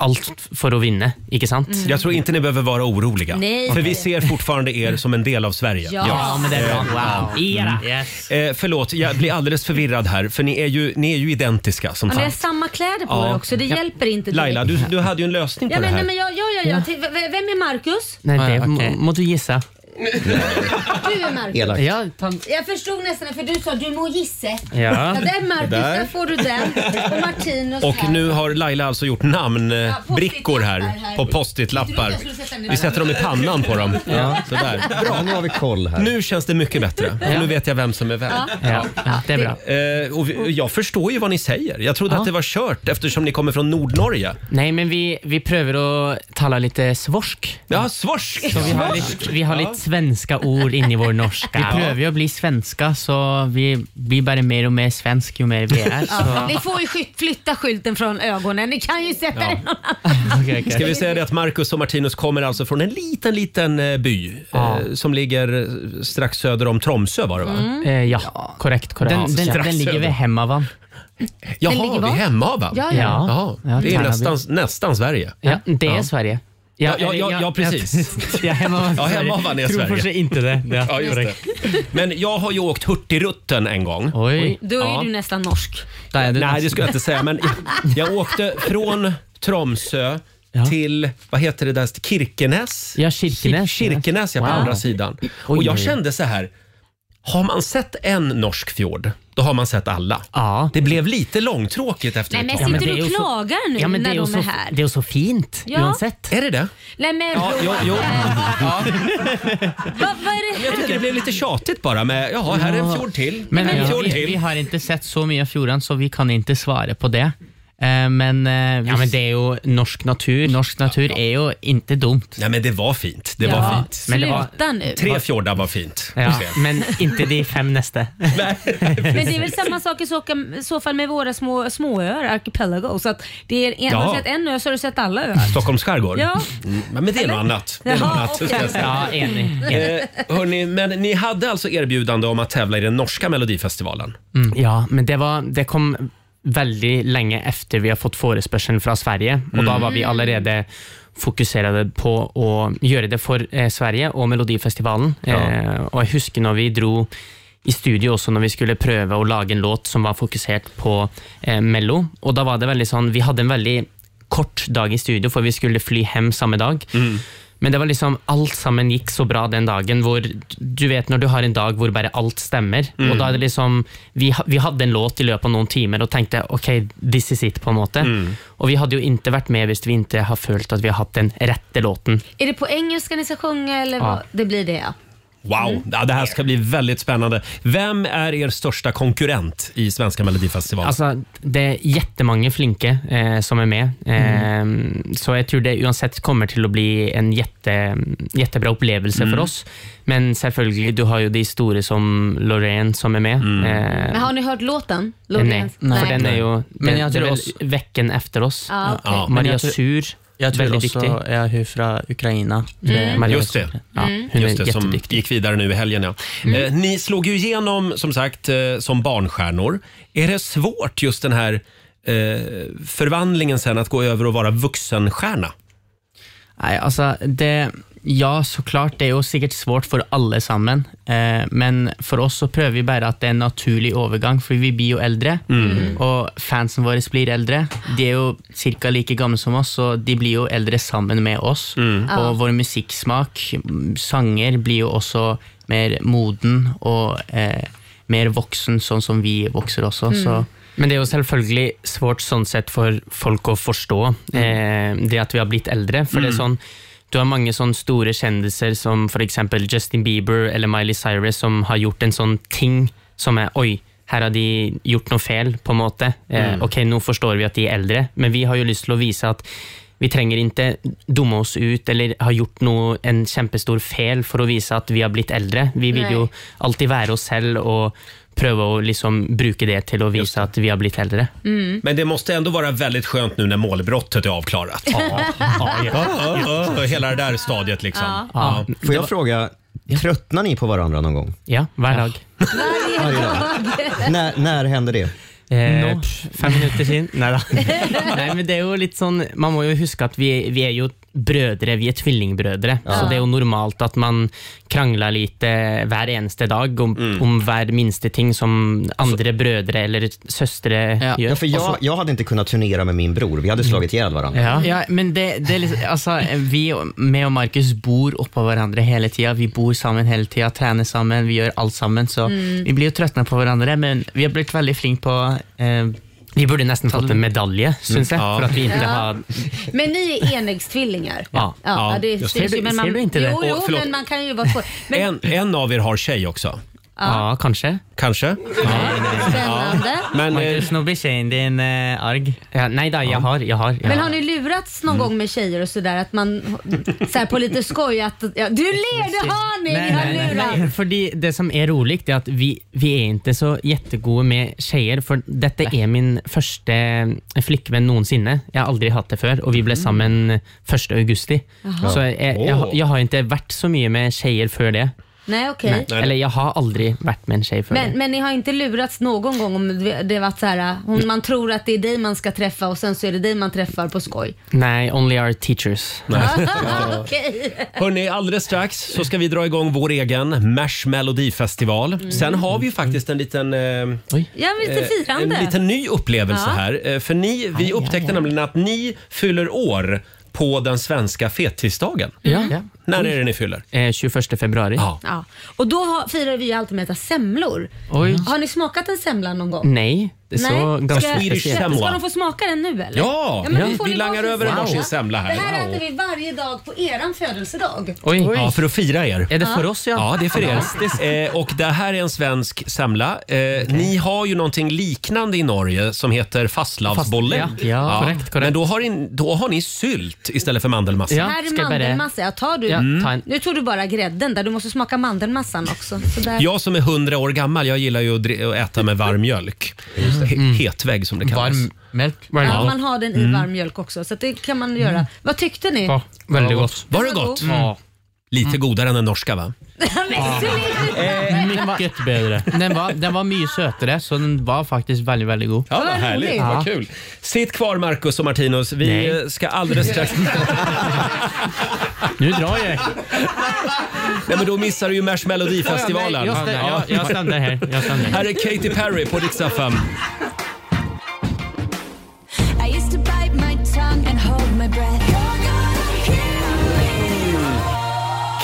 [SPEAKER 14] alt for å vinne, ikke sant?
[SPEAKER 1] Mm. Jeg tror inte ni behöver vara oroliga.
[SPEAKER 14] Nej.
[SPEAKER 1] För vi ser fortfarande er som en del av Sverige.
[SPEAKER 14] Ja. Ja, men det är bra.
[SPEAKER 1] Eh,
[SPEAKER 14] Wow. Era.
[SPEAKER 1] Mm. Eh, förlåt, jag blir alldeles förvirrad här för ni är ju, ni är ju identiska som
[SPEAKER 2] Ja, ni har
[SPEAKER 1] fan.
[SPEAKER 2] samma kläder på
[SPEAKER 1] Ja.
[SPEAKER 2] er också, det
[SPEAKER 1] Ja.
[SPEAKER 2] hjälper inte direkt.
[SPEAKER 1] Laila, du, du hade ju en lösning på
[SPEAKER 2] ja,
[SPEAKER 1] det
[SPEAKER 2] men, nej,
[SPEAKER 1] här.
[SPEAKER 2] men jag, ja, ja, ja.
[SPEAKER 14] Ja.
[SPEAKER 2] Till, v- v- vem är Marcus?
[SPEAKER 14] Nei,
[SPEAKER 1] Ah,
[SPEAKER 14] det må, må du gissa.
[SPEAKER 2] Du är Marcus.
[SPEAKER 14] Elakt. Ja,
[SPEAKER 2] Jag förstod nästan för du sa du må gissa.
[SPEAKER 1] Ja.
[SPEAKER 2] där Marcus,
[SPEAKER 1] Det
[SPEAKER 2] där.
[SPEAKER 1] där.
[SPEAKER 2] får du den. Och Martinus
[SPEAKER 1] Och
[SPEAKER 2] här.
[SPEAKER 1] nu har Laila alltså gjort namnbrickor här
[SPEAKER 2] här.
[SPEAKER 1] på post-it-lappar. Vi sätter dem i pannan på dem.
[SPEAKER 6] Ja.
[SPEAKER 1] Sådär.
[SPEAKER 6] Bra, nu har vi koll här.
[SPEAKER 1] Nu känns det mycket bättre.
[SPEAKER 6] Ja.
[SPEAKER 1] Nu vet jag vem som är vem.
[SPEAKER 6] Ja. Ja.
[SPEAKER 14] det är bra.
[SPEAKER 1] Eh, och vi- jag förstår ju vad ni säger. Jag trodde
[SPEAKER 14] Ja.
[SPEAKER 1] att det var kört eftersom ni kommer från Nordnorge.
[SPEAKER 14] Nej, men vi, vi prövar att tala lite svorsk.
[SPEAKER 1] Ja, svorsk!
[SPEAKER 14] Så vi har,
[SPEAKER 1] Svorsk.
[SPEAKER 14] lite, vi har
[SPEAKER 1] Ja.
[SPEAKER 14] lite svenska ord in i vår norska.
[SPEAKER 1] Ja.
[SPEAKER 14] Vi prövar ju att bli svenska, så vi blir bara mer och mer svensk ju mer vi är.
[SPEAKER 2] Ja,
[SPEAKER 14] Så.
[SPEAKER 2] ni får ju skyt, flytta skylten från ögonen. Ni kan ju sätta den någon
[SPEAKER 1] Ska vi säga det att Marcus och Martinus kommer alltså från en liten, liten eh, by eh, som ligger eh, strax söder om Tromsö var det va?
[SPEAKER 2] Mm.
[SPEAKER 14] Eh, ja, korrekt. korrekt.
[SPEAKER 1] Den- den-
[SPEAKER 14] Strax
[SPEAKER 1] den ligger
[SPEAKER 14] över.
[SPEAKER 1] vid
[SPEAKER 14] Hemavan.
[SPEAKER 1] Jaha,
[SPEAKER 14] Den ligger
[SPEAKER 1] vi
[SPEAKER 14] var?
[SPEAKER 1] är Hemavan?
[SPEAKER 14] Ja, ja. Ja.
[SPEAKER 1] Jaha,
[SPEAKER 14] Ja,
[SPEAKER 1] det är
[SPEAKER 14] Tärnaby.
[SPEAKER 1] nästan, nästan Sverige.
[SPEAKER 14] Ja, det är Sverige.
[SPEAKER 1] Ja, ja, ja, ja, precis.
[SPEAKER 14] Ja, Hemavan,
[SPEAKER 1] Ja, Hemavan är
[SPEAKER 14] Tror
[SPEAKER 1] Sverige.
[SPEAKER 14] kanske inte det. Ja,
[SPEAKER 1] Ja, just det.
[SPEAKER 14] korrekt.
[SPEAKER 1] Men jag har ju åkt Hurtigruten en gång.
[SPEAKER 14] Oj.
[SPEAKER 2] Då är
[SPEAKER 1] Ja.
[SPEAKER 2] du nästan norsk.
[SPEAKER 1] Nej, det skulle jag inte säga. Men jag, jag åkte från Tromsö till, vad heter det där, Kirkenes?
[SPEAKER 14] Ja, Kirkenes.
[SPEAKER 1] Kirkenes, ja, på
[SPEAKER 14] Wow.
[SPEAKER 1] andra sidan. Och jag
[SPEAKER 14] oj.
[SPEAKER 1] kände så här, har man sett en norsk fjord, då har man sett alla. Det blev lite långtråkigt efter
[SPEAKER 2] Nej, men
[SPEAKER 1] ett
[SPEAKER 2] sitter
[SPEAKER 1] tag.
[SPEAKER 2] du och klagar nu när de är, här?
[SPEAKER 14] är så fint
[SPEAKER 2] Ja. uansett.
[SPEAKER 1] Är det det?
[SPEAKER 2] Nej men
[SPEAKER 1] Ja, jo, jo. Ja.
[SPEAKER 2] Vad, vad är det
[SPEAKER 1] Jag tycker det blev lite tjatigt bara med, jaha, här är en fjord till.
[SPEAKER 14] Men
[SPEAKER 1] en fjord
[SPEAKER 14] vi, vi har inte sett så mycket av fjorden, så vi kan inte svara på det. Eh, Men, ja, men det är ju norsk natur. Norsk natur är ju inte dumt.
[SPEAKER 1] Nej, men det var fint. Det var
[SPEAKER 14] Ja,
[SPEAKER 1] fint.
[SPEAKER 14] men det var-
[SPEAKER 2] Sluta nu.
[SPEAKER 1] Tre fjordar var fint.
[SPEAKER 14] Ja, men inte de fem nästa.
[SPEAKER 2] Men det är väl samma sak i så, i så fall med våra små, småöar, archipelago. Så att det är en, har
[SPEAKER 1] Ja.
[SPEAKER 2] du sett en ö så har du sett alla öar.
[SPEAKER 1] Stockholms skärgård?
[SPEAKER 2] Ja.
[SPEAKER 1] Mm, men det är något annat. Det är något
[SPEAKER 2] Jaha,
[SPEAKER 1] annat
[SPEAKER 2] okej.
[SPEAKER 1] ska jag säga.
[SPEAKER 2] Ja, enig, enig.
[SPEAKER 1] Eh, hörni, men ni hade alltså erbjudande om att tävla i den norska melodifestivalen?
[SPEAKER 14] Mm. Ja, men det, var, det kom väldigt länge efter vi har fått förespörseln från Sverige och då var vi allerede fokuserade på att göra det för eh, Sverige och Melodifestivalen.
[SPEAKER 10] Ja.
[SPEAKER 14] Eh, och jag husker när vi drog i studio också när vi skulle pröva att laga en låt som var fokuserad på eh, Mello. Och då var det väldigt sån, vi hade en väldigt kort dag i studio för vi skulle fly hem samma dag. Men det var liksom, allt sammen gick så bra den dagen. Hvor, du vet när du har en dag hvor bara allt stämmer.
[SPEAKER 10] Mm.
[SPEAKER 14] Och då är det liksom, vi, ha- vi hade en låt i löpet av någon timmar och tänkte okej, this is it på en måte.
[SPEAKER 10] Mm.
[SPEAKER 14] Och vi hade ju inte varit med om vi inte har följt att vi har haft den rätta låten.
[SPEAKER 2] Är det på engelska ni ska sjunga eller
[SPEAKER 14] Ja.
[SPEAKER 2] vad? Det blir det ja.
[SPEAKER 1] Wow, ja, det här ska bli väldigt spännande. Vem är er största konkurrent i Svenska Melodifestivalen?
[SPEAKER 14] Altså, det er jättemange flinke eh, som är med. Eh,
[SPEAKER 10] Mm.
[SPEAKER 14] Så jag tror det uansett kommer till att bli en jätte, jättebra upplevelse
[SPEAKER 2] Mm.
[SPEAKER 14] för oss. Men selvfølgelig, du har ju de stora som Loreen som är med.
[SPEAKER 10] Mm.
[SPEAKER 14] Eh,
[SPEAKER 2] Men har ni hört låten?
[SPEAKER 14] Nej,
[SPEAKER 2] Låten?
[SPEAKER 14] för den är ju
[SPEAKER 10] Men
[SPEAKER 14] den,
[SPEAKER 10] jag
[SPEAKER 14] det
[SPEAKER 10] tror
[SPEAKER 14] är väl
[SPEAKER 10] också-
[SPEAKER 14] veckan efter oss.
[SPEAKER 2] Ja, okej. Ja.
[SPEAKER 14] Maria
[SPEAKER 10] Men jag tror-
[SPEAKER 14] Sur,
[SPEAKER 10] Jag tror
[SPEAKER 14] väldigt
[SPEAKER 10] också
[SPEAKER 14] dyktig.
[SPEAKER 10] är hon från Ukraina. Eh,
[SPEAKER 14] Mm.
[SPEAKER 10] Maria
[SPEAKER 1] Just det.
[SPEAKER 10] Sur.
[SPEAKER 14] Ja, Mm. hon är
[SPEAKER 1] Just det som gick vidare nu i helgen. Ja. Eh, ni slog ju igenom som sagt eh, som barnstjärnor. Är det svårt just den här eh, förvandlingen sen att gå över och vara vuxenstjärna?
[SPEAKER 10] Nei, altså alltså, det, Ja, så klart. Det er jo sikkert svårt for alle sammen. Eh, men for oss så prøver vi bare at det er en naturlig overgang, for vi blir jo eldre.
[SPEAKER 14] Mm.
[SPEAKER 10] Og fansen våre blir eldre. De er jo ca. like gamle som oss, så de blir jo eldre sammen med oss.
[SPEAKER 14] Ja.
[SPEAKER 10] Og vår musikksmak, m, sanger, blir jo også mer moden og eh, mer voksen, sånn som vi vokser også. Så
[SPEAKER 14] Men det är ju självklart svårt sånt sätt för folk att förstå eh, det att vi har blivit äldre. För det är
[SPEAKER 10] Mm.
[SPEAKER 14] sån, du har många sån stora kändisar som för exempel Justin Bieber eller Miley Cyrus som har gjort en sån ting som är oj, här har de gjort något fel på något sätt. Eh,
[SPEAKER 10] Mm.
[SPEAKER 14] Okej, nu förstår vi att de är äldre, men vi har ju lust att visa att vi tränger inte dumma oss ut eller ha gjort något, en kämpestor fel för att visa att vi har blivit äldre. Vi vill
[SPEAKER 10] Nej.
[SPEAKER 14] ju alltid vara oss själva och pröva att liksom bruka det till att visa att vi har blivit äldre.
[SPEAKER 2] Mm.
[SPEAKER 1] Men det måste ändå vara väldigt skönt nu när målbrottet är avklarat.
[SPEAKER 14] Ja.
[SPEAKER 1] Ja, ja, ja, hela det där stadiet liksom.
[SPEAKER 2] Ja.
[SPEAKER 1] Ja.
[SPEAKER 6] Får jag fråga, tröttnar ni på varandra någon gång?
[SPEAKER 14] Ja, varje dag.
[SPEAKER 6] Varje När, när hände det?
[SPEAKER 14] Eh, fem minuter sen. Nej, då. Nej, men det är ju lite sån, man måste ju huska att vi, vi är ju brödre, vi är tvillingbrödre.
[SPEAKER 10] Ja.
[SPEAKER 14] Så det är ju normalt att man kranglar lite var eneste dag om,
[SPEAKER 1] Mm.
[SPEAKER 14] om var minsta ting som andra brödre eller systrar
[SPEAKER 10] Ja.
[SPEAKER 14] gör.
[SPEAKER 10] Ja, för jag-
[SPEAKER 14] Och så-
[SPEAKER 6] Jag hade inte kunnat turnera med min bror. Vi hade slagit ihjäl varandra.
[SPEAKER 10] Ja. men det, det är liksom, alltså, vi, med och Marcus bor uppe på varandra hela tiden. Vi bor samman hela tiden, tränar samman, vi gör allt samman. Så
[SPEAKER 14] Mm.
[SPEAKER 10] vi blir ju tröttna på varandra, men vi har blivit väldigt flinka på... Eh, Mm.
[SPEAKER 14] vi borde nästan fått en medalje, syns jag, för att vi inte
[SPEAKER 2] Ja.
[SPEAKER 14] har...
[SPEAKER 2] Men ni är enäggstvillingar?
[SPEAKER 1] Ja.
[SPEAKER 2] ja,
[SPEAKER 1] Ja,
[SPEAKER 2] det
[SPEAKER 1] just det.
[SPEAKER 2] syns
[SPEAKER 1] Ser
[SPEAKER 2] ju.
[SPEAKER 1] du-
[SPEAKER 2] Men man,
[SPEAKER 1] ser du inte det?
[SPEAKER 2] Jo,
[SPEAKER 1] Åh,
[SPEAKER 2] jo
[SPEAKER 1] förlåt.
[SPEAKER 2] men man kan ju vara skoj. Men
[SPEAKER 1] En, en av er har tjej också?
[SPEAKER 2] Ja.
[SPEAKER 14] kanske.
[SPEAKER 1] Kanske?
[SPEAKER 2] spännande.
[SPEAKER 1] Men,
[SPEAKER 10] Marcus, nu blir tjejen din eh, arg.
[SPEAKER 14] nej då, jag har. Jag har
[SPEAKER 2] Men har ni lurats
[SPEAKER 1] Mm.
[SPEAKER 2] någon gång med tjejer och sådär att man så här på lite skoj att ja, du ler, det har ni, ni har lurat.
[SPEAKER 14] Fordi det som är roligt är att vi, vi är inte så jättegode med tjejer, för detta är min första flickvän någonsin. Jag har aldrig haft det för och vi blev
[SPEAKER 2] Mm.
[SPEAKER 14] samman första augusti.
[SPEAKER 2] Jaha.
[SPEAKER 14] Så jag, jag, jag har inte varit så mycket med tjejer för det.
[SPEAKER 2] Nej okej.
[SPEAKER 14] Nej. Eller jag har aldrig varit med en tjej för
[SPEAKER 2] Men,
[SPEAKER 14] det.
[SPEAKER 2] men ni har inte lurats någon gång om det varit så här, äh,
[SPEAKER 14] Mm.
[SPEAKER 2] hon, man tror att det är dig man ska träffa och sen så är det dig man träffar på skoj.
[SPEAKER 14] Nej, only our teachers.
[SPEAKER 2] Okej.
[SPEAKER 1] Hörni, alldeles strax så ska vi dra igång vår egen Mash Melodifestival.
[SPEAKER 14] Mm.
[SPEAKER 1] Sen har vi ju faktiskt en liten... Eh,
[SPEAKER 2] Ja, men lite
[SPEAKER 1] eh,
[SPEAKER 2] firande.
[SPEAKER 1] En liten ny upplevelse
[SPEAKER 2] Ja.
[SPEAKER 1] här. Eh, För ni, vi upptäckte nämligen att ni fyller år på den svenska fettisdagen.
[SPEAKER 14] Ja. Ja.
[SPEAKER 1] När är det ni fyller?
[SPEAKER 14] Eh, 21 februari.
[SPEAKER 2] Ja. Och då har, firar vi ju alltid med att äta semlor.
[SPEAKER 14] Oj.
[SPEAKER 2] Har ni smakat en semla någon gång?
[SPEAKER 14] Nej, det är så
[SPEAKER 2] Nej.
[SPEAKER 14] ganska
[SPEAKER 2] ska,
[SPEAKER 14] speciellt.
[SPEAKER 2] ska, ska de få smaka den nu eller?
[SPEAKER 14] Ja,
[SPEAKER 2] men
[SPEAKER 14] ja.
[SPEAKER 2] då får
[SPEAKER 14] Vi
[SPEAKER 2] ni
[SPEAKER 14] langar
[SPEAKER 2] varsin
[SPEAKER 14] över en
[SPEAKER 2] semla.
[SPEAKER 14] varsin semla här.
[SPEAKER 2] Det här
[SPEAKER 14] Wow.
[SPEAKER 2] äter vi varje dag på eran födelsedag.
[SPEAKER 14] Oj.
[SPEAKER 1] Ja, för att fira er.
[SPEAKER 14] Är det för oss, ja?
[SPEAKER 1] Ja, det är för
[SPEAKER 14] Fantastiskt.
[SPEAKER 1] er. Eh, och det här är en svensk semla. Eh, Ni har ju någonting liknande i Norge som heter fastlavsbolle.
[SPEAKER 14] Fast- ja. Ja, korrekt,
[SPEAKER 1] Men då har, ni, då har ni sylt istället för mandelmassa.
[SPEAKER 2] här är mandelmassa. Ja, tar du,
[SPEAKER 1] Ja, ta en-
[SPEAKER 2] Nu tog du bara grädden där. Du måste smaka mandelmassan också. Sådär.
[SPEAKER 1] Jag som är hundra år gammal, jag gillar ju att dri- att äta med varm mjölk. Mm. Hetvägg som det kallas. Varm
[SPEAKER 10] mjölk?
[SPEAKER 2] Ja, man har den i varm mjölk också, så att det kan man göra. Vad tyckte ni?
[SPEAKER 1] Mm. väldigt gott. Var det
[SPEAKER 2] Det var
[SPEAKER 1] gott?
[SPEAKER 2] god. Mm.
[SPEAKER 1] Lite godare än den norska va?
[SPEAKER 2] Men sluta!
[SPEAKER 10] Mycket bättre. Den var, den var mycket sötare, så den var faktiskt väldigt, väldigt god.
[SPEAKER 1] Ja, vad härligt. Vad kul. Sitt kvar Marcus och Martinus. Vi
[SPEAKER 10] Nej.
[SPEAKER 1] eh, ska alldeles strax...
[SPEAKER 10] nu drar jag.
[SPEAKER 1] Nej, men då missar du ju Mash
[SPEAKER 10] Ja, nej,
[SPEAKER 1] Melodifestivalen.
[SPEAKER 10] jag stä- jag- jag stannar här. Jag stannar här.
[SPEAKER 1] här är Katy Perry på Dix FM.
[SPEAKER 3] I used to bite my tongue and hold my breath.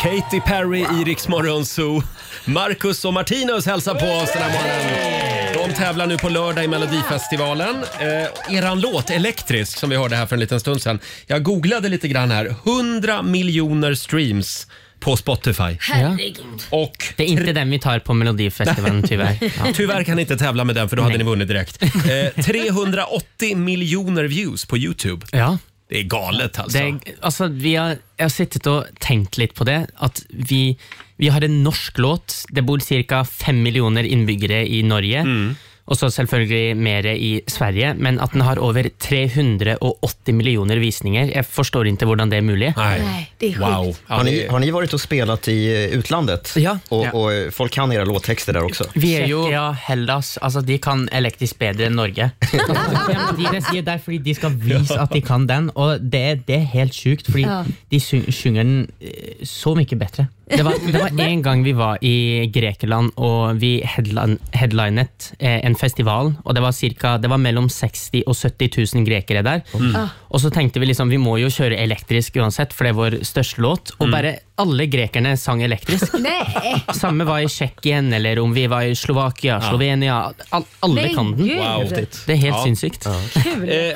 [SPEAKER 1] Katy Perry i Rix Morgon Zoo. Marcus och Martinus hälsar på oss den här morgonen. De tävlar nu på lördag i Melodifestivalen. Eh, eran låt Elektrisk som vi hörde här för en liten stund sedan. Jag googlade lite grann här. 100 miljoner streams på Spotify.
[SPEAKER 2] Herregud.
[SPEAKER 1] Och
[SPEAKER 14] det är inte den vi tar på Melodifestivalen tyvärr. Ja.
[SPEAKER 1] Tyvärr kan ni inte tävla med den för då hade
[SPEAKER 14] Nej.
[SPEAKER 1] ni vunnit direkt. Eh, 380 miljoner views på Youtube.
[SPEAKER 14] Ja.
[SPEAKER 1] Det är galet alltså.
[SPEAKER 14] Det, er- altså, vi har, jeg har sittet og tenkt litt på det. At vi, vi har en norsk låt. Det bor ca. fem millioner innbyggere i Norge.
[SPEAKER 6] Mm.
[SPEAKER 14] Og så selvfølgelig mer i Sverige. Men at den har over 380 millioner visninger. Jeg forstår ikke hvordan det er mulig.
[SPEAKER 12] Nej, det är sjukt.
[SPEAKER 6] Har ni, har ni varit och spelat i eh, utlandet? Ja. Och,
[SPEAKER 14] Ja.
[SPEAKER 6] och eh, folk kan era låttexter där också?
[SPEAKER 14] Vi er jo Tsjekkia, Hellas altså De kan elektrisk bedre enn Norge. ja, men de, de er der fordi de skal vise at de kan den, og det, det er helt sjukt. Fordi
[SPEAKER 2] Ja.
[SPEAKER 14] de syng- synger den eh, så mye bedre. Det var, det var en gang vi var i Grekeland, og vi headline, headlinet eh, en festival. Og det var, cirka, det var mellom 60 000 og 70 000 grekere der.
[SPEAKER 10] Mm. Ah.
[SPEAKER 14] Og så tenkte vi liksom, vi må jo kjøre elektrisk uansett, for det er vår største låt.
[SPEAKER 1] Mm.
[SPEAKER 14] Og bare alle grekerne sang elektrisk.
[SPEAKER 2] Nej.
[SPEAKER 14] Samme var i Tsjekkien, eller om vi var i Slovakia,
[SPEAKER 1] Ja.
[SPEAKER 14] Slovenia. All, alle
[SPEAKER 1] Men
[SPEAKER 14] kan den.
[SPEAKER 1] gud. Ah. Wow. Häftigt.
[SPEAKER 14] Det är helt
[SPEAKER 1] Ja.
[SPEAKER 14] sinnssykt.
[SPEAKER 1] Eh,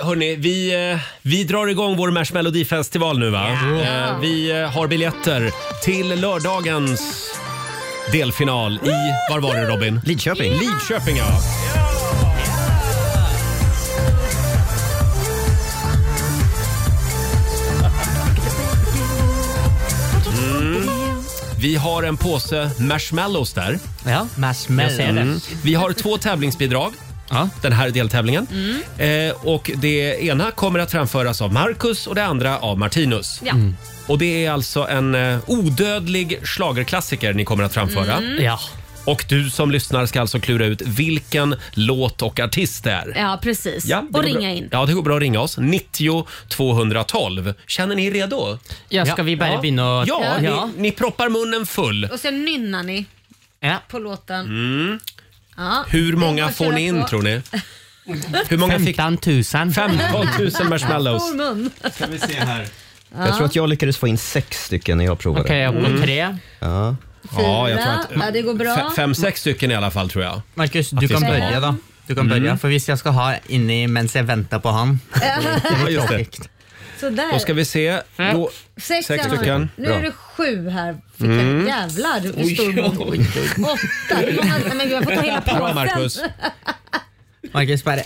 [SPEAKER 1] hörni, vi, eh, vi drar igång vår Mash Melodifestival nu va? Eh, vi eh, har biljetter till lördagens delfinal i, var var det Robin?
[SPEAKER 6] Lidköping.
[SPEAKER 1] Lidköping ja. Mm. Vi har en påse marshmallows där. Mm.
[SPEAKER 14] Ja, marshmallows. Jag ser det.
[SPEAKER 1] Vi har två tävlingsbidrag. Den här deltävlingen.
[SPEAKER 2] Mm.
[SPEAKER 1] Eh, och det ena kommer att framföras av Marcus och det andra av Martinus.
[SPEAKER 2] Ja. Mm.
[SPEAKER 1] Och det är alltså en eh, odödlig schlagerklassiker ni kommer att framföra.
[SPEAKER 2] Mm. Ja.
[SPEAKER 1] Och du som lyssnar ska alltså klura ut vilken låt och artist det är.
[SPEAKER 2] Ja, precis.
[SPEAKER 1] Ja, det
[SPEAKER 2] och
[SPEAKER 1] går
[SPEAKER 2] ringa
[SPEAKER 1] bra.
[SPEAKER 2] in.
[SPEAKER 1] Ja, det går bra att ringa oss. 90 212. Känner ni er redo?
[SPEAKER 14] Ja, ska vi bara börja och-
[SPEAKER 1] Ja,
[SPEAKER 14] Ja.
[SPEAKER 1] Ni, ni proppar munnen full.
[SPEAKER 2] Och sen nynnar ni
[SPEAKER 14] Ja.
[SPEAKER 2] på låten.
[SPEAKER 1] Mm.
[SPEAKER 2] Ja.
[SPEAKER 1] Hur
[SPEAKER 2] Det
[SPEAKER 1] många
[SPEAKER 2] är bara att
[SPEAKER 1] får ni
[SPEAKER 2] köra
[SPEAKER 1] in
[SPEAKER 2] på.
[SPEAKER 1] tror ni? Hur många fick...
[SPEAKER 14] 15 000.
[SPEAKER 1] 15 000 marshmallows.
[SPEAKER 2] Stor mun. Ska
[SPEAKER 1] vi se här.
[SPEAKER 6] Jag tror att jag lyckades få in sex stycken när jag provade.
[SPEAKER 14] Okej, jag får
[SPEAKER 6] Mm.
[SPEAKER 14] tre.
[SPEAKER 6] Ja.
[SPEAKER 1] Ja, jag tror
[SPEAKER 2] Ja,
[SPEAKER 1] att
[SPEAKER 2] det går bra.
[SPEAKER 1] Fe- Fem, sex stycken i alla fall tror jag.
[SPEAKER 14] Markus,
[SPEAKER 1] Att vi
[SPEAKER 14] du kan
[SPEAKER 1] ska ha.
[SPEAKER 14] börja, da. Du kan
[SPEAKER 1] Mm.
[SPEAKER 14] börja, for hvis jeg skal ha inni mens jeg venter på han
[SPEAKER 1] Ja, just det.
[SPEAKER 2] Sådär.
[SPEAKER 1] Då ska vi se. Då,
[SPEAKER 2] Sex,
[SPEAKER 1] sex
[SPEAKER 2] jag har.
[SPEAKER 1] stycken.
[SPEAKER 2] Nu
[SPEAKER 1] Bra.
[SPEAKER 2] är det sju här. Fick
[SPEAKER 1] Mm.
[SPEAKER 2] jag. Jävlar hur
[SPEAKER 1] Oj,
[SPEAKER 2] stor mun.
[SPEAKER 1] oj, oj.
[SPEAKER 2] Åtta. Hur många- Nej, Men gud, jag får ta hela
[SPEAKER 1] Bra,
[SPEAKER 2] påsen.
[SPEAKER 1] Marcus.
[SPEAKER 14] Marcus, bara...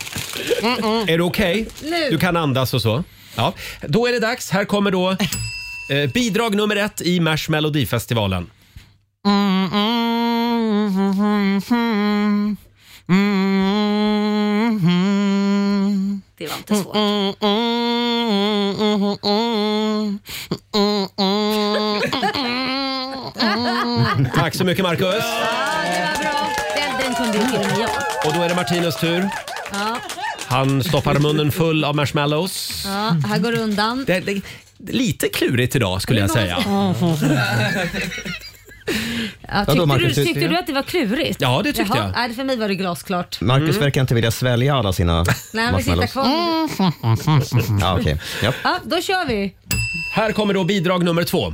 [SPEAKER 1] Är det okej?
[SPEAKER 2] Nu.
[SPEAKER 1] Du kan andas och så. Ja. Då är det dags. Här kommer då eh, bidrag nummer ett i Mars Melodifestivalen.
[SPEAKER 2] Det var inte svårt.
[SPEAKER 1] Tack så mycket Marcus.
[SPEAKER 2] Den, den kunde ju till och med jag.
[SPEAKER 1] Och då är det Martinus tur.
[SPEAKER 2] Ja.
[SPEAKER 1] Han stoppar munnen full av marshmallows.
[SPEAKER 2] Ja, här går det undan.
[SPEAKER 1] Det är det är lite klurigt idag skulle jag säga.
[SPEAKER 2] Ja,
[SPEAKER 6] Vadå,
[SPEAKER 2] tyckte
[SPEAKER 6] Marcus,
[SPEAKER 2] du,
[SPEAKER 6] du-
[SPEAKER 2] tyckte du att det var klurigt?
[SPEAKER 6] Ja, det tyckte
[SPEAKER 2] Jaha.
[SPEAKER 6] jag.
[SPEAKER 2] Nej, för mig var det glasklart.
[SPEAKER 6] Marcus
[SPEAKER 1] Mm.
[SPEAKER 6] verkar inte vilja svälja alla sina
[SPEAKER 2] Nej, vi sitter
[SPEAKER 6] marshmallows.
[SPEAKER 2] kvar.
[SPEAKER 6] Ja, okej. Japp.
[SPEAKER 2] Ja, då kör vi.
[SPEAKER 1] Här kommer då bidrag nummer två.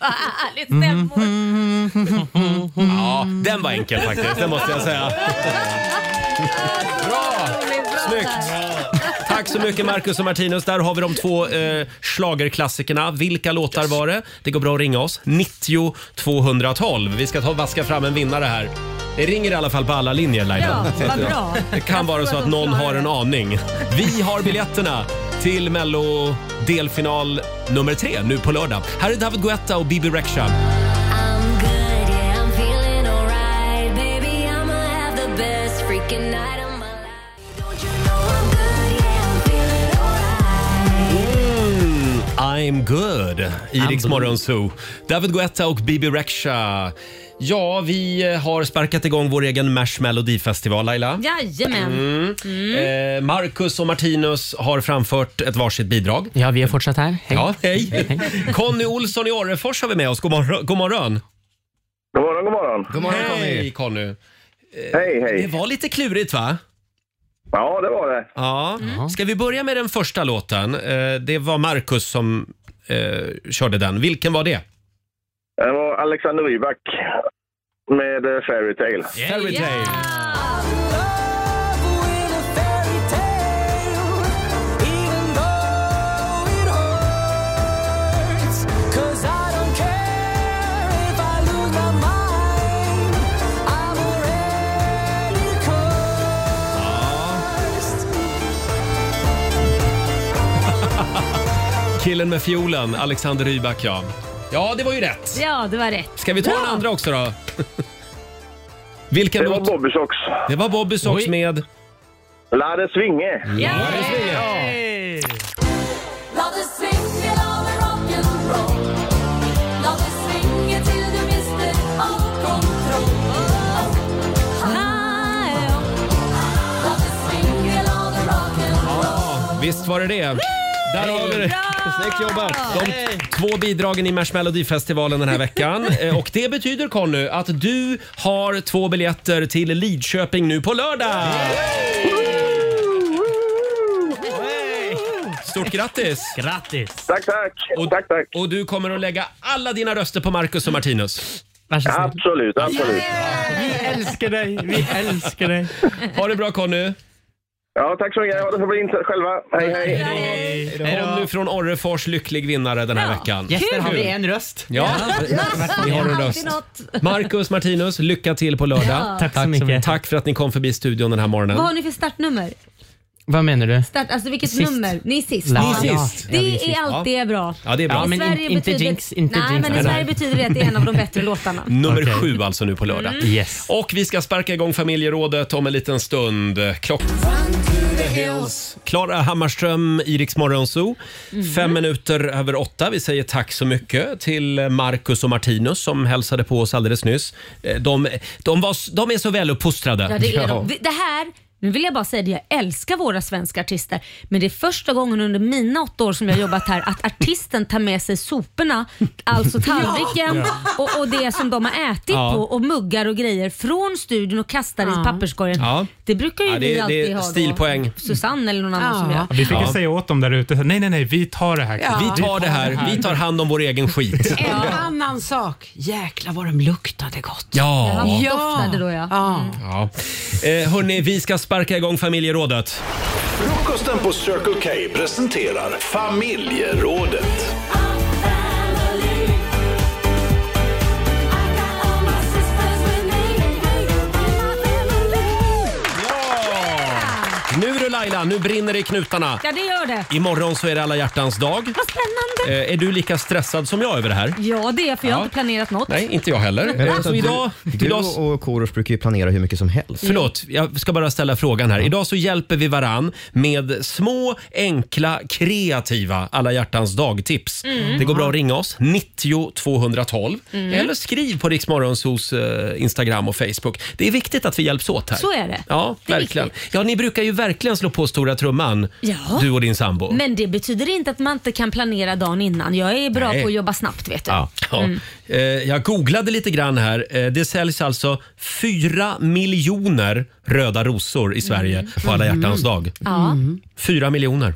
[SPEAKER 2] Härligt stämmor.
[SPEAKER 1] Ja, den var enkel faktiskt, det måste jag säga. Bra! Snyggt! Tack så mycket Marcus och Martinus. Där har vi de två eh, schlagerklassikerna. Vilka låtar var det? Det går bra att ringa oss. 90 212. Vi ska ta och vaska fram en vinnare här. Det ringer i alla fall på alla linjer Laila.
[SPEAKER 2] Ja, vad bra.
[SPEAKER 1] Det kan vara så att någon har en aning. Vi har biljetterna till Mello delfinal nummer tre nu på lördag. Här är David Guetta och Bibi Rexha.
[SPEAKER 3] I'm good, yeah, I'm feeling alright. Baby, I'ma have the best freaking night of my life. Don't you know I'm good, yeah, I'm feeling
[SPEAKER 1] Mm, I'm good i Rix Morgon Zoo. David Guetta och Bibi Rexha. Ja, vi eh, har sparkat igång vår egen Mash Melodifestival, Laila.
[SPEAKER 2] Jajamän.
[SPEAKER 1] Mm. Eh, Marcus och Martinus har framfört ett varsitt bidrag.
[SPEAKER 14] Ja, vi är fortsatt här. Hej.
[SPEAKER 1] Ja, hej. Conny Olsson i Orrefors har vi med oss. God morgon. God morgon,
[SPEAKER 15] God morgon, god morgon.
[SPEAKER 1] hej, Conny. Eh,
[SPEAKER 15] Hej, hej.
[SPEAKER 1] Det var lite klurigt, va?
[SPEAKER 15] Ja, det var det.
[SPEAKER 1] Ja. Ska vi börja med den första låten? Eh, Det var Marcus som eh, körde den. Vilken var det?
[SPEAKER 15] Det var Alexander Rybak med eh, Fairytale.
[SPEAKER 1] Fairytale. Killen med fiolen, Alexander Rybak ja. Ja, det var ju rätt.
[SPEAKER 2] Ja, det var rätt.
[SPEAKER 1] Ska vi ta den andra också då? Vilken
[SPEAKER 15] det var
[SPEAKER 1] låt?
[SPEAKER 15] Bobby Socks.
[SPEAKER 1] Det var Bobby Socks
[SPEAKER 15] Oj.
[SPEAKER 1] med...
[SPEAKER 15] La det svinge.
[SPEAKER 1] Ja,
[SPEAKER 3] Låt det svinga, låt det rock'n'roll Låt det svinga till du mister all kontroll Låt det svinga, låt det rock'n'roll
[SPEAKER 1] Ah, Visst var det det. Där har vi det. Snyggt jobbat! De två bidragen i Mars Melodifestivalen den här veckan. Eh, Och det betyder Conny att du har två biljetter till Lidköping nu på lördag! Stort grattis! Grattis!
[SPEAKER 15] Tack, tack!
[SPEAKER 1] Och,
[SPEAKER 15] tack, tack.
[SPEAKER 1] och du kommer att lägga alla dina röster på Marcus och Martinus.
[SPEAKER 15] Absolut, absolut.
[SPEAKER 10] Vi älskar dig, vi älskar dig.
[SPEAKER 1] Ha det bra Conny!
[SPEAKER 15] Ja, tack så mycket. Ha det så fint själva. Hej, hej.
[SPEAKER 1] Conny från Orrefors, lycklig vinnare den här veckan.
[SPEAKER 10] Gäster har vi
[SPEAKER 1] Kul.
[SPEAKER 10] en röst.
[SPEAKER 1] Ja, vi har en röst. Marcus, Martinus, lycka till på lördag.
[SPEAKER 2] Ja. Tack så
[SPEAKER 1] mycket. Tack för att ni kom förbi studion den här morgonen.
[SPEAKER 2] Vad har ni för startnummer?
[SPEAKER 1] Vad menar du?
[SPEAKER 2] Start, alltså vilket
[SPEAKER 1] Sist.
[SPEAKER 2] nummer? Ni är sist.
[SPEAKER 1] Ni är sist.
[SPEAKER 2] Det
[SPEAKER 1] Ja, vi är
[SPEAKER 2] är
[SPEAKER 1] sist.
[SPEAKER 2] alltid
[SPEAKER 1] Ja.
[SPEAKER 2] bra.
[SPEAKER 1] Ja, det är bra.
[SPEAKER 2] I
[SPEAKER 1] Ja, men
[SPEAKER 2] Sverige
[SPEAKER 1] in- inte
[SPEAKER 2] betyder,
[SPEAKER 1] jinx, inte
[SPEAKER 2] Nej,
[SPEAKER 1] jinx.
[SPEAKER 2] men i
[SPEAKER 1] Nej,
[SPEAKER 2] Sverige
[SPEAKER 1] nej.
[SPEAKER 2] betyder det att det är en av de bättre låtarna.
[SPEAKER 1] Nummer sju alltså nu på lördag.
[SPEAKER 2] Mm.
[SPEAKER 1] Yes. Och vi ska sparka igång familjerådet om en liten stund. Klock... Klara Hammarström, Iriks morgonzoo.
[SPEAKER 2] Mhm.
[SPEAKER 1] Fem minuter över åtta. Vi säger tack så mycket till Marcus och Martinus som hälsade på oss alldeles nyss. Eh, De, de, var, de är så väluppfostrade.
[SPEAKER 2] Ja, det, är de. Vi- det här, nu vill jag bara säga det, jag älskar våra svenska artister. Men det är första gången under mina åtta år som jag har jobbat här att artisten tar med sig soporna, alltså tallriken
[SPEAKER 3] Ja.
[SPEAKER 2] och, och det som de har ätit
[SPEAKER 1] Ja.
[SPEAKER 2] på och muggar och grejer från studion och kastar i papperskorgen.
[SPEAKER 1] Ja.
[SPEAKER 2] Det brukar ju
[SPEAKER 1] Ja, det-
[SPEAKER 2] vi
[SPEAKER 1] det
[SPEAKER 2] alltid
[SPEAKER 1] är
[SPEAKER 2] ha då.
[SPEAKER 1] stilpoäng.
[SPEAKER 2] Susanne eller någon annan som gör.
[SPEAKER 11] Vi fick ju
[SPEAKER 1] Ja.
[SPEAKER 11] säga åt dem där ute, nej, nej, nej, vi tar det här.
[SPEAKER 12] Ja.
[SPEAKER 1] Vi tar det här. Vi tar hand om vår egen skit.
[SPEAKER 12] En annan sak. Jäklar vad de luktade gott.
[SPEAKER 1] Ja.
[SPEAKER 12] ja.
[SPEAKER 2] doftade då ja. Mm.
[SPEAKER 1] Ja. Eh, hörni, vi ska sparka igång familjerådet.
[SPEAKER 16] Frukosten på Circle K presenterar familjerådet.
[SPEAKER 1] Nu du Laila, nu brinner det i knutarna.
[SPEAKER 2] Ja, det gör det.
[SPEAKER 1] Imorgon så är det alla hjärtans dag.
[SPEAKER 2] Vad spännande.
[SPEAKER 1] Eh, är du lika stressad som jag över det här?
[SPEAKER 2] Ja, det är för jag
[SPEAKER 1] Ja.
[SPEAKER 2] har inte planerat något.
[SPEAKER 1] Nej, inte jag heller. Eh,
[SPEAKER 6] Men vänta,
[SPEAKER 1] Så idag,
[SPEAKER 6] du, du
[SPEAKER 1] idag,
[SPEAKER 6] och Korosh brukar ju planera hur mycket som helst.
[SPEAKER 1] förlåt, jag ska bara ställa frågan här. Idag så hjälper vi varann med små, enkla, kreativa alla hjärtans dag-tips.
[SPEAKER 3] Mm.
[SPEAKER 1] Det går bra att ringa oss, 90 212.
[SPEAKER 3] Mm.
[SPEAKER 1] Eller skriv på Riksmorgonsos eh, Instagram och Facebook. Det är viktigt att vi hjälps åt här.
[SPEAKER 2] Så är det.
[SPEAKER 1] Ja,
[SPEAKER 2] Det är
[SPEAKER 1] verkligen. Ja, ni brukar ju verkligen slå på stora trumman,
[SPEAKER 2] Ja.
[SPEAKER 1] du och din sambo.
[SPEAKER 2] Men det betyder inte att man inte kan planera dagen innan. Jag är bra
[SPEAKER 1] Nej.
[SPEAKER 2] på att jobba snabbt vet du.
[SPEAKER 1] Ja.
[SPEAKER 2] Mm.
[SPEAKER 1] Eh, Jag googlade lite grann här. Eh, Det säljs alltså fyra miljoner röda rosor i Sverige
[SPEAKER 2] Mm.
[SPEAKER 1] på alla hjärtans dag.
[SPEAKER 2] Ja.
[SPEAKER 1] Fyra miljoner.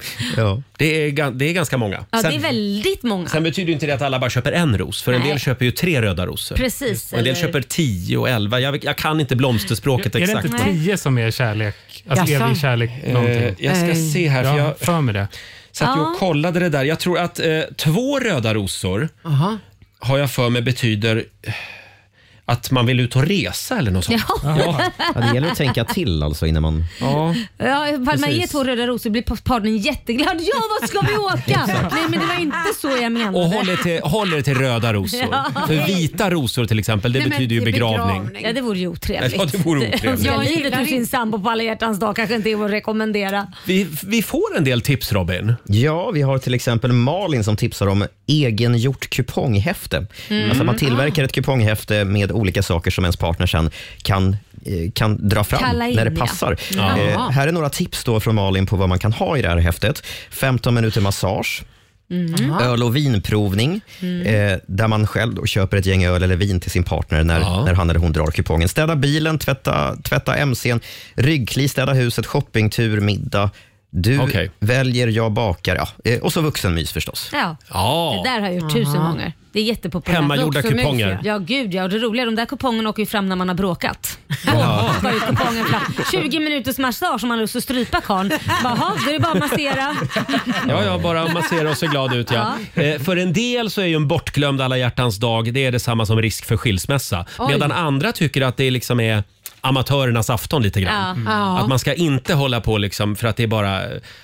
[SPEAKER 1] Det, är, ga- det är ganska många.
[SPEAKER 2] Ja, det är
[SPEAKER 1] Sen-
[SPEAKER 2] väldigt många.
[SPEAKER 1] Sen betyder ju inte det att alla bara köper en ros, för en
[SPEAKER 2] Nej.
[SPEAKER 1] del köper ju tre röda rosor.
[SPEAKER 2] Precis,
[SPEAKER 1] Och en del
[SPEAKER 2] eller-
[SPEAKER 1] köper tio och elva. Jag, jag kan inte blomsterspråket
[SPEAKER 11] Är det
[SPEAKER 1] exakt.
[SPEAKER 11] inte tio som är kärlek? Alltså
[SPEAKER 1] Jaså?
[SPEAKER 11] evig kärlek
[SPEAKER 1] Eh,
[SPEAKER 11] någonting?
[SPEAKER 1] jag ska se här, för
[SPEAKER 11] Ja,
[SPEAKER 1] jag-
[SPEAKER 11] för mig det.
[SPEAKER 1] Så att
[SPEAKER 11] Ja.
[SPEAKER 1] jag kollade det där. Jag tror att eh, två röda rosor har jag för mig betyder eh, att man vill ut och resa eller något sånt.
[SPEAKER 2] Ja.
[SPEAKER 6] Ja, det gäller att tänka till alltså innan man...
[SPEAKER 1] Ja.
[SPEAKER 2] Ja, ifall man
[SPEAKER 6] Precis.
[SPEAKER 2] ger två röda rosor blir partnern jätteglad. Ja, vad ska vi åka? Nej, men det var inte så jag menade.
[SPEAKER 1] Och håller till, håller till röda rosor.
[SPEAKER 2] Ja.
[SPEAKER 1] För vita rosor till exempel, det
[SPEAKER 2] Nej, men
[SPEAKER 1] betyder ju
[SPEAKER 2] till
[SPEAKER 1] begravning.
[SPEAKER 2] Ja, det vore ju otrevligt.
[SPEAKER 1] Ja, det vore otrevligt.
[SPEAKER 2] Jag
[SPEAKER 1] Jag
[SPEAKER 2] livet ur sin sambo på alla hjärtans dag kanske inte är att rekommendera.
[SPEAKER 1] Vi, vi får en del tips Robin.
[SPEAKER 6] Ja, vi har till exempel Malin som tipsar om egengjort kuponghäfte.
[SPEAKER 2] Mm.
[SPEAKER 6] Alltså man tillverkar
[SPEAKER 1] Ah.
[SPEAKER 6] ett kuponghäfte med olika saker som ens partner sen kan, eh, kan dra fram
[SPEAKER 3] Kalla in,
[SPEAKER 6] när det
[SPEAKER 3] ja.
[SPEAKER 6] passar.
[SPEAKER 3] Ja.
[SPEAKER 6] Eh, här är några tips då från Malin på vad man kan ha i det här häftet. 15 minuter massage.
[SPEAKER 3] Mm.
[SPEAKER 6] Öl och vinprovning,
[SPEAKER 3] Mm.
[SPEAKER 6] eh, där man själv då köper ett gäng öl eller vin till sin partner när, när han eller hon drar kupongen. Städa bilen, tvätta, tvätta mcn, ryggkli, städa huset, shoppingtur, middag. Du väljer, jag bakar. Ja. Eh, och så vuxenmys förstås.
[SPEAKER 2] Ja.
[SPEAKER 1] Ja.
[SPEAKER 2] Det där har jag gjort tusen
[SPEAKER 6] Aha.
[SPEAKER 2] gånger. Det är jättepopulärt.
[SPEAKER 6] Hemmagjorda
[SPEAKER 2] Också mycket.
[SPEAKER 6] kuponger.
[SPEAKER 2] Ja, gud ja. Och det roliga, de där kupongerna åker ju fram när man har bråkat. Då åker ju kupongen fram. 20 minuters massage om man har lust att strypa karln. Bara, "Jaha, då är det bara att massera.
[SPEAKER 1] Ja, ja, bara massera och se glad ut. Ja. Eh, för en del så är ju en bortglömd alla hjärtans dag det är detsamma som risk för skilsmässa.
[SPEAKER 2] Oj.
[SPEAKER 1] Medan andra tycker att det liksom är amatörernas afton lite grann. Mm.
[SPEAKER 2] Ja. Ja.
[SPEAKER 1] Att man ska inte hålla på liksom för att det är bara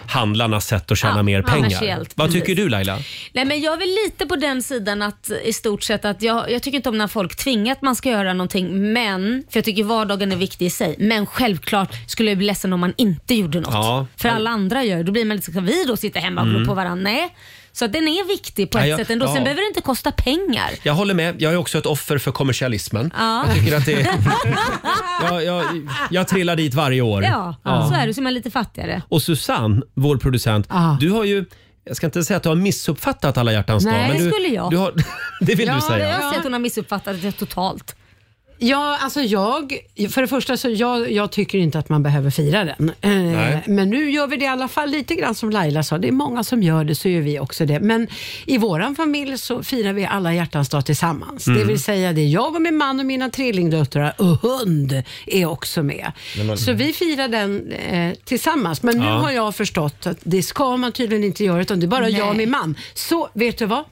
[SPEAKER 1] handlarnas sätt att tjäna
[SPEAKER 2] Ja,
[SPEAKER 1] mer pengar.
[SPEAKER 2] kommersiellt,
[SPEAKER 1] Vad
[SPEAKER 2] precis.
[SPEAKER 1] tycker du Laila?
[SPEAKER 2] Nej men jag är väl lite på den sidan att i stort sett att jag, jag tycker inte om när folk tvingar att man ska göra någonting men, för jag tycker vardagen är viktig i sig, men självklart skulle jag bli ledsen om man inte gjorde något.
[SPEAKER 1] Ja.
[SPEAKER 2] För alla andra gör det. Då blir man lite så, ska vi då sitta hemma och glo
[SPEAKER 1] Mm.
[SPEAKER 2] på varandra? Nej. Så att den är viktig på ett
[SPEAKER 1] Ja, jag-
[SPEAKER 2] sätt ändå. Sen
[SPEAKER 1] ja.
[SPEAKER 2] behöver det inte kosta pengar.
[SPEAKER 1] Jag håller med. Jag är också ett offer för kommersialismen.
[SPEAKER 2] Ja.
[SPEAKER 1] Jag tycker att det är... jag, jag, jag trillar dit varje år.
[SPEAKER 2] Ja, så är det. Så är man lite fattigare.
[SPEAKER 1] Och Susanne, vår producent,
[SPEAKER 2] Ah.
[SPEAKER 1] du har ju jag ska inte säga att du har missuppfattat alla hjärtans dag.
[SPEAKER 2] Nej,
[SPEAKER 1] men du,
[SPEAKER 2] skulle jag.
[SPEAKER 1] Du har, det vill du säga.
[SPEAKER 2] Jag ser att hon har missuppfattat det totalt.
[SPEAKER 12] Ja, alltså jag, för det första så jag, jag tycker inte att man behöver fira den. Eh,
[SPEAKER 9] Nej.
[SPEAKER 12] Men nu gör vi det i alla fall lite grann som Laila sa. Det är många som gör det, så gör vi också det. Men i vår familj så firar vi alla hjärtans dag tillsammans.
[SPEAKER 9] Mm.
[SPEAKER 12] Det vill säga det är jag och min man och mina trillingdöttrar och hund är också med.
[SPEAKER 9] Nej, men-
[SPEAKER 12] Så vi firar den eh, tillsammans. Men nu
[SPEAKER 9] Ja.
[SPEAKER 12] har jag förstått att det ska man tydligen inte göra, utan det är bara jag och
[SPEAKER 9] Nej.
[SPEAKER 12] min man. Så vet du vad?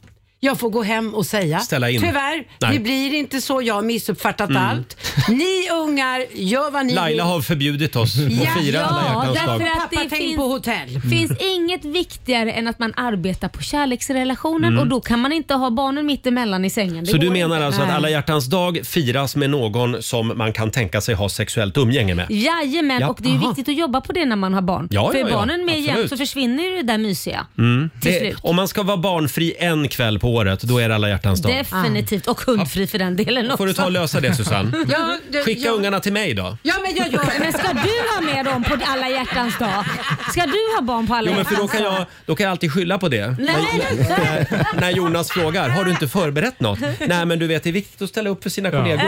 [SPEAKER 12] Jag får gå hem och säga,
[SPEAKER 1] Ställa in.
[SPEAKER 12] tyvärr,
[SPEAKER 1] Nej.
[SPEAKER 12] det blir inte så. Jag har missuppfattat
[SPEAKER 1] Mm.
[SPEAKER 12] allt. Ni ungar, gör vad ni
[SPEAKER 1] Laila
[SPEAKER 12] vill.
[SPEAKER 1] har förbjudit oss
[SPEAKER 12] Ja,
[SPEAKER 1] att fira alla hjärtans
[SPEAKER 2] därför
[SPEAKER 1] dag.
[SPEAKER 2] att det
[SPEAKER 12] Pappa, tänk
[SPEAKER 2] finns, Mm.
[SPEAKER 12] på hotell.
[SPEAKER 2] finns inget viktigare än att man arbetar på kärleksrelationen
[SPEAKER 1] Mm.
[SPEAKER 2] och då kan man inte ha barnen mitt emellan i sängen. Det
[SPEAKER 1] Så du
[SPEAKER 2] går
[SPEAKER 1] menar
[SPEAKER 2] inte.
[SPEAKER 1] alltså att
[SPEAKER 2] Nej.
[SPEAKER 1] alla hjärtans dag firas med någon som man kan tänka sig ha sexuellt umgänge med?
[SPEAKER 2] Jajamän,
[SPEAKER 1] Ja.
[SPEAKER 2] och det är ju
[SPEAKER 1] Aha.
[SPEAKER 2] viktigt att jobba på det när man har barn.
[SPEAKER 1] Ja,
[SPEAKER 2] För
[SPEAKER 1] ja,
[SPEAKER 2] är
[SPEAKER 1] ja.
[SPEAKER 2] barnen med jämt
[SPEAKER 1] Absolut.
[SPEAKER 2] så försvinner ju det där mysiga.
[SPEAKER 1] Mm.
[SPEAKER 2] Till
[SPEAKER 1] Det,
[SPEAKER 2] slut.
[SPEAKER 1] om man ska vara barnfri en kväll på året, då är det alla hjärtans dag.
[SPEAKER 2] Definitivt, och hundfri för den delen också.
[SPEAKER 1] Får du ta och lösa det Susanne?
[SPEAKER 12] Ja, det-
[SPEAKER 1] Skicka
[SPEAKER 12] ja.
[SPEAKER 1] ungarna till mig då.
[SPEAKER 12] Ja, men jag gör det.
[SPEAKER 2] Men ska du ha med dem på alla hjärtans dag? Ska du ha barn på alla
[SPEAKER 1] Jo, men
[SPEAKER 2] hjärtans
[SPEAKER 1] för då kan
[SPEAKER 2] dag?
[SPEAKER 1] jag, då kan jag alltid skylla på det.
[SPEAKER 2] Nej, nej.
[SPEAKER 1] Eh, När, när Jonas frågar, har du inte förberett något? Nej, men du vet, det är viktigt att ställa upp för sina kollegor.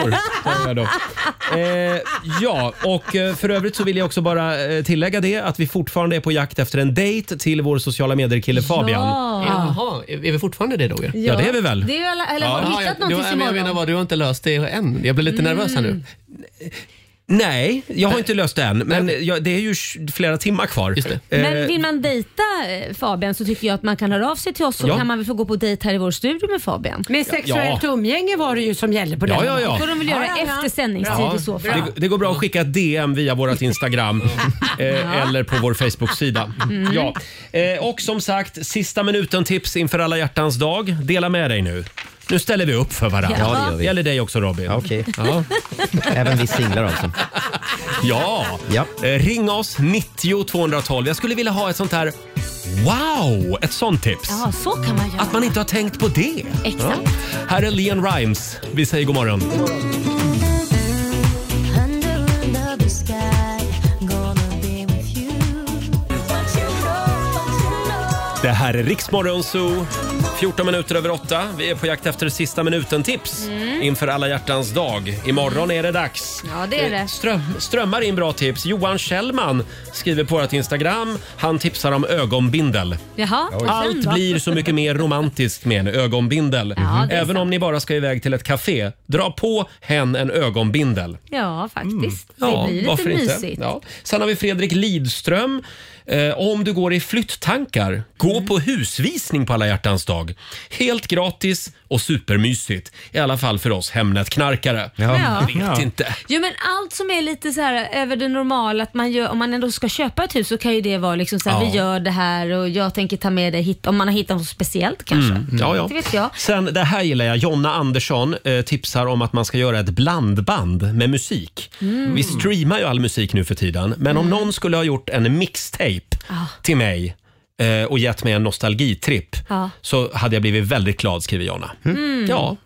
[SPEAKER 1] säger jag då. Eh, ja, och eh, för övrigt så vill jag också bara eh, tillägga det att vi fortfarande är på jakt efter en dejt till vår sociala medier-kille Fabian.
[SPEAKER 17] Jaha, är vi fortfarande det Roger?
[SPEAKER 1] Ja, det är vi väl?
[SPEAKER 2] Det är ju alla, eller har du hittat
[SPEAKER 17] jag,
[SPEAKER 2] någonting
[SPEAKER 17] jag,
[SPEAKER 2] imorgon?
[SPEAKER 17] jag menar vad, du har inte löst det än. Jag blir lite
[SPEAKER 2] Mm.
[SPEAKER 17] nervös här nu.
[SPEAKER 1] Nej, jag har inte löst det än, men jag, det är ju tj- flera timmar kvar.
[SPEAKER 2] Men
[SPEAKER 1] Eh,
[SPEAKER 2] vill man dejta eh, Fabian så tycker jag att man kan höra av sig till oss så
[SPEAKER 1] Ja.
[SPEAKER 2] kan man väl få gå på dejt här i vår studio med Fabian.
[SPEAKER 12] Men sexuellt umgänge var det ju som gällde på
[SPEAKER 1] Ja,
[SPEAKER 12] den
[SPEAKER 1] ja, ja.
[SPEAKER 12] dagen.
[SPEAKER 2] får de väl göra
[SPEAKER 12] Ja, ja, ja.
[SPEAKER 2] efter sändningstid
[SPEAKER 1] Ja,
[SPEAKER 2] i så fall.
[SPEAKER 1] det, det går bra att skicka ett DM via vårt Instagram eh, eller på vår Facebook-sida.
[SPEAKER 2] Mm.
[SPEAKER 1] Ja. Eh, och som sagt, sista minuten-tips inför alla hjärtans dag. Dela med dig nu. Nu ställer vi upp för varandra.
[SPEAKER 6] Ja, det gör vi.
[SPEAKER 1] gäller dig också Robin.
[SPEAKER 6] Okej.
[SPEAKER 1] Ja.
[SPEAKER 6] Även vi singlar alltså.
[SPEAKER 1] Ja. Eh, ring oss, 90 212. Jag skulle vilja ha ett sånt här Wow! Ett sånt tips.
[SPEAKER 2] Ja, så kan man göra.
[SPEAKER 1] Att man inte har tänkt på det.
[SPEAKER 2] Exakt.
[SPEAKER 1] Ja. Här är Leon Rimes. Vi säger god morgon. Det här är Riksmorgon Zoo. 14 minuter över 8. Vi är på jakt efter sista minuten-tips
[SPEAKER 2] Mm.
[SPEAKER 1] inför alla hjärtans dag. Imorgon är det dags.
[SPEAKER 2] Ja, det är
[SPEAKER 1] Eh,
[SPEAKER 2] det.
[SPEAKER 1] Ström, strömmar in bra tips. Johan Kjellman skriver på vårt Instagram. Han tipsar om ögonbindel.
[SPEAKER 2] Jaha, och sen
[SPEAKER 1] Allt
[SPEAKER 2] då?
[SPEAKER 1] blir så mycket mer romantiskt med en ögonbindel.
[SPEAKER 2] Ja, det är
[SPEAKER 1] Även om ni bara ska iväg till ett café, dra på hen en ögonbindel.
[SPEAKER 2] Ja, faktiskt.
[SPEAKER 1] Mm. Ja,
[SPEAKER 2] det blir lite
[SPEAKER 1] varför inte?
[SPEAKER 2] mysigt.
[SPEAKER 1] Ja. Sen har vi Fredrik Lidström. Eh, om du går i flytttankar, gå
[SPEAKER 2] Mm.
[SPEAKER 1] på husvisning på alla hjärtans dag. Helt gratis och supermysigt. I alla fall för oss Hemnet-knarkare.
[SPEAKER 2] Ja.
[SPEAKER 1] Jag vet inte.
[SPEAKER 2] Jo men allt som är lite så här över det normala, att man gör, om man ändå ska köpa ett hus så kan ju det vara liksom så här,
[SPEAKER 1] Ja.
[SPEAKER 2] vi gör det här och jag tänker ta med dig hit, om man har hittat något speciellt kanske.
[SPEAKER 1] Mm, ja, ja.
[SPEAKER 2] Det vet jag.
[SPEAKER 1] Sen det här gillar jag. Jonna Andersson eh, tipsar om att man ska göra ett blandband med musik.
[SPEAKER 2] Mm.
[SPEAKER 1] Vi streamar ju all musik nu för tiden, men om någon skulle ha gjort en mixtape
[SPEAKER 2] Ja.
[SPEAKER 1] till mig eh, och gett mig en nostalgitripp
[SPEAKER 2] Ja.
[SPEAKER 1] så hade jag blivit väldigt glad, skriver Jonna.
[SPEAKER 2] Mm.
[SPEAKER 1] Ja.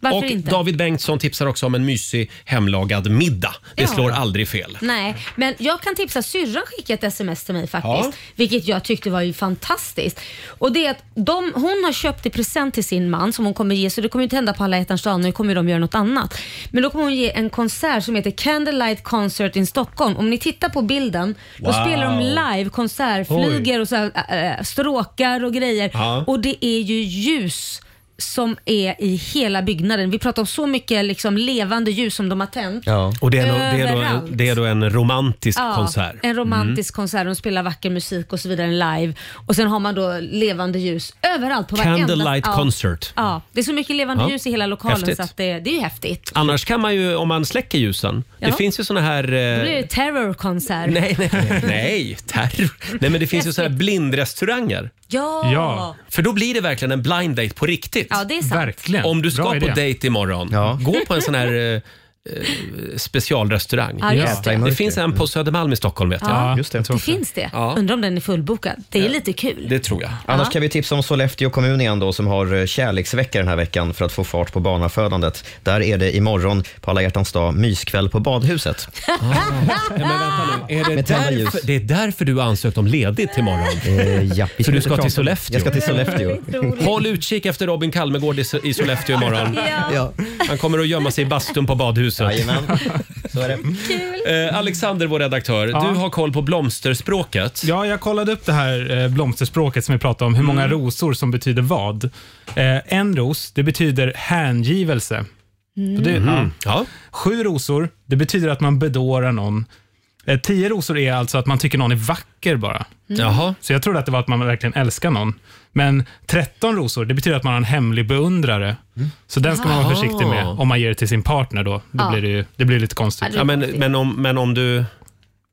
[SPEAKER 2] Varför
[SPEAKER 1] och
[SPEAKER 2] inte?
[SPEAKER 1] David Bengtsson tipsar också om en mysig hemlagad middag. Det
[SPEAKER 2] Ja.
[SPEAKER 1] slår aldrig fel.
[SPEAKER 2] Nej, men jag kan tipsa. Syrran skickade ett sms till mig faktiskt.
[SPEAKER 1] Ja.
[SPEAKER 2] Vilket jag tyckte var ju fantastiskt. Och det är att de, hon har köpt i present till sin man som hon kommer ge, så det kommer ju inte hända på alla hjärtans dag. Nu kommer ju de göra något annat. Men då kommer hon ge en konsert som heter Candlelight Concert in Stockholm. Om ni tittar på bilden, då
[SPEAKER 3] Wow.
[SPEAKER 2] spelar de live konsertflyger och så här, äh, stråkar och äh, grejer.
[SPEAKER 3] Ja.
[SPEAKER 2] Och det är ju ljus som är i hela byggnaden. Vi pratar om så mycket liksom, levande ljus som de har tänt.
[SPEAKER 1] Och det är, nog, det, är då,
[SPEAKER 2] Överallt.
[SPEAKER 1] det är då en romantisk konsert. Mm.
[SPEAKER 2] En romantisk konsert. De spelar vacker musik och så vidare live. Och sen har man då levande ljus överallt. På varenda-
[SPEAKER 1] Candlelight concert.
[SPEAKER 2] Ja, det är så mycket levande
[SPEAKER 1] Ja.
[SPEAKER 2] ljus i hela lokalen
[SPEAKER 1] Häftigt.
[SPEAKER 2] så att det, det är ju häftigt.
[SPEAKER 1] Mm. Annars kan man ju, om man släcker ljusen,
[SPEAKER 2] Ja.
[SPEAKER 1] det finns ju såna här...
[SPEAKER 2] Då
[SPEAKER 1] eh,
[SPEAKER 2] blir det terrorkonsert.
[SPEAKER 1] Nej, nej, nej, terror. Nej, men det finns ju såna här blindrestauranger.
[SPEAKER 2] Ja. Ja.
[SPEAKER 1] För då blir det verkligen en blind date på riktigt.
[SPEAKER 2] Ja, det är sant. Verkligen.
[SPEAKER 1] Om du
[SPEAKER 2] Bra
[SPEAKER 1] ska på
[SPEAKER 2] idé.
[SPEAKER 1] dejt imorgon, gå på en sån här eh, eh, specialrestaurang.
[SPEAKER 2] Ja, just det.
[SPEAKER 1] Det finns en på Södermalm i Stockholm vet jag.
[SPEAKER 2] Ja, det, finns det.
[SPEAKER 1] Ja.
[SPEAKER 2] Undrar om den är fullbokad. Det är lite kul.
[SPEAKER 1] Det tror jag.
[SPEAKER 6] Annars kan vi tipsa om Sollefteå kommun igen då, som har eh, kärleksvecka den här veckan för att få fart på barnafödandet. Där är det imorgon på alla hjärtans dag myskväll på badhuset.
[SPEAKER 1] Är det,
[SPEAKER 6] Med tända ljus.
[SPEAKER 1] därför, det är därför du har ansökt om ledigt imorgon?
[SPEAKER 6] Eh, ja, vi
[SPEAKER 1] För
[SPEAKER 6] ska
[SPEAKER 1] du
[SPEAKER 6] inte
[SPEAKER 1] ska
[SPEAKER 6] prata om-
[SPEAKER 1] till Sollefteå?
[SPEAKER 6] Jag ska till Sollefteå.
[SPEAKER 1] Håll utkik efter Robin Kalmegård i, i Sollefteå imorgon.
[SPEAKER 6] Ja.
[SPEAKER 1] Han kommer att gömma sig i bastun på badhuset.
[SPEAKER 6] Jajamän.
[SPEAKER 1] Eh, Alexander, vår redaktör,
[SPEAKER 11] Ja.
[SPEAKER 1] du har koll på blomsterspråket.
[SPEAKER 11] Ja, jag kollade upp det här eh, blomsterspråket som vi pratade om, hur många
[SPEAKER 1] Mm.
[SPEAKER 11] rosor som betyder vad. Eh, en ros, det betyder hängivelse. Så det,
[SPEAKER 1] Mm.
[SPEAKER 11] ja. Sju rosor, det betyder att man bedårar någon. Eh, tio rosor är alltså att man tycker någon är vacker bara.
[SPEAKER 1] Mm. Jaha.
[SPEAKER 11] Så jag trodde att det var att man verkligen älskar någon. Men 13 rosor, det betyder att man har en hemlig beundrare. Så den ska man vara
[SPEAKER 1] Mm. Jaha.
[SPEAKER 11] försiktig med om man ger det till sin partner då. Det,
[SPEAKER 1] Ja.
[SPEAKER 11] blir, det, ju, det blir lite konstigt.
[SPEAKER 1] Ja, men, men, om, men, om du,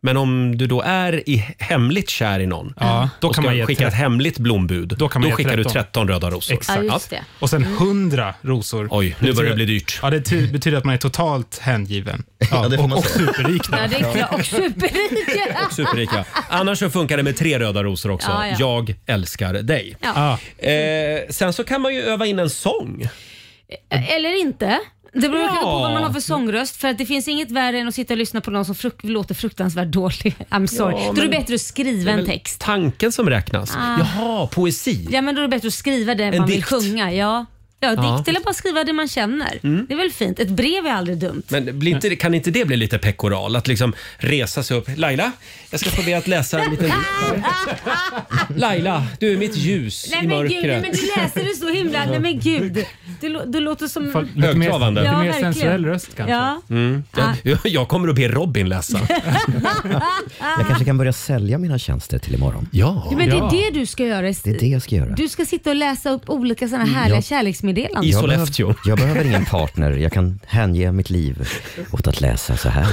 [SPEAKER 1] men om du då är i hemligt kär i någon
[SPEAKER 11] Ja, då
[SPEAKER 1] och
[SPEAKER 11] kan
[SPEAKER 1] ska
[SPEAKER 11] man ge
[SPEAKER 1] skicka ett
[SPEAKER 11] tretton.
[SPEAKER 1] hemligt blombud, då,
[SPEAKER 11] kan man ge
[SPEAKER 1] skickar du
[SPEAKER 11] 13.
[SPEAKER 1] 13 röda rosor.
[SPEAKER 11] Exakt.
[SPEAKER 2] Ja, just det.
[SPEAKER 11] Och sen 100 rosor.
[SPEAKER 1] Mm. Oj, nu börjar det bli dyrt.
[SPEAKER 11] Ja, det ty- betyder att man är totalt hängiven. Ja, och, och superrik.
[SPEAKER 2] Ja, det är klart. Och superrika.
[SPEAKER 1] Superrika. Annars så funkar det med tre röda rosor också.
[SPEAKER 2] Ja, ja.
[SPEAKER 1] Jag älskar dig.
[SPEAKER 2] Ja.
[SPEAKER 1] Eh, sen så kan man ju öva in en sång.
[SPEAKER 2] Eller inte. Det beror
[SPEAKER 1] Ja.
[SPEAKER 2] ja. på vad man har för sångröst. För att det finns inget värre än att sitta och lyssna på någon som fruk- låter fruktansvärt dålig. I'm sorry.
[SPEAKER 1] Ja,
[SPEAKER 2] då är det
[SPEAKER 1] men-
[SPEAKER 2] bättre att skriva
[SPEAKER 1] Det är
[SPEAKER 2] en
[SPEAKER 1] väl
[SPEAKER 2] text.
[SPEAKER 1] Tanken som räknas.
[SPEAKER 2] Ah.
[SPEAKER 1] Jaha, poesi.
[SPEAKER 2] Ja, men då är det bättre att skriva det
[SPEAKER 1] En
[SPEAKER 2] man
[SPEAKER 1] dikt.
[SPEAKER 2] vill sjunga. Ja. Ja, dikt
[SPEAKER 1] Ja.
[SPEAKER 2] eller bara skriva det man känner. Det är väl fint. Ett brev är aldrig dumt.
[SPEAKER 1] Men blir inte, kan inte det bli lite pekoral? Att liksom resa sig upp. Laila, jag ska få be att läsa en liten... Laila, du är mitt ljus
[SPEAKER 2] Nej
[SPEAKER 1] i
[SPEAKER 2] men
[SPEAKER 1] mörkret.
[SPEAKER 2] gud, nej, men du läser det så himla... Nej men gud. Du, lå- du låter som...
[SPEAKER 1] Fan, lite mer- Högtravande. lite mer
[SPEAKER 2] verkligen.
[SPEAKER 1] sensuell röst kanske.
[SPEAKER 2] Ja.
[SPEAKER 1] Mm. Jag, jag kommer att be Robin läsa.
[SPEAKER 6] Jag kanske kan börja sälja mina tjänster till imorgon.
[SPEAKER 1] Ja,
[SPEAKER 2] Ja, men det är det du ska göra.
[SPEAKER 6] det är det jag ska göra.
[SPEAKER 2] Du ska sitta och läsa upp olika sådana härliga
[SPEAKER 6] Ja.
[SPEAKER 2] kärleksmeddelanden.
[SPEAKER 6] Jag behöver- Jag behöver ingen partner. Jag kan hänge mitt liv åt att läsa så här.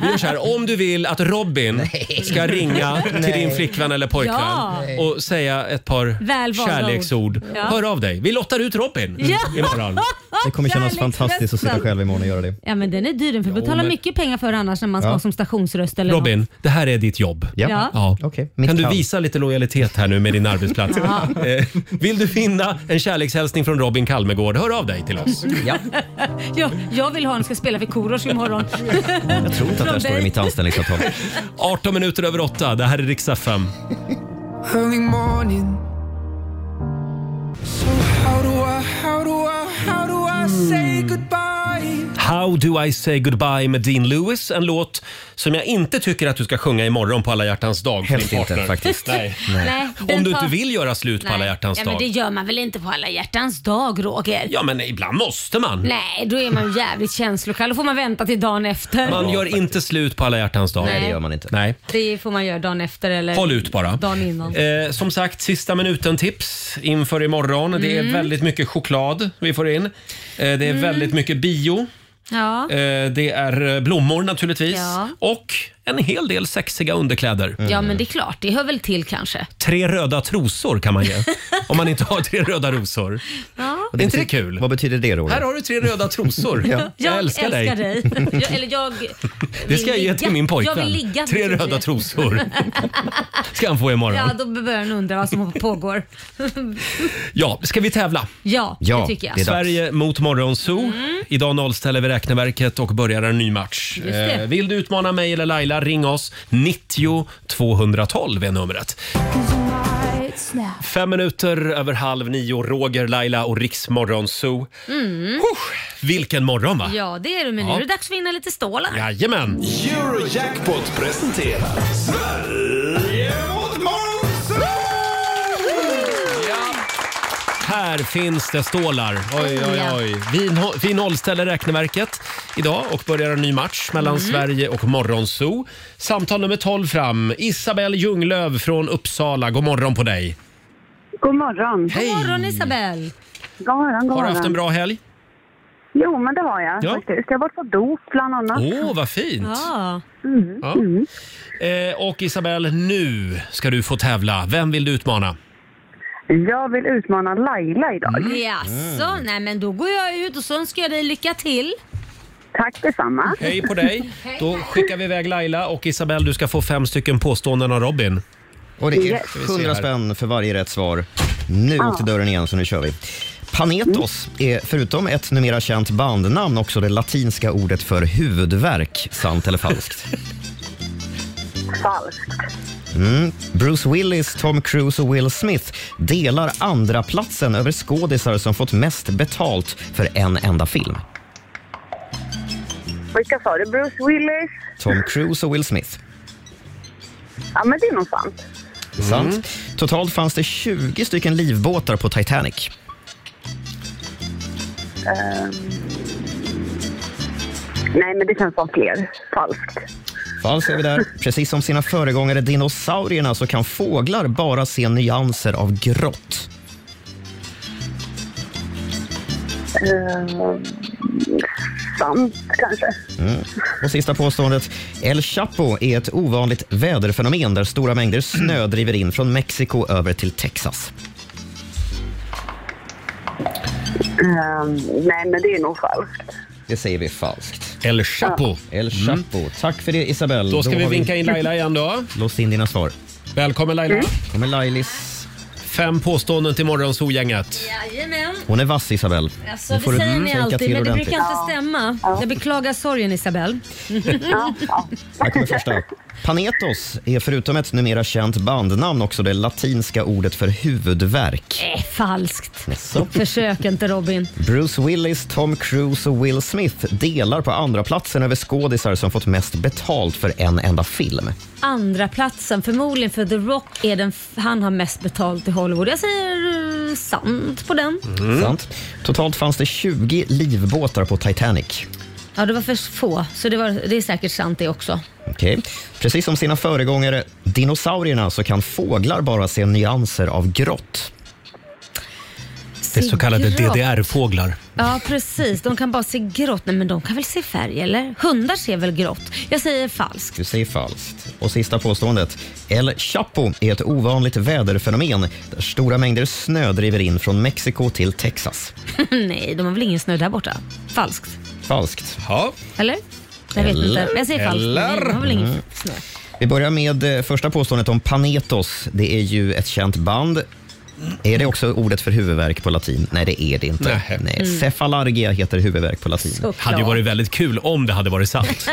[SPEAKER 1] Vi gör så här, om du vill att Robin ska ringa till
[SPEAKER 6] Nej.
[SPEAKER 1] din flickvän eller pojkvän
[SPEAKER 2] Ja.
[SPEAKER 1] och säga ett par
[SPEAKER 2] Välvalda
[SPEAKER 1] kärleksord.
[SPEAKER 2] ord. Ja.
[SPEAKER 1] Hör av dig. Vi lottar ut Robin
[SPEAKER 2] Ja.
[SPEAKER 1] imorgon.
[SPEAKER 6] Det kommer kännas fantastiskt att sitta själv imorgon och göra det.
[SPEAKER 2] Ja men den är dyr. Den får betala
[SPEAKER 1] men-
[SPEAKER 2] mycket pengar för annars när man ska
[SPEAKER 1] Ja.
[SPEAKER 2] ha som stationsröst eller något.
[SPEAKER 1] Robin, det här är ditt jobb.
[SPEAKER 2] Ja. Ja.
[SPEAKER 6] mitt
[SPEAKER 1] Kan du
[SPEAKER 6] kall.
[SPEAKER 1] visa lite lojalitet här nu med din arbetsplats?
[SPEAKER 2] Ja.
[SPEAKER 1] Eh, Vill du vinna en kärlekshälsning från Robin Kalmegård, hör av dig till oss.
[SPEAKER 2] Ja, jag vill ha en ska spela för Korosh imorgon.
[SPEAKER 6] Jag tror inte att det här står i mitt anställningsavtal.
[SPEAKER 1] 18 minuter över 8, det här är riksdag 5.
[SPEAKER 7] Early morning. So how do I, how do I, how do I
[SPEAKER 1] Mm.
[SPEAKER 7] say goodbye?
[SPEAKER 1] How do I say goodbye med Dean Lewis, en låt som jag inte tycker att du ska sjunga imorgon på alla hjärtans dag. för
[SPEAKER 6] Helst
[SPEAKER 1] din
[SPEAKER 6] inte,
[SPEAKER 1] partner.
[SPEAKER 6] faktiskt.
[SPEAKER 1] Nej.
[SPEAKER 2] Nej, den
[SPEAKER 1] Om du
[SPEAKER 2] tar-
[SPEAKER 1] inte vill göra slut på alla hjärtans
[SPEAKER 2] ja,
[SPEAKER 1] dag.
[SPEAKER 2] Men det gör man väl inte på alla hjärtans dag Roger?
[SPEAKER 1] Ja, men ibland måste man.
[SPEAKER 2] Nej, då är man ju jävligt känslokall. Då får man vänta till dagen efter.
[SPEAKER 1] Man gör inte slut på alla hjärtans dag.
[SPEAKER 2] Nej, det gör man
[SPEAKER 1] inte. Nej.
[SPEAKER 2] Det får man göra dagen efter eller
[SPEAKER 1] Håll ut bara.
[SPEAKER 2] dagen innan.
[SPEAKER 1] Eh, som sagt, sista minuten-tips inför imorgon. Det är
[SPEAKER 2] Mm.
[SPEAKER 1] väldigt mycket choklad vi får in. Eh, det är
[SPEAKER 2] Mm.
[SPEAKER 1] väldigt mycket bio.
[SPEAKER 2] Ja.
[SPEAKER 1] Eh, det är eh, blommor naturligtvis.
[SPEAKER 2] Ja.
[SPEAKER 1] Och en hel del sexiga underkläder.
[SPEAKER 2] ja, men det är klart. Det hör väl till kanske.
[SPEAKER 1] Tre röda trosor kan man ge. om man inte har tre röda rosor.
[SPEAKER 2] Ja.
[SPEAKER 1] Är inte det kul? Vad
[SPEAKER 6] betyder det Roger?
[SPEAKER 1] Här har du tre röda trosor.
[SPEAKER 6] Ja.
[SPEAKER 1] Jag älskar, dig.
[SPEAKER 2] jag, eller jag vill
[SPEAKER 1] Det ska jag ge
[SPEAKER 2] ligga.
[SPEAKER 1] till min pojkvän.
[SPEAKER 2] Jag vill ligga.
[SPEAKER 1] Tre
[SPEAKER 2] betyder
[SPEAKER 1] röda
[SPEAKER 2] det.
[SPEAKER 1] trosor ska han få imorgon.
[SPEAKER 2] Ja,
[SPEAKER 1] Ja,
[SPEAKER 2] då börjar han undra vad som pågår.
[SPEAKER 1] ska vi tävla?
[SPEAKER 2] ja, det tycker jag. Mm.
[SPEAKER 1] Sverige mot Morgonzoo. Idag nollställer vi räkneverket och börjar en ny match.
[SPEAKER 2] Just det.
[SPEAKER 1] Eh, vill du utmana mig eller Laila, ring oss. 90 212 är numret. Fem minuter över halv nio, Roger, Laila och Riks Morgonzoo.
[SPEAKER 2] Mm.
[SPEAKER 1] Vilken morgon va?
[SPEAKER 2] Ja, det är det. Men nu
[SPEAKER 1] Ja.
[SPEAKER 2] är det dags att vinna lite stålar.
[SPEAKER 1] Jajamän!
[SPEAKER 16] Eurojackpot presenterar Sverige mot Måns!
[SPEAKER 1] Här finns det stålar. Oj, oj,
[SPEAKER 3] Ja.
[SPEAKER 1] oj. Vi, no- vi nollställer räkneverket idag och börjar en ny match mellan
[SPEAKER 3] Mm.
[SPEAKER 1] Sverige och Morgonzoo. Samtal nummer 12 fram. Isabelle Ljunglöf från Uppsala. God morgon på dig.
[SPEAKER 8] God morgon.
[SPEAKER 1] Hej.
[SPEAKER 2] God morgon Isabelle.
[SPEAKER 8] God morgon, god
[SPEAKER 1] Har du
[SPEAKER 8] morgon.
[SPEAKER 1] haft en bra helg?
[SPEAKER 8] Jo, men det har jag
[SPEAKER 1] Ja.
[SPEAKER 8] faktiskt. Jag har varit på dop bland annat.
[SPEAKER 1] Åh, vad fint.
[SPEAKER 2] Ja.
[SPEAKER 8] Mm.
[SPEAKER 1] Ja. Eh, och Isabelle, nu ska du få tävla. Vem vill du utmana?
[SPEAKER 8] Jag vill utmana Laila idag.
[SPEAKER 1] Mm.
[SPEAKER 2] Jaså, alltså- nej men då går jag ut och så önskar jag dig lycka till.
[SPEAKER 8] Tack detsamma.
[SPEAKER 1] Hej på dig. Då skickar vi iväg Laila och Isabelle, du ska få fem stycken påståenden av Robin.
[SPEAKER 6] Och det är
[SPEAKER 1] Ska vi se
[SPEAKER 6] 100
[SPEAKER 1] här.
[SPEAKER 6] spänn för varje rätt svar. Nu
[SPEAKER 1] Ja.
[SPEAKER 6] åkte dörren igen, så nu kör vi. Panetos är förutom ett numera känt bandnamn också det latinska ordet för huvudvärk. Sant eller falskt?
[SPEAKER 8] Falskt.
[SPEAKER 6] Mm. Bruce Willis, Tom Cruise och Will Smith delar andra platsen över skådisar som fått mest betalt för en enda film.
[SPEAKER 8] Vilka sa du? Bruce Willis?
[SPEAKER 6] Tom Cruise och Will Smith.
[SPEAKER 8] Ja, men det är nog sant.
[SPEAKER 1] Mm.
[SPEAKER 8] Mm.
[SPEAKER 6] Sant. Totalt fanns det 20 stycken livbåtar på Titanic.
[SPEAKER 8] Ehm. Nej, men det känns som fler. Falskt.
[SPEAKER 6] Falskt är vi där. Precis som sina föregångare dinosaurierna så kan fåglar bara se nyanser av grått.
[SPEAKER 8] Ehm, sant, kanske.
[SPEAKER 6] Mm. Och sista påståendet. El Chapo är ett ovanligt väderfenomen där stora mängder snö driver in från Mexiko över till Texas.
[SPEAKER 8] Ehm, nej, men det är nog falskt.
[SPEAKER 6] Det säger vi falskt.
[SPEAKER 1] El Chapo. Mm.
[SPEAKER 6] El Chapo. Tack för det, Isabel.
[SPEAKER 1] Då ska vi
[SPEAKER 6] har
[SPEAKER 1] vinka in Laila igen då.
[SPEAKER 6] Lås in dina svar.
[SPEAKER 1] Välkommen Laila.
[SPEAKER 6] Mm. Kommer Lailis.
[SPEAKER 1] Fem påståenden till Morgonzoo-gänget.
[SPEAKER 2] Jajamän.
[SPEAKER 6] Hon är vass, Isabelle.
[SPEAKER 2] Alltså,
[SPEAKER 6] Nu
[SPEAKER 2] det
[SPEAKER 6] får du Mm,
[SPEAKER 2] säger ni
[SPEAKER 6] tänka
[SPEAKER 2] alltid,
[SPEAKER 6] till
[SPEAKER 2] men det
[SPEAKER 6] ordentligt.
[SPEAKER 2] brukar inte stämma. Jag beklagar sorgen Isabelle.
[SPEAKER 6] Här kommer första. Panetos är förutom ett numera känt bandnamn också det latinska ordet för huvudvärk.
[SPEAKER 2] Äh, falskt.
[SPEAKER 6] Jaså?
[SPEAKER 2] Försök inte Robin.
[SPEAKER 6] Bruce Willis, Tom Cruise och Will Smith delar på andra platsen över skådisar som fått mest betalt för en enda film.
[SPEAKER 2] Andra platsen förmodligen för The Rock är den f- han har mest betalt i Hollywood. Jag säger eh, sant på den.
[SPEAKER 6] Mm.
[SPEAKER 1] Mm.
[SPEAKER 6] Sant. Totalt fanns det 20 livbåtar på Titanic.
[SPEAKER 2] Ja, det var för få, så det, var, det är säkert sant det också.
[SPEAKER 6] Okej. Precis som sina föregångare dinosaurierna så kan fåglar bara se nyanser av grått.
[SPEAKER 2] Det är så kallade Grått.
[SPEAKER 1] DDR-fåglar.
[SPEAKER 2] Ja, precis. De kan bara se grått. Nej, men de kan väl se färg, eller? Hundar ser väl grått? Jag säger falskt.
[SPEAKER 6] Du säger falskt. Och sista påståendet. El Chapo är ett ovanligt väderfenomen där stora mängder snö driver in från Mexiko till Texas.
[SPEAKER 2] Nej, de har väl ingen snö där borta? Falskt.
[SPEAKER 6] Falskt.
[SPEAKER 1] Ja.
[SPEAKER 2] Eller? Jag vet
[SPEAKER 6] Eller-
[SPEAKER 2] inte. Men jag säger falskt. Nej, de har väl ingen
[SPEAKER 6] Mm.
[SPEAKER 2] snö.
[SPEAKER 6] Vi börjar med eh, första påståendet om Panetos. Det är ju ett känt band. Är det också ordet för huvudvärk på latin? Nej, det är det inte.
[SPEAKER 1] Nej.
[SPEAKER 6] Nej.
[SPEAKER 1] Mm.
[SPEAKER 6] Cefalargia heter huvudvärk på latin.
[SPEAKER 1] Såklart. Hade ju varit väldigt kul om det hade varit sant.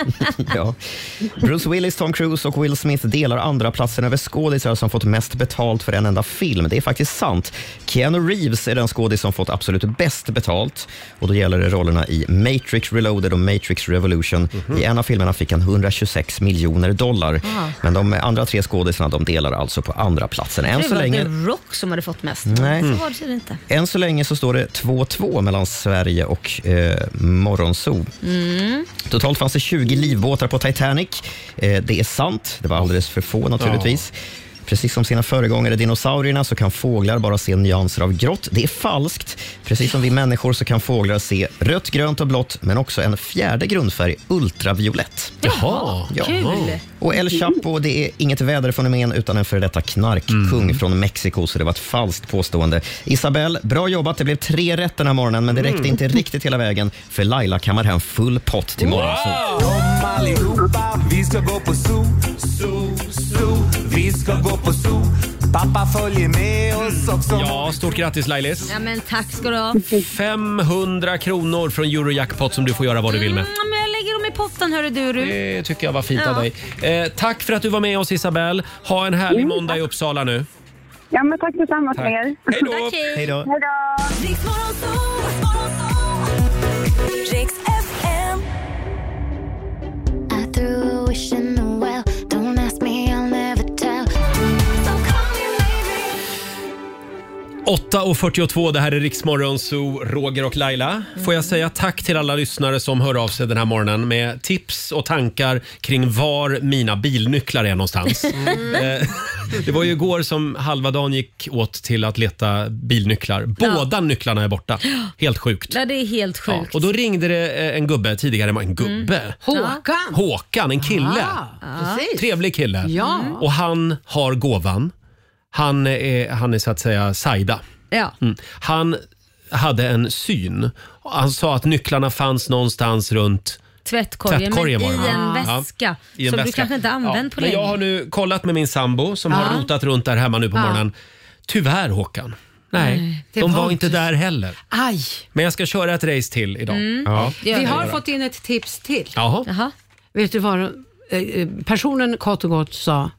[SPEAKER 6] ja. Bruce Willis, Tom Cruise och Will Smith delar andra platsen över skådisar som fått mest betalt för en enda film. Det är faktiskt sant. Keanu Reeves är den skådis som fått absolut bäst betalt. Och Då gäller det rollerna i Matrix Reloaded och Matrix Revolution. I en av filmerna fick han 126 miljoner dollar.
[SPEAKER 2] Mhm. Ah.
[SPEAKER 6] Men de andra tre skådisarna de delar alltså på andra platsen.
[SPEAKER 2] Jag
[SPEAKER 6] Än
[SPEAKER 2] tror
[SPEAKER 6] så
[SPEAKER 2] det var
[SPEAKER 6] länge...
[SPEAKER 2] The Rock som hade fått mest.
[SPEAKER 6] Nej.
[SPEAKER 2] Så
[SPEAKER 6] Mm.
[SPEAKER 2] var det tydligen inte.
[SPEAKER 6] Än så länge så står det 2-2 mellan Sverige och eh, Morgonzoo.
[SPEAKER 2] Mm.
[SPEAKER 6] Totalt fanns det 20 livbåtar på Titanic. Eh, det är sant. Det var alldeles för få naturligtvis. Precis som sina föregångare dinosaurierna så kan fåglar bara se nyanser av grått. Det är falskt. Precis som vi människor så kan fåglar se rött, grönt och blått men också en fjärde grundfärg, ultraviolett.
[SPEAKER 1] Jaha,
[SPEAKER 3] kul.
[SPEAKER 6] Och El Chapo, det är inget väderfenomen utan en före detta knarkkung från Mexiko, så det var ett falskt påstående. Isabel, bra jobbat. Det blev tre rätt den här morgonen, men det räckte
[SPEAKER 3] Mm.
[SPEAKER 6] inte riktigt hela vägen, för Laila kammar hem full pott till morgon.
[SPEAKER 3] Kom allihopa, vi ska gå på zoo, zoo, zoo. Vi ska gå på zoo. Pappa följer med oss också.
[SPEAKER 1] Ja, stort grattis Lailis.
[SPEAKER 2] Ja, men tack ska du ha.
[SPEAKER 1] 500 kronor från Eurojackpot som du får göra vad du vill med.
[SPEAKER 2] Ja, men jag lägger dem i potten, hörru du. du.
[SPEAKER 1] Det tycker jag var fint av
[SPEAKER 2] Mm. Ja. Mm,
[SPEAKER 1] dig. Eh, tack för att du var med oss Isabelle. Ha en härlig måndag i Uppsala nu.
[SPEAKER 8] Ja, men tack detsamma
[SPEAKER 1] Tack.
[SPEAKER 8] till er.
[SPEAKER 1] Hej då. Tack, hej. Hej då.
[SPEAKER 8] Hej då.
[SPEAKER 3] Rix FM. I threw a wish in the well. Don't ask me, I'll never tell. So call me maybe.
[SPEAKER 1] 8.42, det här är Riksmorgon Zoo, Roger och Laila. Får jag säga tack till alla lyssnare som hör av sig den här morgonen med tips och tankar kring var mina bilnycklar är någonstans. Eh, Det var ju igår som halva dagen gick åt till att leta bilnycklar. Båda nycklarna är borta. Helt sjukt.
[SPEAKER 2] Ja, det är helt
[SPEAKER 1] Ja,
[SPEAKER 2] sjukt.
[SPEAKER 1] och då ringde det eh, en gubbe tidigare. En gubbe?
[SPEAKER 2] Mm. Håkan.
[SPEAKER 1] Håkan, en kille.
[SPEAKER 2] Ah,
[SPEAKER 12] precis.
[SPEAKER 1] Trevlig kille.
[SPEAKER 12] Ja.
[SPEAKER 1] Och han har gåvan. Han är, han är så att säga Saida.
[SPEAKER 2] Ja.
[SPEAKER 1] Mm. Han hade en syn. Han sa att nycklarna fanns någonstans runt
[SPEAKER 2] Tvättkorgen,
[SPEAKER 1] Tvättkorgen var
[SPEAKER 2] men
[SPEAKER 1] det,
[SPEAKER 2] i
[SPEAKER 1] va?
[SPEAKER 2] en
[SPEAKER 1] Ja.
[SPEAKER 2] väska
[SPEAKER 1] I en
[SPEAKER 2] som du
[SPEAKER 1] väska.
[SPEAKER 2] kanske inte använt på
[SPEAKER 1] Men
[SPEAKER 2] länge.
[SPEAKER 1] jag har nu kollat med min sambo som
[SPEAKER 2] Ja.
[SPEAKER 1] har rotat runt där hemma nu på
[SPEAKER 2] Ja.
[SPEAKER 1] morgonen. Tyvärr Håkan. Nej,
[SPEAKER 12] Nej, det
[SPEAKER 1] de
[SPEAKER 12] var
[SPEAKER 1] var inte där heller.
[SPEAKER 12] Aj!
[SPEAKER 1] Men jag ska köra ett race till idag.
[SPEAKER 12] Mm.
[SPEAKER 1] Ja.
[SPEAKER 12] Vi har fått in ett tips till.
[SPEAKER 1] Jaha.
[SPEAKER 12] Vet du vad eh, personen kort och gott sa?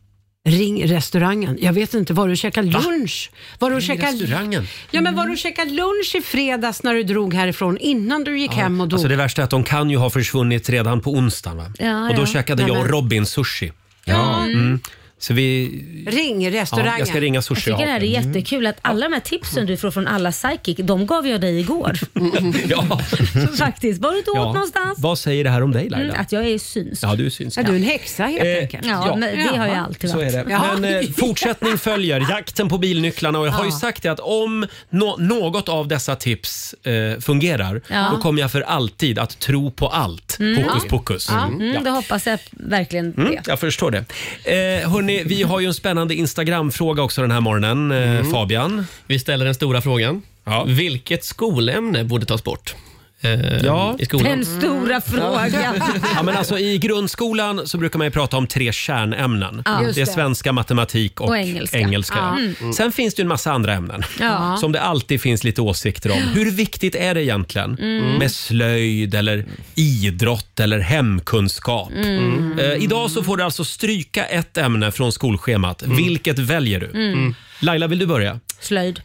[SPEAKER 12] Ring restaurangen. Jag vet inte, var du och käkade lunch? Var du och
[SPEAKER 1] Ring
[SPEAKER 12] käkade-
[SPEAKER 1] restaurangen? Mm.
[SPEAKER 12] Ja, men var du och käkade lunch i fredags när du drog härifrån innan du gick hem och dog?
[SPEAKER 1] Alltså det värsta är att de kan ju ha försvunnit redan på onsdagen. Va?
[SPEAKER 12] Ja,
[SPEAKER 1] och då
[SPEAKER 12] ja.
[SPEAKER 1] käkade jag
[SPEAKER 12] Nämen.
[SPEAKER 1] och Robin sushi.
[SPEAKER 12] Ja.
[SPEAKER 1] Mm. Så vi...
[SPEAKER 12] Ring
[SPEAKER 1] restaurangen. Ja, jag Mm. ska ringa sushi
[SPEAKER 2] Jag tycker det här är
[SPEAKER 1] Haken.
[SPEAKER 2] jättekul att alla de här tipsen du får från alla psychic, de gav jag dig igår.
[SPEAKER 1] ja.
[SPEAKER 2] Faktiskt. Var du inte åt
[SPEAKER 1] Ja.
[SPEAKER 2] någonstans?
[SPEAKER 1] Vad säger det här om dig Laila?
[SPEAKER 2] Mm, att jag är synsk.
[SPEAKER 1] Ja, du är synsk.
[SPEAKER 2] Ja, du är en
[SPEAKER 12] häxa
[SPEAKER 2] helt enkelt. Ja, men det har jag alltid
[SPEAKER 1] Eh, Så är
[SPEAKER 2] varit.
[SPEAKER 1] det.
[SPEAKER 2] Ja.
[SPEAKER 1] Men eh, fortsättning följer. Jakten på bilnycklarna. Och jag har ju
[SPEAKER 2] Ja.
[SPEAKER 1] sagt det att om nå- något av dessa tips eh, fungerar,
[SPEAKER 2] Ja.
[SPEAKER 1] då kommer jag för alltid att tro på allt.
[SPEAKER 2] Mm.
[SPEAKER 1] Hokus
[SPEAKER 2] Ja.
[SPEAKER 1] pokus.
[SPEAKER 2] Ja,
[SPEAKER 1] Mm.
[SPEAKER 2] mm,
[SPEAKER 1] Ja.
[SPEAKER 2] det hoppas jag verkligen
[SPEAKER 1] Mm,
[SPEAKER 2] det.
[SPEAKER 1] jag förstår det. Eh, hörni, vi har ju en spännande Instagram-fråga också den här morgonen. Eh, Fabian?
[SPEAKER 17] Mm. Vi ställer den stora frågan. Vilket skolämne borde tas bort? eh,
[SPEAKER 1] Ja.
[SPEAKER 17] I skolan.
[SPEAKER 2] Den stora frågan.
[SPEAKER 1] Ja, men alltså, I grundskolan så brukar man ju prata om tre kärnämnen.
[SPEAKER 2] Ja. Just
[SPEAKER 1] Det är
[SPEAKER 2] det.
[SPEAKER 1] svenska, matematik och,
[SPEAKER 2] Och engelska.
[SPEAKER 1] ja.
[SPEAKER 2] Ja. Mm.
[SPEAKER 1] Sen finns det ju en massa andra ämnen
[SPEAKER 2] Ja.
[SPEAKER 1] som det alltid finns lite åsikter om. Hur viktigt är det egentligen
[SPEAKER 2] Mm.
[SPEAKER 1] med slöjd eller idrott eller hemkunskap?
[SPEAKER 3] Mm.
[SPEAKER 1] Eh, idag så får du alltså stryka ett ämne från skolschemat. Vilket väljer du?
[SPEAKER 2] Mm.
[SPEAKER 1] Laila, vill du börja?
[SPEAKER 2] Slöjd.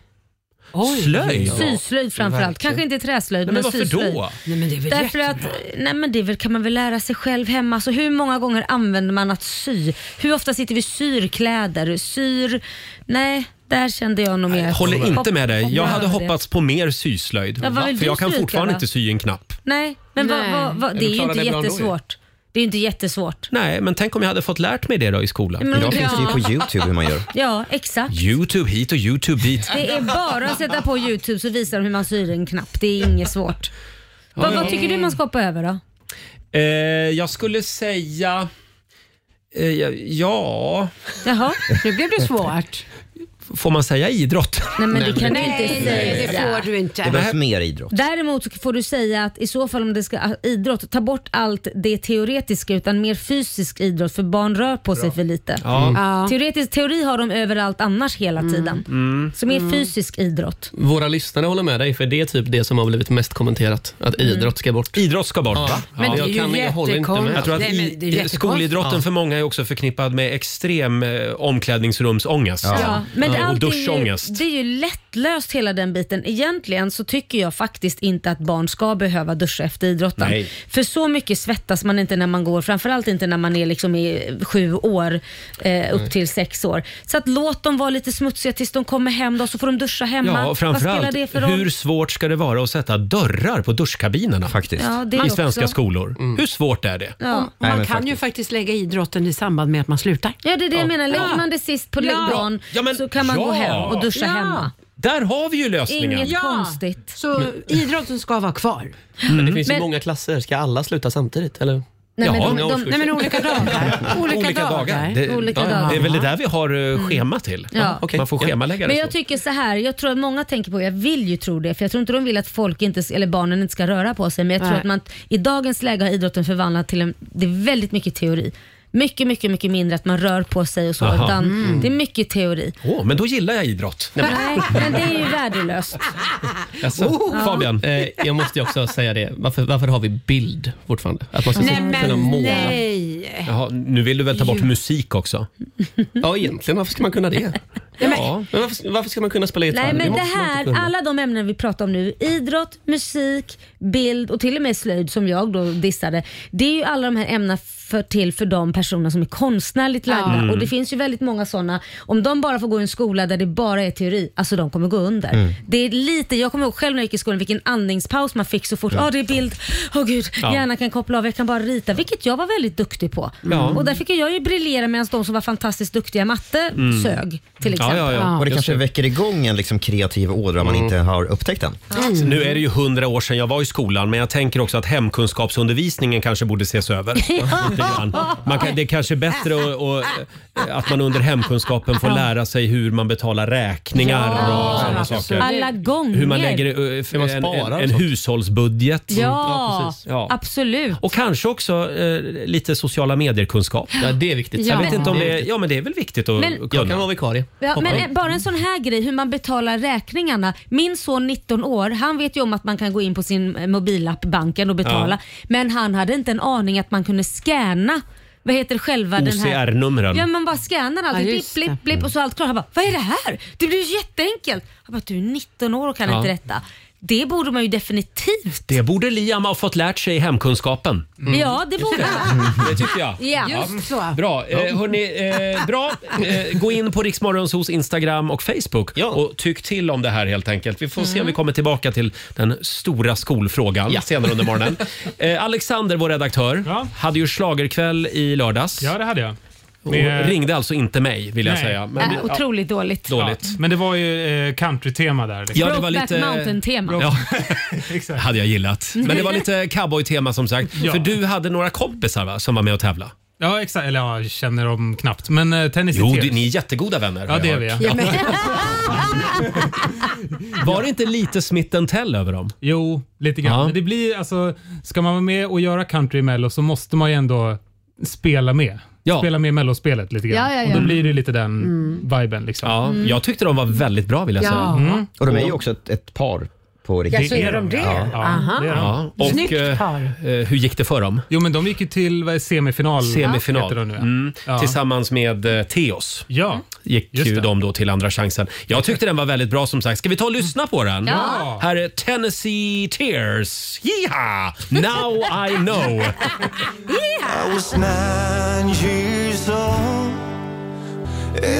[SPEAKER 1] Slöjd?
[SPEAKER 2] Syslöjd framförallt. Kanske inte träslöjd,
[SPEAKER 1] Nej, men
[SPEAKER 2] men,
[SPEAKER 1] varför
[SPEAKER 2] syslöjd.
[SPEAKER 1] då?
[SPEAKER 12] Nej, men det är väl
[SPEAKER 2] Därför att, nej men det är väl, kan man väl lära sig själv hemma. Alltså hur många gånger använder man att sy? Hur ofta sitter vi och syr kläder? Syr... Nej, där kände jag nog mer.
[SPEAKER 1] Håller inte med dig.
[SPEAKER 2] Hopp-
[SPEAKER 1] Jag hade
[SPEAKER 2] hoppar över
[SPEAKER 1] hoppats på mer syslöjd.
[SPEAKER 2] Ja, vad vill
[SPEAKER 1] för
[SPEAKER 2] du
[SPEAKER 1] jag kan
[SPEAKER 2] stryka,
[SPEAKER 1] fortfarande
[SPEAKER 2] va?
[SPEAKER 1] inte sy en knapp.
[SPEAKER 2] Nej, men vad-
[SPEAKER 12] Nej.
[SPEAKER 2] vad- vad- det
[SPEAKER 12] Du
[SPEAKER 2] är ju
[SPEAKER 12] klarar
[SPEAKER 2] inte
[SPEAKER 12] det bra ändå ju.
[SPEAKER 2] jättesvårt. Det är ju inte jättesvårt.
[SPEAKER 1] Nej, men tänk om jag hade fått lärt mig det då i skolan.
[SPEAKER 2] Men Idag finns det ju ja. på
[SPEAKER 1] YouTube hur man gör.
[SPEAKER 2] Ja, exakt.
[SPEAKER 1] Youtube hit och Youtube dit.
[SPEAKER 2] Det är bara att sätta på Youtube så visar de hur man syr en knapp. Det är inget svårt. vad,
[SPEAKER 1] ja.
[SPEAKER 2] vad tycker du man ska hoppa över då?
[SPEAKER 1] Eh, jag skulle säga... Eh, ja- ja...
[SPEAKER 2] Jaha,
[SPEAKER 12] nu blev det svårt.
[SPEAKER 1] Får man säga idrott?
[SPEAKER 2] Nej, men det kan du
[SPEAKER 12] Nej,
[SPEAKER 2] inte
[SPEAKER 12] nej,
[SPEAKER 2] säga.
[SPEAKER 12] det får du inte.
[SPEAKER 1] mer idrott.
[SPEAKER 2] Däremot så får du säga att i så fall om det ska ah, idrott, ta bort allt det teoretiska utan mer fysisk idrott för barn rör på sig för lite. Mm.
[SPEAKER 14] Ja. Ja.
[SPEAKER 2] Teoretisk teori har de överallt annars hela tiden.
[SPEAKER 17] Mm.
[SPEAKER 2] Så mer fysisk idrott.
[SPEAKER 17] Våra lyssnare håller med dig, för det är typ det som har blivit mest kommenterat. Att
[SPEAKER 2] Mm.
[SPEAKER 17] idrott ska bort.
[SPEAKER 1] Idrott ska bort,
[SPEAKER 17] ja.
[SPEAKER 1] va?
[SPEAKER 17] Ja.
[SPEAKER 1] Men
[SPEAKER 2] det är ju
[SPEAKER 17] jag håller inte med.
[SPEAKER 1] Jag tror att i, skolidrotten för många är också förknippad med extrem eh, omklädningsrumsångest.
[SPEAKER 2] Ja. Men
[SPEAKER 1] Eh, och
[SPEAKER 2] allt är ju,
[SPEAKER 1] duschångest.
[SPEAKER 2] det är ju lättlöst hela den biten. Egentligen så tycker jag faktiskt inte att barn ska behöva duscha efter idrotten.
[SPEAKER 3] Nej.
[SPEAKER 2] För så mycket svettas man inte när man går, framförallt inte när man är liksom i sju år eh, upp till sex år. Så att låt dem vara lite smutsiga tills de kommer hem då, så får de duscha hemma.
[SPEAKER 1] Ja, och
[SPEAKER 2] Vad
[SPEAKER 1] framförallt,
[SPEAKER 2] spelar det för roll?
[SPEAKER 1] hur svårt ska det vara att sätta dörrar på duschkabinerna faktiskt.
[SPEAKER 2] Ja, det
[SPEAKER 1] i
[SPEAKER 2] också.
[SPEAKER 1] svenska skolor?
[SPEAKER 17] Mm.
[SPEAKER 1] Hur svårt är det?
[SPEAKER 12] Och Man kan ju faktiskt lägga idrotten i samband med att man slutar.
[SPEAKER 2] Ja, det är det jag menar. Lägger
[SPEAKER 12] Ja.
[SPEAKER 2] man det sist på
[SPEAKER 12] Ja.
[SPEAKER 2] ja. dagen så kan man gå hem och duscha
[SPEAKER 12] Ja.
[SPEAKER 2] hemma.
[SPEAKER 1] Där har vi ju lösningen.
[SPEAKER 2] Inget konstigt.
[SPEAKER 12] Så idrotten ska vara kvar?
[SPEAKER 1] Mm.
[SPEAKER 17] Men det finns ju
[SPEAKER 2] Men-
[SPEAKER 17] många klasser. Ska alla sluta samtidigt? Eller?
[SPEAKER 2] Nej, men de-
[SPEAKER 17] Inga
[SPEAKER 2] de-
[SPEAKER 17] årskurser.
[SPEAKER 2] nej, men
[SPEAKER 12] olika dagar. Olika, dagar.
[SPEAKER 1] Det,
[SPEAKER 2] Olika
[SPEAKER 1] ja,
[SPEAKER 2] dagar.
[SPEAKER 1] det är väl det där vi har eh,
[SPEAKER 2] Mm.
[SPEAKER 1] schema till.
[SPEAKER 2] Ja.
[SPEAKER 1] Man får schemalägga
[SPEAKER 2] Men
[SPEAKER 1] det
[SPEAKER 2] jag
[SPEAKER 1] så.
[SPEAKER 2] tycker så här, jag tror att många tänker på, jag vill ju tro det, för jag tror inte de vill att folk inte, eller barnen inte ska röra på sig, men jag tror
[SPEAKER 12] Nej.
[SPEAKER 2] att man i dagens läge har idrotten förvandlat till en, det är väldigt mycket teori. Mycket, mycket, mycket mindre att man rör på sig och så,
[SPEAKER 1] Aha.
[SPEAKER 2] utan
[SPEAKER 1] Mm.
[SPEAKER 2] det är mycket teori.
[SPEAKER 1] Åh, men då gillar jag idrott.
[SPEAKER 2] Nej, men det är ju värdelöst.
[SPEAKER 17] Alltså,
[SPEAKER 2] Oh. Fabian.
[SPEAKER 17] Eh, jag måste ju också säga det. Varför, varför har vi bild fortfarande? Att man ska
[SPEAKER 12] Nej,
[SPEAKER 17] kunna
[SPEAKER 12] men
[SPEAKER 17] måla.
[SPEAKER 12] nej.
[SPEAKER 1] Jaha, nu vill du väl ta bort musik också?
[SPEAKER 17] Ja, egentligen. Varför ska man kunna det? Ja, men varför, varför ska man kunna spela gitarr?
[SPEAKER 2] Nej men det
[SPEAKER 17] måste man inte
[SPEAKER 2] här,
[SPEAKER 17] kunna.
[SPEAKER 2] alla de ämnen vi pratar om nu, idrott, musik, bild och till och med slöjd som jag då dissade. Det är ju alla de här ämnena för, till för de personer som är konstnärligt lagda.
[SPEAKER 3] Mm.
[SPEAKER 2] Och det finns ju väldigt många sådana. Om de bara får gå i en skola där det bara är teori, alltså de kommer gå under.
[SPEAKER 3] Mm.
[SPEAKER 2] Det är lite, jag kommer ihåg själv när jag gick i skolan vilken andningspaus man fick så fort. Ja,
[SPEAKER 3] Ja.
[SPEAKER 2] det är bild. Åh gud,
[SPEAKER 3] Ja.
[SPEAKER 2] hjärnan kan koppla av. Jag kan bara rita. Vilket jag var väldigt duktig på.
[SPEAKER 6] Ja.
[SPEAKER 2] Och där fick jag ju briljera medan de som var fantastiskt duktiga i matte
[SPEAKER 6] Mm.
[SPEAKER 2] sög till exempel.
[SPEAKER 6] Och det
[SPEAKER 1] Just
[SPEAKER 6] kanske
[SPEAKER 1] det.
[SPEAKER 6] väcker igång en liksom kreativ ådra man inte har upptäckt än.
[SPEAKER 1] Så Mm. Nu är det ju hundra år sedan jag var i skolan men jag tänker också att hemkunskapsundervisningen kanske borde ses över.
[SPEAKER 3] Ja.
[SPEAKER 1] Lite grann. Man kan, det är kanske är bättre att, och, att man under hemkunskapen får lära sig hur man betalar räkningar
[SPEAKER 2] Ja,
[SPEAKER 1] och sådana
[SPEAKER 2] absolut.
[SPEAKER 1] saker.
[SPEAKER 2] Alla gånger.
[SPEAKER 1] Hur man lägger eh,
[SPEAKER 17] Hur man
[SPEAKER 1] en, en,
[SPEAKER 17] sparar och
[SPEAKER 1] en
[SPEAKER 17] sånt.
[SPEAKER 1] hushållsbudget.
[SPEAKER 2] Ja,
[SPEAKER 1] Ja.
[SPEAKER 2] absolut.
[SPEAKER 1] Och kanske också eh, lite sociala medierkunskap.
[SPEAKER 2] Ja,
[SPEAKER 17] det är viktigt.
[SPEAKER 1] Jag
[SPEAKER 2] Ja.
[SPEAKER 1] vet inte om
[SPEAKER 2] Det är
[SPEAKER 1] det, ja, men det är väl viktigt att
[SPEAKER 2] Men-
[SPEAKER 1] kunna.
[SPEAKER 2] Jag kan
[SPEAKER 17] vara vikarie.
[SPEAKER 2] Ja, men eh, bara en sån här grej, hur man betalar räkningarna. Min son 19 år, han vet ju om att man kan gå in på sin eh, mobilapp, banken och betala. Men han hade inte en aning att man kunde scanna vad heter själva den här...
[SPEAKER 1] OCR-numren.
[SPEAKER 2] Ja, man bara scannar allting.
[SPEAKER 3] Ja,
[SPEAKER 2] blipp,
[SPEAKER 3] just
[SPEAKER 2] blipp, blipp och så allt klart. Han bara, vad är det här? Det blir ju jätteenkelt. Jag bara, du är 19 år och kan
[SPEAKER 1] Ja.
[SPEAKER 2] inte detta. Det borde man ju definitivt.
[SPEAKER 1] Det borde Liam ha fått lärt sig i hemkunskapen.
[SPEAKER 2] Mm. Ja, det borde man.
[SPEAKER 1] Mm. Det tycker jag.
[SPEAKER 2] Ja. Just så.
[SPEAKER 1] Bra. Eh, hörni, eh, bra. Eh, gå in på Riksmorgonsos Instagram och Facebook och tyck till om det här helt enkelt. Vi får se om vi kommer tillbaka till den stora skolfrågan senare under morgonen. Eh, Alexander, vår redaktör, hade ju schlagerkväll i lördags. Ja,
[SPEAKER 11] det hade jag.
[SPEAKER 1] Och
[SPEAKER 11] Med-
[SPEAKER 1] ringde alltså inte mig, vill jag
[SPEAKER 11] Nej.
[SPEAKER 1] säga. Men,
[SPEAKER 2] Äh, otroligt dåligt.
[SPEAKER 1] Dåligt.
[SPEAKER 11] Men det var ju eh, countrytema där. liksom.
[SPEAKER 1] Ja, det var
[SPEAKER 2] Brokeback
[SPEAKER 1] lite-
[SPEAKER 2] Mountain-tema.
[SPEAKER 1] Ja. hade jag gillat. Men det var lite cowboytema som sagt.
[SPEAKER 11] Ja.
[SPEAKER 1] För du hade några kompisar va, som var med och tävlade.
[SPEAKER 11] Ja, exakt. Eller ja, jag känner dem knappt. Men eh, tennis
[SPEAKER 1] Jo,
[SPEAKER 11] är
[SPEAKER 1] det- ni är jättegoda vänner.
[SPEAKER 11] Ja,
[SPEAKER 1] har
[SPEAKER 11] det
[SPEAKER 1] jag
[SPEAKER 11] är vi.
[SPEAKER 1] hört.
[SPEAKER 11] Ja.
[SPEAKER 1] Var det inte lite Smith Tell över dem?
[SPEAKER 11] Jo, lite grann.
[SPEAKER 1] Ja.
[SPEAKER 11] Men det blir, alltså, ska man vara med och göra country i Mello så måste man ju ändå spela med. Spela med i Mellospelet lite grann.
[SPEAKER 3] Ja, ja,
[SPEAKER 11] Och
[SPEAKER 3] ja.
[SPEAKER 11] då blir det lite den
[SPEAKER 3] Mm.
[SPEAKER 11] viben. Liksom.
[SPEAKER 1] Ja,
[SPEAKER 3] Mm.
[SPEAKER 1] Jag tyckte de var väldigt bra vill jag
[SPEAKER 11] Ja.
[SPEAKER 1] säga.
[SPEAKER 11] Mm.
[SPEAKER 6] Och de är ju också ett, ett par på riktigt.
[SPEAKER 11] Ja, så är de det?
[SPEAKER 6] Ja.
[SPEAKER 11] Ja. Aha. det är de.
[SPEAKER 1] Ja. Och,
[SPEAKER 11] Snyggt
[SPEAKER 1] eh,
[SPEAKER 11] par.
[SPEAKER 1] eh, hur gick det för dem?
[SPEAKER 11] Jo, men de gick ju till vad är, semifinal.
[SPEAKER 1] Semifinal.
[SPEAKER 11] heter de nu, ja.
[SPEAKER 1] Mm.
[SPEAKER 11] Ja.
[SPEAKER 1] Tillsammans med eh, Theos
[SPEAKER 11] ja.
[SPEAKER 1] gick ju de då till andra chansen. Jag tyckte den var väldigt bra som sagt. Ska vi ta och lyssna på den?
[SPEAKER 3] Ja.
[SPEAKER 1] Här är Tennessee Tears. Yeehaw! Now I know.
[SPEAKER 3] I
[SPEAKER 16] was nine years old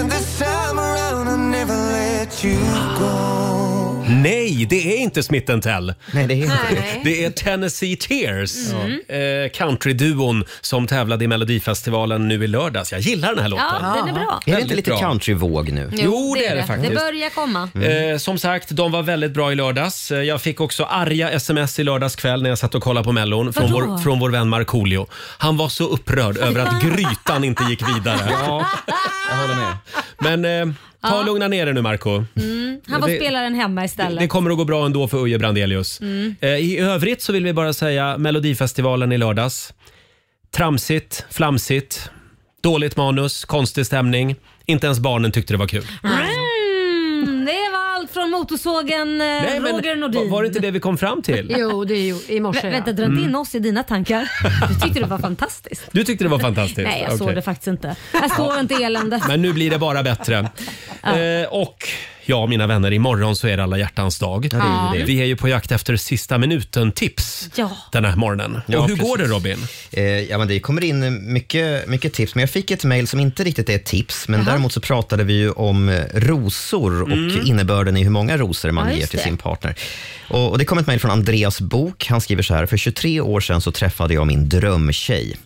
[SPEAKER 16] And this time around I never let you go
[SPEAKER 1] Nej, det är inte Smith Tell.
[SPEAKER 6] Nej, det är
[SPEAKER 3] inte det. Nej.
[SPEAKER 1] Det är Tennessee Tears,
[SPEAKER 3] Mm.
[SPEAKER 1] eh, countryduon som tävlade i Melodifestivalen nu i lördags. Jag gillar den här låten.
[SPEAKER 2] Ja, den är bra.
[SPEAKER 6] Är det
[SPEAKER 1] Väldigt
[SPEAKER 6] inte lite
[SPEAKER 1] bra.
[SPEAKER 6] countryvåg nu?
[SPEAKER 1] Jo, det är det faktiskt.
[SPEAKER 2] Det börjar komma.
[SPEAKER 1] Eh, som sagt, de var väldigt bra i lördags. Eh, Jag fick också arga sms i lördags kväll när jag satt och kollade på Mellon från
[SPEAKER 3] Vadå?
[SPEAKER 1] vår, från vår vän Markoolio. Han var så upprörd över att grytan inte gick vidare.
[SPEAKER 6] Ja, jag håller med.
[SPEAKER 1] Men eh, ta
[SPEAKER 2] Ja.
[SPEAKER 1] och lugna ner dig nu Marco.
[SPEAKER 2] Mm. Han var
[SPEAKER 1] Det-
[SPEAKER 2] spelaren hemma istället.
[SPEAKER 1] Det kommer att gå bra ändå för Uje Brandelius.
[SPEAKER 2] Mm.
[SPEAKER 1] Eh, I övrigt så vill vi bara säga Melodifestivalen i lördags. Tramsigt, flamsigt, dåligt manus, konstig stämning. Inte ens barnen tyckte det var kul.
[SPEAKER 2] Mm, det var allt från motorsågen eh, Roger
[SPEAKER 1] var,
[SPEAKER 2] Nordin.
[SPEAKER 1] var det inte det vi kom fram till?
[SPEAKER 2] Jo, det är ju i morse. Vänta, dra
[SPEAKER 1] Mm.
[SPEAKER 2] inte in oss i dina tankar. Du tyckte det var fantastiskt.
[SPEAKER 1] Du tyckte det var fantastiskt?
[SPEAKER 2] Nej, jag såg
[SPEAKER 1] Okej.
[SPEAKER 2] det faktiskt inte. Jag såg inte eländet.
[SPEAKER 1] Men nu blir det bara bättre. Eh, och ja, mina vänner, imorgon så är det alla hjärtans dag.
[SPEAKER 2] det är ju det.
[SPEAKER 1] Vi är ju på jakt efter sista minuten-tips
[SPEAKER 2] Ja.
[SPEAKER 1] den här morgonen.
[SPEAKER 6] Ja,
[SPEAKER 1] och hur
[SPEAKER 6] precis.
[SPEAKER 1] går det Robin?
[SPEAKER 6] Eh, ja, men det kommer in mycket, mycket tips, men jag fick ett mejl som inte riktigt är ett tips, men däremot så pratade vi ju om eh, rosor och
[SPEAKER 1] Mm.
[SPEAKER 6] innebörden i hur många rosor man
[SPEAKER 3] Ja,
[SPEAKER 6] ger
[SPEAKER 3] just
[SPEAKER 6] till
[SPEAKER 3] det.
[SPEAKER 6] sin partner. Och, och det kom ett mejl från Andreas Bok. Han skriver så här, för 23 år sedan så träffade jag min drömtjej.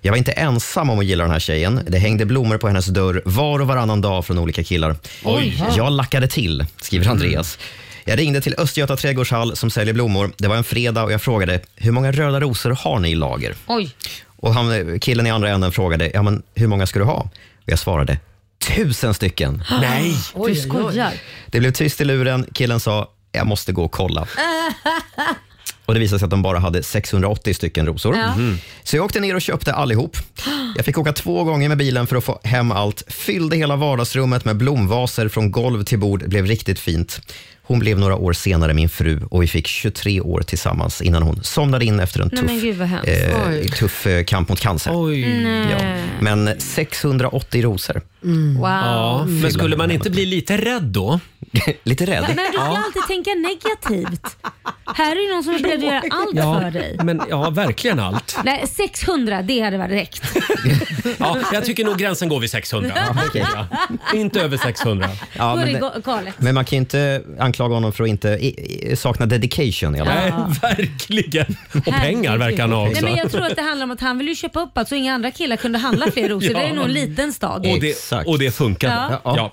[SPEAKER 6] Jag var inte ensam om att gilla den här tjejen. Det hängde blommor på hennes dörr var och varannan dag från olika killar.
[SPEAKER 3] Oj.
[SPEAKER 6] Jag lackade till, skriver Andreas. Jag ringde till Östgöta trädgårdshall som säljer blommor. Det var en fredag och jag frågade, hur många röda rosor har ni i lager?
[SPEAKER 2] Oj.
[SPEAKER 6] Och han, killen i andra änden frågade, ja men hur många ska du ha? Och jag svarade, tusen stycken.
[SPEAKER 2] Du skojar.
[SPEAKER 6] Det blev tyst i luren. Killen sa, jag måste gå och kolla. Och det visade sig att de bara hade 680 stycken rosor.
[SPEAKER 3] Ja. Mhm.
[SPEAKER 6] Så jag åkte ner och köpte allihop. Jag fick åka två gånger med bilen för att få hem allt. Fyllde hela vardagsrummet med blomvaser från golv till bord. Det blev riktigt fint. Hon blev några år senare min fru och vi fick 23 år tillsammans innan hon somnade in efter en
[SPEAKER 2] Nej, men
[SPEAKER 6] tuff,
[SPEAKER 2] gud, vad hemskt.
[SPEAKER 6] eh,
[SPEAKER 2] Oj.
[SPEAKER 6] tuff eh, kamp mot cancer.
[SPEAKER 2] Nej.
[SPEAKER 6] Ja. Men 680 rosor.
[SPEAKER 2] Wow. Mm.
[SPEAKER 1] Ja, men skulle man inte bli lite rädd då?
[SPEAKER 6] Lite rädd?
[SPEAKER 2] Men du ska alltid tänka negativt. Här är ju någon som är beredd att göra allt
[SPEAKER 1] Ja,
[SPEAKER 2] för dig.
[SPEAKER 1] men, ja, verkligen allt.
[SPEAKER 2] Nej, 600 det hade varit rätt.
[SPEAKER 1] Ja, jag tycker nog gränsen går vid 600.
[SPEAKER 2] Ja, okej.
[SPEAKER 1] Ja. Inte över 600.
[SPEAKER 6] Ja,
[SPEAKER 2] Då är
[SPEAKER 6] men,
[SPEAKER 2] det
[SPEAKER 6] det-
[SPEAKER 2] ga- galet.
[SPEAKER 6] men man kan ju inte anklaga honom för att inte i, i, sakna dedication i alla
[SPEAKER 1] Nej,
[SPEAKER 6] fall.
[SPEAKER 1] verkligen. Och pengar verkar han ha
[SPEAKER 2] Nej,
[SPEAKER 6] också.
[SPEAKER 2] men jag tror att det handlar om att han ville ju köpa upp allt så inga andra killar kunde handla fler rosor.
[SPEAKER 1] Ja.
[SPEAKER 2] Det är nog en liten stad.
[SPEAKER 1] Och det, och det funkade.
[SPEAKER 2] Ja.
[SPEAKER 1] Ja.